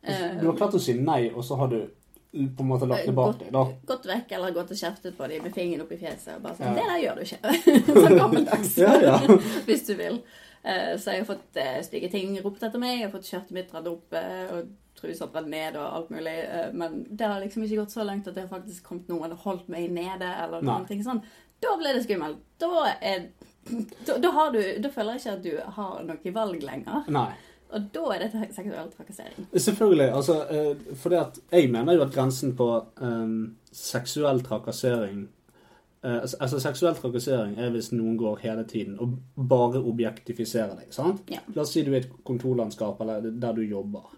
Speaker 4: Eh,
Speaker 2: Du har klart å si nei, og så har du på en måte lagt det bak deg, da.
Speaker 4: gått vekk eller gått og kjeftet på dem med fingeren opp i fjeset. og bare sånn,
Speaker 2: Ja.
Speaker 4: Det der gjør du ikke. sånn gammeldags.
Speaker 2: Ja, ja.
Speaker 4: Hvis du vil. Eh, Så jeg har fått eh, stygge ting ropt etter meg. Jeg har fått skjørtet mitt dratt opp eh, og truser dratt ned og alt mulig. Eh, Men det har liksom ikke gått så langt at det har faktisk kommet noen og holdt meg nede eller
Speaker 2: Nei.
Speaker 4: noen ting sånn. Da ble det skummelt. Da er da, da, har du, da føler jeg ikke at du har noe valg lenger.
Speaker 2: Nei.
Speaker 4: Og da er det seksuell trakassering.
Speaker 2: Selvfølgelig. altså, eh, fordi at Jeg mener jo at grensen på eh, seksuell trakassering eh, altså- Altså, seksuell trakassering er hvis noen går hele tiden og bare objektifiserer deg. sant?
Speaker 4: Ja.
Speaker 2: La oss si du er i et kontorlandskap eller der du jobber.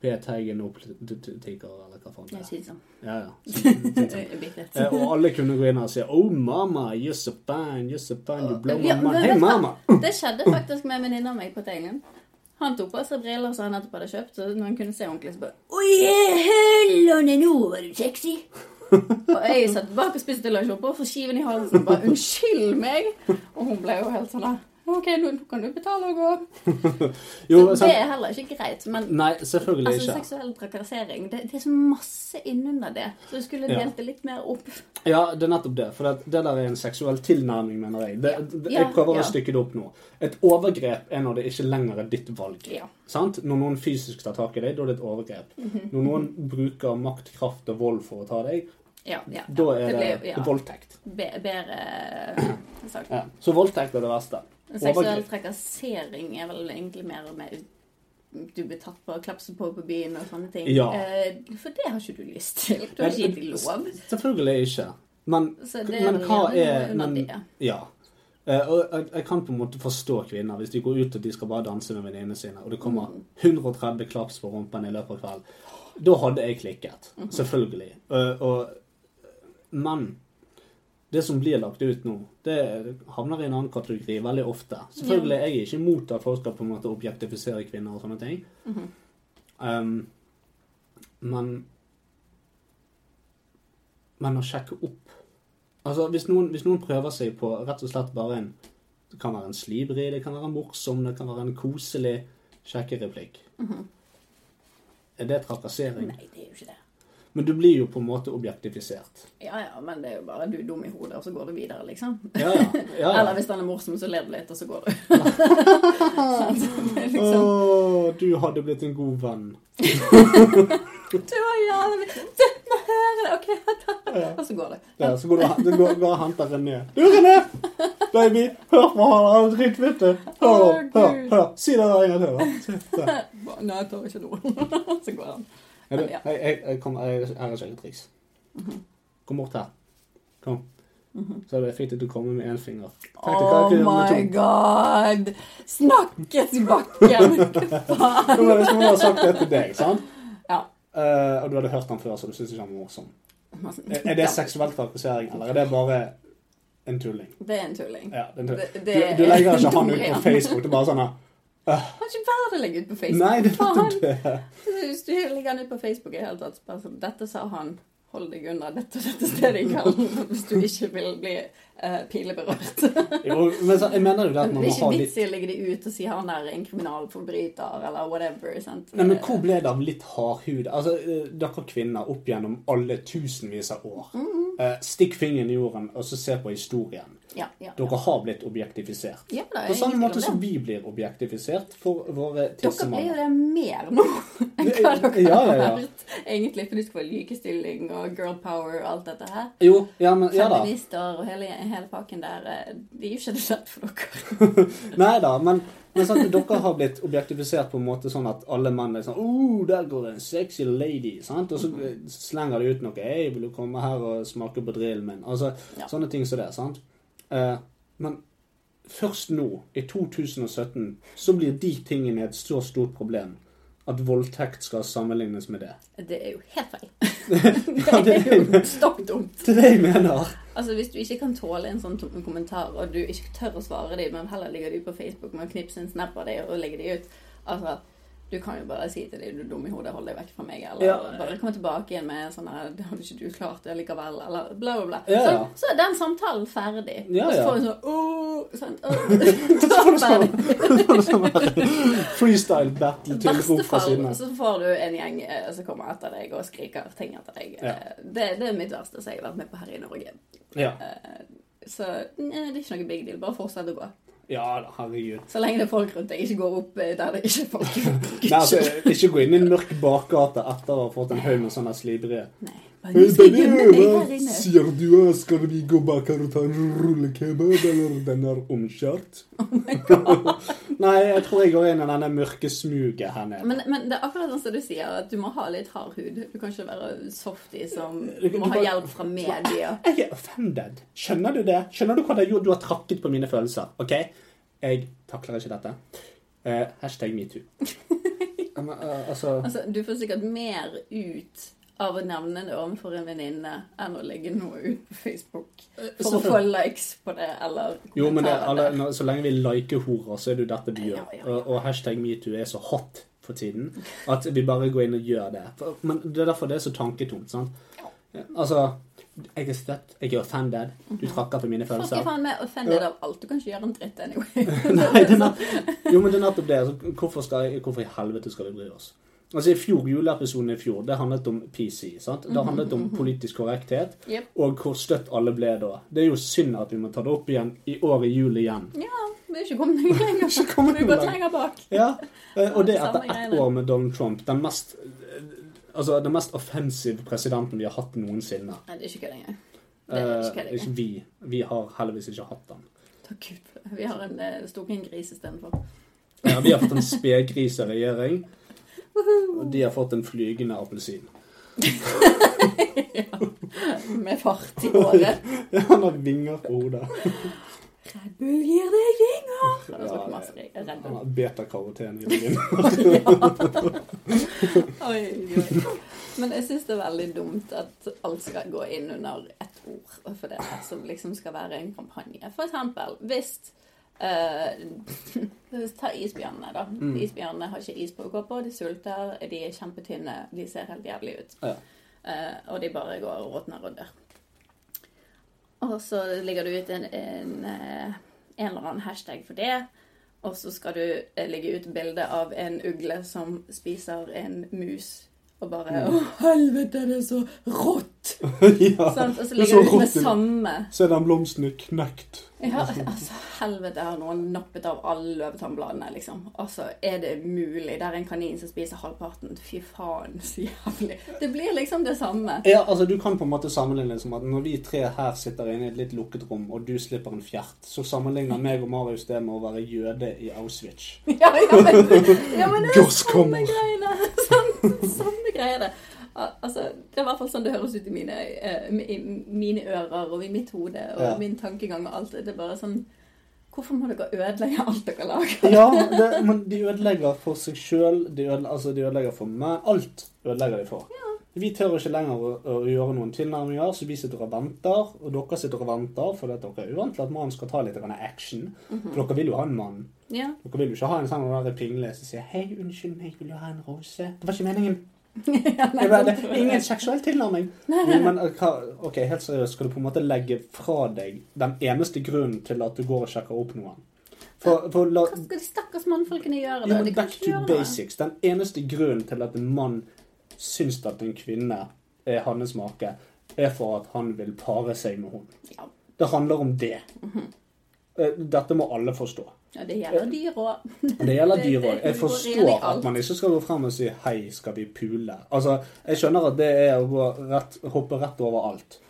Speaker 2: Per Teigen og politiker eller hva faen Mm, det
Speaker 4: Jeg
Speaker 2: er.
Speaker 4: synes sånn.
Speaker 2: Ja, ja.
Speaker 4: Bitte
Speaker 2: Eh, Og alle kunne gå inn og si 'Oh, mama, you're so fine, you're so fine, you blow my
Speaker 4: Ja,
Speaker 2: mind'.
Speaker 4: men
Speaker 2: Hey,
Speaker 4: vet du hva?
Speaker 2: mama!
Speaker 4: Det skjedde faktisk med en venninne av meg på Teglen. Han tok på seg briller som han nettopp hadde kjøpt, og når han kunne se ordentlig, så bare Oi, hellene, nå var du sexy! og jeg satt bak og spiste lunsj oppå og får skiven i halsen og bare Unnskyld meg! Og hun ble jo helt sånn der OK, nå nå kan du betale og gå.
Speaker 2: Jo, altså-
Speaker 4: det
Speaker 2: sant?
Speaker 4: er heller ikke greit, men
Speaker 2: Nei, selvfølgelig
Speaker 4: altså,
Speaker 2: ikke.
Speaker 4: seksuell trakassering det, det er så masse innunder det. Så du skulle
Speaker 2: Ja.
Speaker 4: delt det litt mer opp.
Speaker 2: Ja, det er nettopp det. For det, det der er en seksuell tilnærming, mener jeg. Det, det, jeg
Speaker 4: Ja,
Speaker 2: prøver
Speaker 4: ja.
Speaker 2: å stykke det opp nå. Et overgrep er når det ikke lenger er ditt valg.
Speaker 4: Ja.
Speaker 2: Sant? Når noen fysisk tar tak i deg, da er det et overgrep. Når noen bruker makt, kraft og vold for å ta deg,
Speaker 4: Ja, ja, ja.
Speaker 2: da er det,
Speaker 4: blir- ja,
Speaker 2: voldtekt.
Speaker 4: be, bedre sagt.
Speaker 2: Ja. Så voldtekt er det verste.
Speaker 4: Seksuell
Speaker 2: Overgrep.
Speaker 4: trakassering er vel egentlig mer med du blir tatt på og klapset på på byen og sånne ting.
Speaker 2: Ja.
Speaker 4: Eh, For det har ikke du lyst til. Du har ikke gitt deg lov.
Speaker 2: S- Selvfølgelig ikke. Men,
Speaker 4: Så det er
Speaker 2: men
Speaker 4: vel
Speaker 2: hva
Speaker 4: gjerne
Speaker 2: er
Speaker 4: noe under
Speaker 2: men,
Speaker 4: det.
Speaker 2: Ja. Eh, og jeg, jeg kan på en måte forstå kvinner hvis de går ut og de skal bare danse med venninnene sine, og det kommer 130 klaps på rumpen i løpet av kvelden. Da hadde jeg klikket. Selvfølgelig. Eh, og, men det som blir lagt ut nå, det havner i en annen kategori veldig ofte. Selvfølgelig, jeg er ikke imot at folk skal på en måte objektifisere kvinner og sånne ting. um, men Men å sjekke opp Altså, hvis noen, hvis noen prøver seg på rett og slett bare en Det kan være en slibrig, det kan være morsom, det kan være en koselig sjekkereplikk. Er det trakassering?
Speaker 4: Mhm. Nei, det er jo ikke det.
Speaker 2: Men du blir jo på en måte objektifisert.
Speaker 4: Ja ja, men det er jo bare du er dum i hodet, og så går du videre, liksom.
Speaker 2: Ja, ja. ja, ja.
Speaker 4: Eller hvis den er morsom, så ler du litt, og så går du. Sant? Det
Speaker 2: Å,
Speaker 4: er liksom,
Speaker 2: du hadde blitt en god venn.
Speaker 4: du var jævlig Du må høre det! OK. Og så går du.
Speaker 2: Ja, så går du, du går, går og henter René. Du, René! Baby, hør på han, han er drittfitte. Hør,
Speaker 4: Å,
Speaker 2: hør,
Speaker 4: Gud.
Speaker 2: hør. Si det der en gang til. da. Se,
Speaker 4: Bare, Nei, jeg tør ikke nå. Så går han.
Speaker 2: der. Er du-
Speaker 4: Ja. Mhm.
Speaker 2: Jeg, jeg, jeg, kom, jeg, jeg har ikke et triks. Kom bort her. Kom. Så er det fint at du kommer med én finger. Tenk deg hva
Speaker 4: Oh
Speaker 2: jeg kunne med to.
Speaker 4: my god! Snakkes i bakken! Hva faen?
Speaker 2: Nå var det som om jeg liksom hadde sagt det til deg, sant?
Speaker 4: Ja.
Speaker 2: Eh, og du hadde hørt han før, så du syntes ikke han var morsom. Er, er det seksuell trakassering, eller er det bare en tulling?
Speaker 4: Det er en tulling.
Speaker 2: Ja, det er en tulling.
Speaker 4: Det- det
Speaker 2: Du, du
Speaker 4: er
Speaker 2: legger
Speaker 4: en
Speaker 2: ikke han ut på
Speaker 4: tulling.
Speaker 2: Facebook. Det er bare sånn her
Speaker 4: Kan ikke verden legge ut på Facebook?
Speaker 2: Nei, det er
Speaker 4: Faen.
Speaker 2: nettopp det.
Speaker 4: Hvis du legger den ut på Facebook i hele tatt, så bare sånn Dette sa han. Hold deg unna dette og dette stedet i kvelden hvis du ikke vil bli uh, pileberørt. Det
Speaker 2: Jo, men så, jeg mener jo det at man må
Speaker 4: er ikke
Speaker 2: ha
Speaker 4: vits
Speaker 2: litt
Speaker 4: i å legge det ut og si han der er en kriminalforbryter eller whatever. sant? Eh,
Speaker 2: Nei, men hvor ble det av litt hardhud? Altså, eh, dere kvinner opp gjennom alle tusenvis av år.
Speaker 4: Mm.
Speaker 2: Eh, stikk fingeren i jorden, og så se på historien.
Speaker 4: Ja, ja.
Speaker 2: Dere har blitt objektifisert.
Speaker 4: Ja, det er
Speaker 2: på samme
Speaker 4: ingen tvil om
Speaker 2: måte
Speaker 4: det.
Speaker 2: som vi blir objektifisert for våre
Speaker 4: Dere blir jo
Speaker 2: tissemanner.
Speaker 4: det mer nå enn hva dere
Speaker 2: Ja, ja,
Speaker 4: har
Speaker 2: ja.
Speaker 4: vært. Egentlig, for du skal få likestilling og girl power og alt dette her.
Speaker 2: Jo, ja, men, ja da.
Speaker 4: Feminister og hele, hele pakken der. eh, Det er jo ikke det lett for dere.
Speaker 2: Nei da, men, men sant, dere har blitt objektifisert på en måte sånn at alle menn er sånn oh, der går det en sexy lady, sant? Og så eh,
Speaker 4: Mm-hmm.
Speaker 2: slenger de ut noe. Hei, vil du komme her og smake på drillen min? Altså,
Speaker 4: Ja.
Speaker 2: Sånne ting som det, sant? Eh, men først nå, i 2017, så blir de tingene et så stort problem at voldtekt skal sammenlignes med det.
Speaker 4: Det er jo helt feil.
Speaker 2: Ja, det er jo det
Speaker 4: Stopp dumt.
Speaker 2: er det jeg mener.
Speaker 4: Altså, Hvis du ikke kan tåle en sånn tom- kommentar, og du ikke tør å svare dem, men heller ligger de ut på Facebook med å knipse en snap av dem og legge dem ut Altså, Du kan jo bare si til dem du er dum i hodet, hold deg vekk fra meg, eller
Speaker 2: Ja.
Speaker 4: bare komme tilbake igjen med sånn her Det hadde ikke du klart det likevel, eller bla, bla, bla.
Speaker 2: Ja, ja.
Speaker 4: Sånn, så er den samtalen ferdig.
Speaker 2: Ja,
Speaker 4: Og så
Speaker 2: ja.
Speaker 4: får hun sånn Åh! Sånn, «Åh!» da er ferdig.
Speaker 2: Freestyle battle til
Speaker 4: verste
Speaker 2: rop sånn fra siden
Speaker 4: fall altså.
Speaker 2: av.
Speaker 4: så får du en gjeng eh, som kommer etter deg og skriker ting etter deg.
Speaker 2: Ja.
Speaker 4: Eh, Det, det er mitt verste som jeg har vært med på her i Norge.
Speaker 2: Ja.
Speaker 4: Eh, Så nei, det er ikke noe big deal. Bare fortsett å gå.
Speaker 2: ja da, herregud.
Speaker 4: Så lenge det er folk rundt deg, ikke går opp eh, der det ikke er folk. Gud,
Speaker 2: Nei, altså,
Speaker 4: skyld.
Speaker 2: ikke gå inn i en mørk bakgate etter å ha fått en haug med sånne slibrige.
Speaker 4: Nei, bare nå skal jeg gjemme deg her inne.
Speaker 2: sier du? eh, Skal vi gå bak her og ta en rullekebab, eller den er omkjørt?
Speaker 4: Oh
Speaker 2: Nei, jeg tror jeg går inn i denne mørke smuget her nede.
Speaker 4: Men, men det er akkurat sånn som du sier, at du må ha litt hard hud. Du kan ikke være softy som
Speaker 2: Du kan- du
Speaker 4: må ha
Speaker 2: kan-
Speaker 4: hjelp fra media.
Speaker 2: Jeg er offended. Skjønner du det? Skjønner du hva det gjorde? Du har trakket på mine følelser, OK? Jeg takler ikke dette. Eh, hashtag metoo. Ja, men, eh, altså
Speaker 4: Altså, du får sikkert mer ut av å nevne det overfor en venninne enn å legge noe ut på Facebook for å få likes på det eller
Speaker 2: Eh, Jo, men det,
Speaker 4: kommentarer
Speaker 2: alle,
Speaker 4: der.
Speaker 2: nå- så lenge vi liker horer, så er det jo dette vi
Speaker 4: Ja,
Speaker 2: gjør.
Speaker 4: ja, ja.
Speaker 2: Og, og hashtag metoo er så hot for tiden at vi bare går inn og gjør det. For, men det er derfor det er så tanketomt. sant? Altså Jeg er støtt, jeg er offended,
Speaker 4: Mhm.
Speaker 2: du trakker på mine
Speaker 4: Folk er
Speaker 2: følelser.
Speaker 4: faen meg offended av alt. Du kan ikke gjøre en dritt anyway.
Speaker 2: Nei, det er nett- jo, men det er nettopp det. Altså, hvorfor, skal, hvorfor i helvete skal vi bry oss? Altså, i fjor, Juleepisoden i fjor det handlet om PC. sant?
Speaker 4: Mhm.
Speaker 2: Det handlet om politisk korrekthet,
Speaker 4: Jep.
Speaker 2: og hvor støtt alle ble da. Det er jo synd at vi må ta det opp igjen i år i jul igjen.
Speaker 4: Ja, vi er ikke kommet noe lenger.
Speaker 2: Ikke kommet
Speaker 4: vi
Speaker 2: noe
Speaker 4: har gått
Speaker 2: lenger.
Speaker 4: lenger bak.
Speaker 2: Ja, eh, og det
Speaker 4: Samme
Speaker 2: etter ett
Speaker 4: greiene.
Speaker 2: år med Donald Trump. Den mest, eh, altså, den mest offensive presidenten vi har hatt noensinne.
Speaker 4: Nei, det er ikke kødd engang. Det er
Speaker 2: Eh,
Speaker 4: ikke kødd
Speaker 2: ikke
Speaker 4: engang.
Speaker 2: vi. Vi har heldigvis ikke hatt den.
Speaker 4: Takk Gud. for det. Vi har en eh, storken gris istedenfor.
Speaker 2: Ja, Eh, vi har fått en spedgriseregjering. Og de har fått en flygende appelsin.
Speaker 4: Med fart i håret.
Speaker 2: Han har vinger på hodet.
Speaker 4: Red Bull gir deg vinger! Han har
Speaker 2: Ja,
Speaker 4: drukket
Speaker 2: det-
Speaker 4: masse Red
Speaker 2: Han
Speaker 4: Bull.
Speaker 2: har beta-karoten i ryggen.
Speaker 4: Oi, oi. Men jeg syns det er veldig dumt at alt skal gå inn under ett ord. For det er som liksom skal være en kampanje. For eksempel hvis eh, Ta isbjørnene, da. Isbjørnene har ikke is på å gå på. De sulter, de er kjempetynne, de ser helt jævlig ut.
Speaker 2: Ja.
Speaker 4: Eh, og de bare går og råtner og dør. Og så ligger du ut en, en, eh, en eller annen hashtag for det. Og så skal du eh, legge ut bilde av en ugle som spiser en mus. Og bare Å, helvete, det er så rått!
Speaker 2: Mm. ja.
Speaker 4: Sant? Og så
Speaker 2: Det er
Speaker 4: ligger
Speaker 2: så
Speaker 4: du ut med
Speaker 2: rått, det.
Speaker 4: samme.
Speaker 2: Så er den blomsten knekt.
Speaker 4: Ja, altså, helvete, har noen nappet av alle løvetannbladene, liksom. Altså, er det mulig? Det er en kanin som spiser halvparten. Fy faen, så jævlig. Det blir liksom det samme.
Speaker 2: Ja, altså Du kan på en måte sammenligne det som at når vi tre her sitter inne i et litt lukket rom, og du slipper en fjert, så sammenligner meg og Marius det med å være jøde i Auschwitz.
Speaker 4: Ja, ja, men, ja, men det er
Speaker 2: Gass
Speaker 4: samme
Speaker 2: kommer.
Speaker 4: greiene. Samme, samme greiene. Al- Altså, det er i hvert fall sånn det høres ut i mine, eh, i mine ører og i mitt hode og
Speaker 2: Ja.
Speaker 4: min tankegang og alt. Det er bare sånn Hvorfor må dere ødelegge alt dere lager?
Speaker 2: Ja, det, men de ødelegger for seg sjøl, de, ødele- altså, de ødelegger for meg. Alt ødelegger de for. Vi tør ikke lenger å, å gjøre noen tilnærminger, så vi sitter og venter. Og dere sitter og venter fordi at dere er uvant til at mannen skal ta litt grann action. For dere vil jo ha en mann.
Speaker 4: Mhm. Ja.
Speaker 2: Dere vil jo ikke ha en sånn der pingle som sier 'Hei, unnskyld meg, vil du ha en rose?' Det var ikke meningen.
Speaker 4: ja nei,
Speaker 2: Det var, det
Speaker 4: sånn tror
Speaker 2: er
Speaker 4: jeg.
Speaker 2: ingen seksuell tilnærming. Men eh, hva, ok, helt seriøst, skal du på en måte legge fra deg den eneste grunnen til at du går og sjekker opp noen? For, for la,
Speaker 4: Hva skal de stakkars mannfolkene gjøre?
Speaker 2: jo,
Speaker 4: da?
Speaker 2: men
Speaker 4: de kan
Speaker 2: back
Speaker 4: ikke
Speaker 2: to
Speaker 4: gjøre noe.
Speaker 2: basics. Den eneste grunnen til at en mann syns at en kvinne er hans make, er for at han vil pare seg med henne.
Speaker 4: Ja. Mhm.
Speaker 2: Det handler om det. Eh, Dette må alle forstå.
Speaker 4: ja, det gjelder dyr òg.
Speaker 2: Det gjelder
Speaker 4: Det-
Speaker 2: dyr òg. Jeg
Speaker 4: det går inn i
Speaker 2: forstår
Speaker 4: alt.
Speaker 2: at man ikke skal gå frem og si 'hei, skal vi pule'? Altså, Jeg skjønner at det er å gå rett, hoppe rett over alt.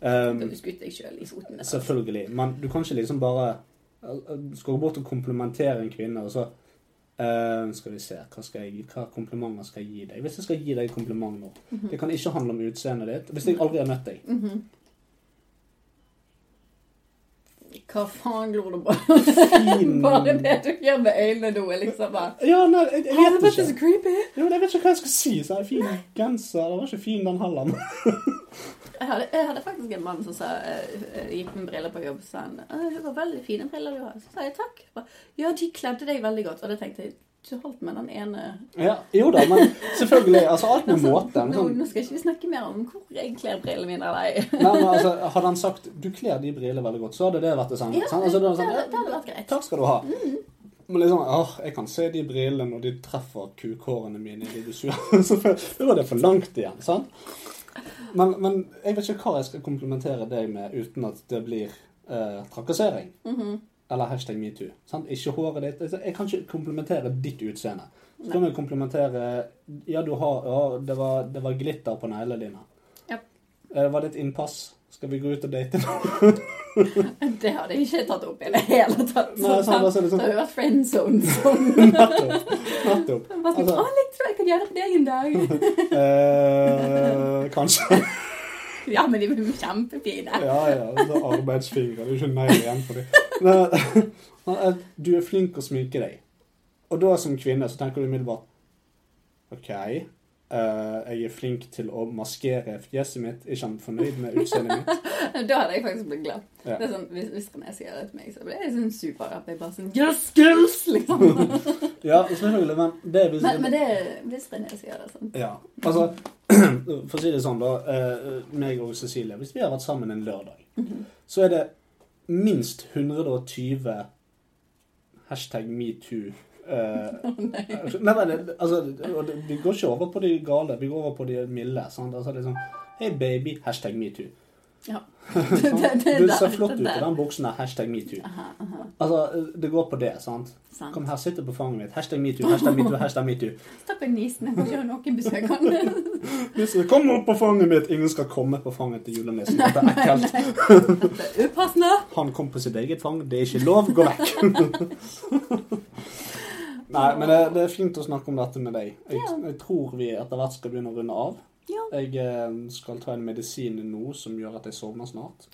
Speaker 4: Du
Speaker 2: Ehm,
Speaker 4: skutt deg sjøl i foten. med det.
Speaker 2: selvfølgelig. Men du kan ikke liksom bare eh, skal gå bort og komplimentere en kvinne, og så ehm, Skal vi se hva, skal jeg, hva komplimenter skal jeg gi deg? Hvis jeg skal gi deg et kompliment nå
Speaker 4: Mhm.
Speaker 2: Det kan ikke handle om utseendet ditt. Hvis jeg aldri har møtt deg
Speaker 4: Hva faen glor du på?
Speaker 2: Fin
Speaker 4: Bare det du gjør med øynene nå, er liksom bare
Speaker 2: Ja, nei, jeg, jeg vet
Speaker 4: Helvete,
Speaker 2: ikke.
Speaker 4: så creepy!
Speaker 2: Jo, men jeg vet ikke hva jeg skal si. Så er det fin genser. Det var ikke fin, den heller.
Speaker 4: Jeg hadde, jeg hadde faktisk en mann som sa, eh, eh, gikk med briller på jobb. sa han, «Å, det var veldig fine briller du har. Så sa jeg takk. Ba, Ja, de kledde deg veldig godt. Og da tenkte jeg du holdt med den ene
Speaker 2: Ja, jo da, men selvfølgelig. Altså, alt med måten.
Speaker 4: nå,
Speaker 2: Sånn,
Speaker 4: nå skal ikke vi snakke mer om hvor jeg kler brillene mine eller ei.
Speaker 2: nei, men altså, hadde han sagt 'du kler de brillene veldig godt', så hadde det vært det samme.
Speaker 4: Ja,
Speaker 2: sant? altså, det var
Speaker 4: det
Speaker 2: sånn,
Speaker 4: hadde- det
Speaker 2: ja,
Speaker 4: hadde vært greit.
Speaker 2: Takk skal du ha. Men liksom, åh, jeg kan se de brillene når de treffer kukhårene mine i det visuelle. Så for- Da var det for langt igjen, sant? Men, men jeg vet ikke hva jeg skal komplimentere deg med uten at det blir eh, trakassering.
Speaker 4: Mhm.
Speaker 2: Eller hashtag metoo. sant? Ikke håret ditt. Altså, Jeg kan ikke komplimentere ditt utseende. Så kan jeg komplimentere Ja, du har, ja det, var, det var glitter på neglene dine.
Speaker 4: Ja.
Speaker 2: Eh, var det et innpass? Skal vi gå ut og date?
Speaker 4: Det hadde jeg ikke tatt opp i det hele tatt.
Speaker 2: Nei,
Speaker 4: Så
Speaker 2: sånn,
Speaker 4: da-
Speaker 2: bare så det sånn.
Speaker 4: Det hadde jo vært friend zone. Sånn.
Speaker 2: Nettopp. Nettopp.
Speaker 4: Bare sånn,
Speaker 2: Altså,
Speaker 4: «Å, jeg tror jeg kan gjøre det en dag.
Speaker 2: eh, kanskje.
Speaker 4: Ja, men de er jo kjempefine.
Speaker 2: Ja, ja. Det er arbeidsfingre. Det er ikke nei igjen for dem. Du er flink å sminke deg. Og da som kvinne så tenker du umiddelbart OK, eh, jeg er flink til å maskere fjeset mitt. Ikke han fornøyd med utseendet mitt?
Speaker 4: Da hadde jeg faktisk blitt glad.
Speaker 2: Ja.
Speaker 4: Det er sånn, hvis, hvis René sier det til meg, så blir jeg sånn superrapp. Jeg bare sånn Yes, girls! Liksom.
Speaker 2: Ja, selvfølgelig, men det er hvis-
Speaker 4: Men, men det hvis René sier det sånn.
Speaker 2: Ja, altså For å si det sånn da eh, Meg og Cecilie, hvis vi har vært sammen en lørdag
Speaker 4: Mhm.
Speaker 2: Så er det minst 120 Hashtag metoo eh, Nei, nei, det- altså og det- Vi går ikke over på de gale Vi går over på de milde sant? Altså liksom Hei baby, hashtag metoo
Speaker 4: Ja. Det, det, det,
Speaker 2: Du ser
Speaker 4: der,
Speaker 2: flott ut i
Speaker 4: det der.
Speaker 2: den buksen her, hashtag metoo Altså, eh, det går på det, sant?
Speaker 4: Sant.
Speaker 2: Kom her, sitte på fanget mitt Hashtag metoo, hashtag metoo, hashtag metoo
Speaker 4: Stakkars nisen. Jeg får ikke ha noen besøk. Han.
Speaker 2: Hvis jeg kommer opp på fanget mitt, ingen skal komme på fanget til julenissen. Dette er ekkelt.
Speaker 4: Det er Upassende.
Speaker 2: Han kom på sitt eget fang, det er ikke lov, gå vekk. Nei, men det, det er fint å snakke om dette med deg. Jeg,
Speaker 4: Ja.
Speaker 2: jeg tror vi etter hvert skal begynne å runde av.
Speaker 4: Ja.
Speaker 2: Jeg eh, skal ta en medisin nå som gjør at jeg sovner snart.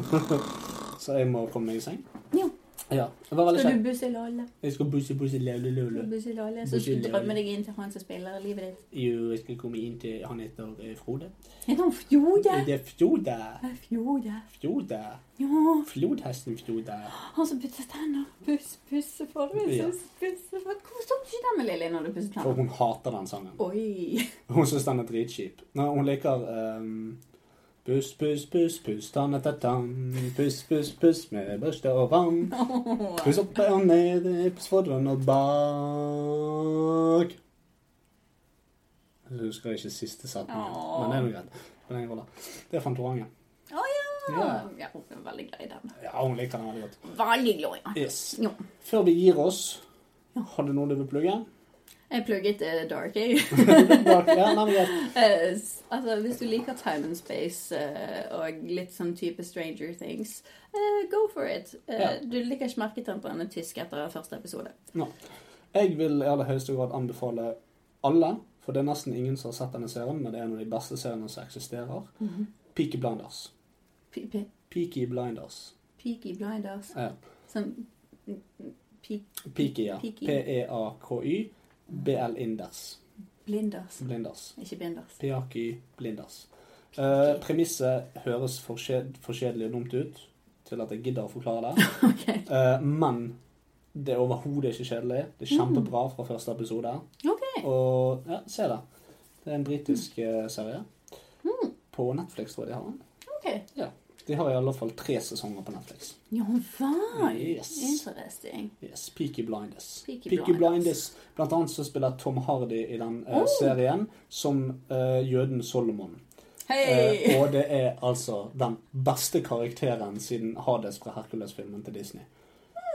Speaker 2: så jeg må komme meg i seng.
Speaker 4: Ja.
Speaker 2: Ja, Det var veldig
Speaker 4: Skal du
Speaker 2: kjekt.
Speaker 4: busse Lalle?
Speaker 2: Jeg skal busse, busse, lele,
Speaker 4: Skal
Speaker 2: lele.
Speaker 4: du busse Lalle? Så skal
Speaker 2: Busse
Speaker 4: du drømme
Speaker 2: Lalle.
Speaker 4: deg inn til han som spiller livet ditt.
Speaker 2: Jo, jeg skal komme inn til Han heter eh, Frode.
Speaker 4: Er det han Fjode?
Speaker 2: Det er Fjode.
Speaker 4: Ja, Fjode.
Speaker 2: Fjode.
Speaker 4: Ja,
Speaker 2: Flodhesten Fjode.
Speaker 4: han som pusser tenner. Puss, pusse for
Speaker 2: Ja.
Speaker 4: puss, pusse for Hvorfor står du ikke der med Lilly når du pusser
Speaker 2: For
Speaker 4: tenner?
Speaker 2: hun hater den sangen.
Speaker 4: Oi.
Speaker 2: Hun syns den er dritkjip. Nei, hun liker ehm, Puss, puss, puss, puss, tanne-ta-tam. Puss, puss, puss med børste og vann. Puss opp og ned, puss foran og bak. Jeg husker ikke siste setningen,
Speaker 4: Åh.
Speaker 2: men det er noe greit. Men det er en rolle. Det er Fantorangen.
Speaker 4: Å ja.
Speaker 2: Ja.
Speaker 4: ja! Hun er veldig glad i den.
Speaker 2: Ja, hun liker den veldig godt.
Speaker 4: Veldig glad i den.
Speaker 2: Yes.
Speaker 4: Ja.
Speaker 2: Før vi gir oss, har du noe du vil plugge?
Speaker 4: Jeg plugget uh, Dark Age.
Speaker 2: Bak- Ja, nei, men greit.
Speaker 4: Eh, s- altså, hvis du liker time and space eh, og litt sånn type Stranger Things, eh, go for it. Eh,
Speaker 2: Ja.
Speaker 4: Du liker ikke merketemperen tysk etter første episode.
Speaker 2: Jeg vil i aller høyeste grad anbefale alle, for det er nesten ingen som har sett denne serien, men det er en av de beste seriene som eksisterer. Peaky Blinders.
Speaker 4: P- p-
Speaker 2: Peaky Blinders.
Speaker 4: Peaky Blinders.
Speaker 2: Ja.
Speaker 4: Sånn mm, mm, Peak
Speaker 2: Peaky, ja.
Speaker 4: Peaky.
Speaker 2: P-e-a-k-y. BL-inders.
Speaker 4: Blinders.
Speaker 2: Blinders.
Speaker 4: Ikke Blinders.
Speaker 2: Peaky Blinders. Eh, Premisset høres for kjed- for kjedelig og dumt ut til at jeg gidder å forklare det.
Speaker 4: Ok.
Speaker 2: Eh, men det er overhodet ikke kjedelig. Det er kjempebra fra første episode. Oh.
Speaker 4: Ok.
Speaker 2: Og ja, se det. Det er en britisk eh, serie.
Speaker 4: Mm.
Speaker 2: På Netflix, tror jeg de har den.
Speaker 4: ok.
Speaker 2: De har i alle fall tre sesonger på Netflix.
Speaker 4: Ja vel.
Speaker 2: Yes.
Speaker 4: Interesting.
Speaker 2: Yes, Peaky Blinders.
Speaker 4: Peaky
Speaker 2: Blinders.
Speaker 4: Blinders. Oh.
Speaker 2: Blant annet så spiller Tom Hardy i den eh, serien som eh, jøden Solomon. Eh,
Speaker 4: Hei!
Speaker 2: og det er altså den beste karakteren siden Hades fra Hercules-filmen til Disney.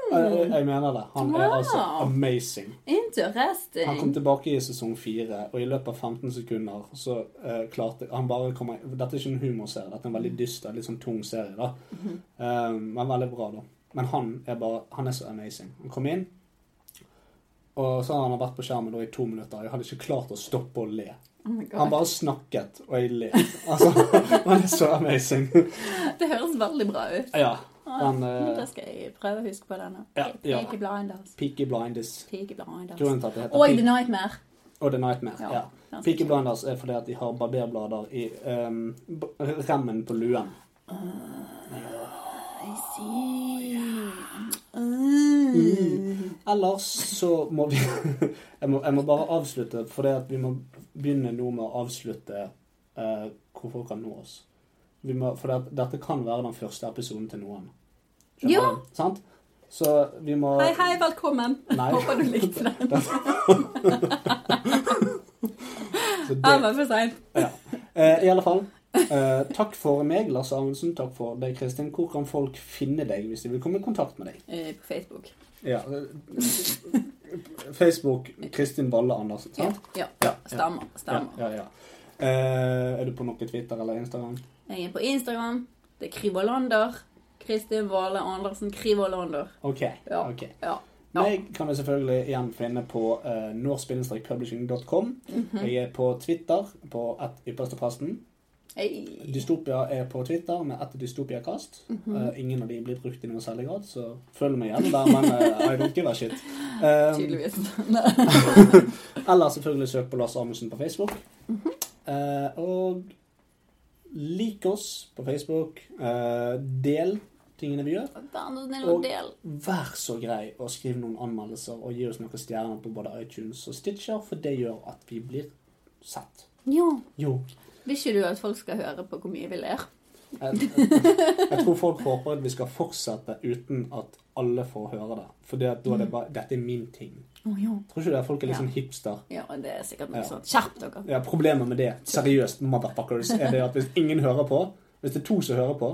Speaker 2: Eh, eh, jeg mener det. Han er
Speaker 4: Mm. Wow.
Speaker 2: altså amazing. Han kom
Speaker 4: Interesting.
Speaker 2: tilbake i sesong fire, og i løpet av 15 sekunder så eh, klarte han bare å komme Dette er ikke en humorserie, dette er en
Speaker 4: Mm.
Speaker 2: veldig dyster, litt sånn tung serie, da. Eh, men veldig bra, da. Men han er bare Han er så amazing. Han kom inn, og så har han vært på skjermen da i to minutter. Jeg hadde ikke klart å stoppe å le.
Speaker 4: Oh my
Speaker 2: Han
Speaker 4: god.
Speaker 2: bare snakket, og jeg le. Altså, han er så amazing.
Speaker 4: Det høres veldig bra ut.
Speaker 2: ja.
Speaker 4: Ah,
Speaker 2: Han
Speaker 4: men
Speaker 2: uh,
Speaker 4: Da skal jeg prøve å huske på denne.
Speaker 2: Äh, Ja, ja.
Speaker 4: Peaky Blinders.
Speaker 2: Peaky Blinders.
Speaker 4: Peaky Blinders. Oh,
Speaker 2: Grunnen til at det heter
Speaker 4: Og The
Speaker 2: Peaky-
Speaker 4: Nightmare.
Speaker 2: Og The Nightmare.
Speaker 4: Ja,
Speaker 2: Ja.
Speaker 4: ganske
Speaker 2: Peaky
Speaker 4: kjent.
Speaker 2: Blinders er fordi at de har barberblader i ehm, b- remmen på luen.
Speaker 4: Ah, I
Speaker 2: Oh,
Speaker 4: see. Mm.
Speaker 2: Ellers så må vi jeg, må, jeg må bare avslutte, fordi at vi må begynne nå med å avslutte eh, hvor folk kan nå oss. Vi må, for det, dette kan være den første episoden til noen. Skjønner
Speaker 4: Ja.
Speaker 2: du? Sant? Så vi må
Speaker 4: Hei, hei, velkommen.
Speaker 2: Nei.
Speaker 4: Håper du likte den.
Speaker 2: Så det-
Speaker 4: Ja, men for sent.
Speaker 2: Eh, I alle fall. Eh, takk for meg, Lars Amundsen. Takk for deg, Kristin. Hvor kan folk finne deg hvis de vil komme i kontakt med deg?
Speaker 4: Eh, På Facebook.
Speaker 2: Ja. Facebook Kristin Balle Andersen,
Speaker 4: Ja.
Speaker 2: sant?
Speaker 4: ja.
Speaker 2: Ja,
Speaker 4: Stemmer.
Speaker 2: Ja,
Speaker 4: stemmer.
Speaker 2: ja, ja. Eh, er du på noe Twitter eller Instagram?
Speaker 4: Jeg er på Instagram. Det er Krivolander. Kristin Vale Andersen Krivolander.
Speaker 2: Ok.
Speaker 4: Ja.
Speaker 2: ok.
Speaker 4: Ja. Ja.
Speaker 2: Meg kan du selvfølgelig igjen finne på eh, norsk-publishing.com.
Speaker 4: Mhm. Mm.
Speaker 2: Jeg er på Twitter på at ypperstepresten.
Speaker 4: Hei. Mhm.
Speaker 2: Dystopia er på Twitter med ett dystopiakast.
Speaker 4: Mm-hmm.
Speaker 2: Eh, ingen av de blir brukt i noen særlig grad, så følg meg igjen der, men eh, I don't give a shit. Eh,
Speaker 4: Tydeligvis.
Speaker 2: Eller selvfølgelig søk på Lars Amundsen på Facebook. Eh, og lik oss på Facebook. Eh, del tingene vi gjør.
Speaker 4: Vær nå snill og
Speaker 2: Og-
Speaker 4: del.
Speaker 2: Vær så grei og skriv noen anmeldelser og gi oss noen stjerner på både iTunes og Stitcher, for det gjør at vi blir sett.
Speaker 4: Ja.
Speaker 2: Jo.
Speaker 4: Vil ikke du at folk skal høre på hvor mye vi ler?
Speaker 2: Jeg, jeg tror folk håper at vi skal fortsette uten at alle får høre det. For det at da er det bare Dette er min ting.
Speaker 4: Å ja.
Speaker 2: Tror ikke det er folk er litt sånn hipster.
Speaker 4: Ja, det er sikkert noe
Speaker 2: Ja.
Speaker 4: sånt. Skjerp dere.
Speaker 2: Ja, problemet med det, seriøst, motherfuckers, er det at hvis ingen hører på, hvis det er to som hører på,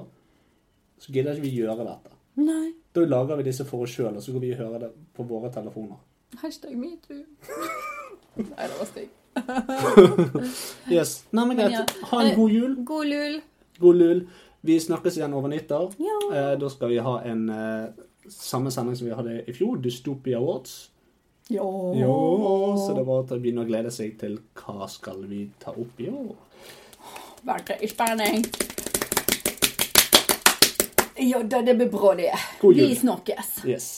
Speaker 2: så gidder ikke vi gjøre dette.
Speaker 4: Nei.
Speaker 2: Da lager vi disse for oss sjøl, og så går vi og hører det på våre telefoner.
Speaker 4: Hashtag metoo. Nei, det var stygg.
Speaker 2: Yes. Nei, men
Speaker 4: Men
Speaker 2: greit.
Speaker 4: ja.
Speaker 2: Ha en god jul.
Speaker 4: God lul.
Speaker 2: God lul. Vi snakkes igjen over nyttår.
Speaker 4: Ja.
Speaker 2: Eh, da skal vi ha en eh, samme sending som vi hadde i fjor, Dystopia Awards.
Speaker 4: Ja.
Speaker 2: Jo, så det er bare til å begynne å glede seg til hva skal vi ta opp i år.
Speaker 4: Varte i spenning. Ja da, det blir bra, det.
Speaker 2: God
Speaker 4: Vi
Speaker 2: jul.
Speaker 4: snakkes.
Speaker 2: Yes.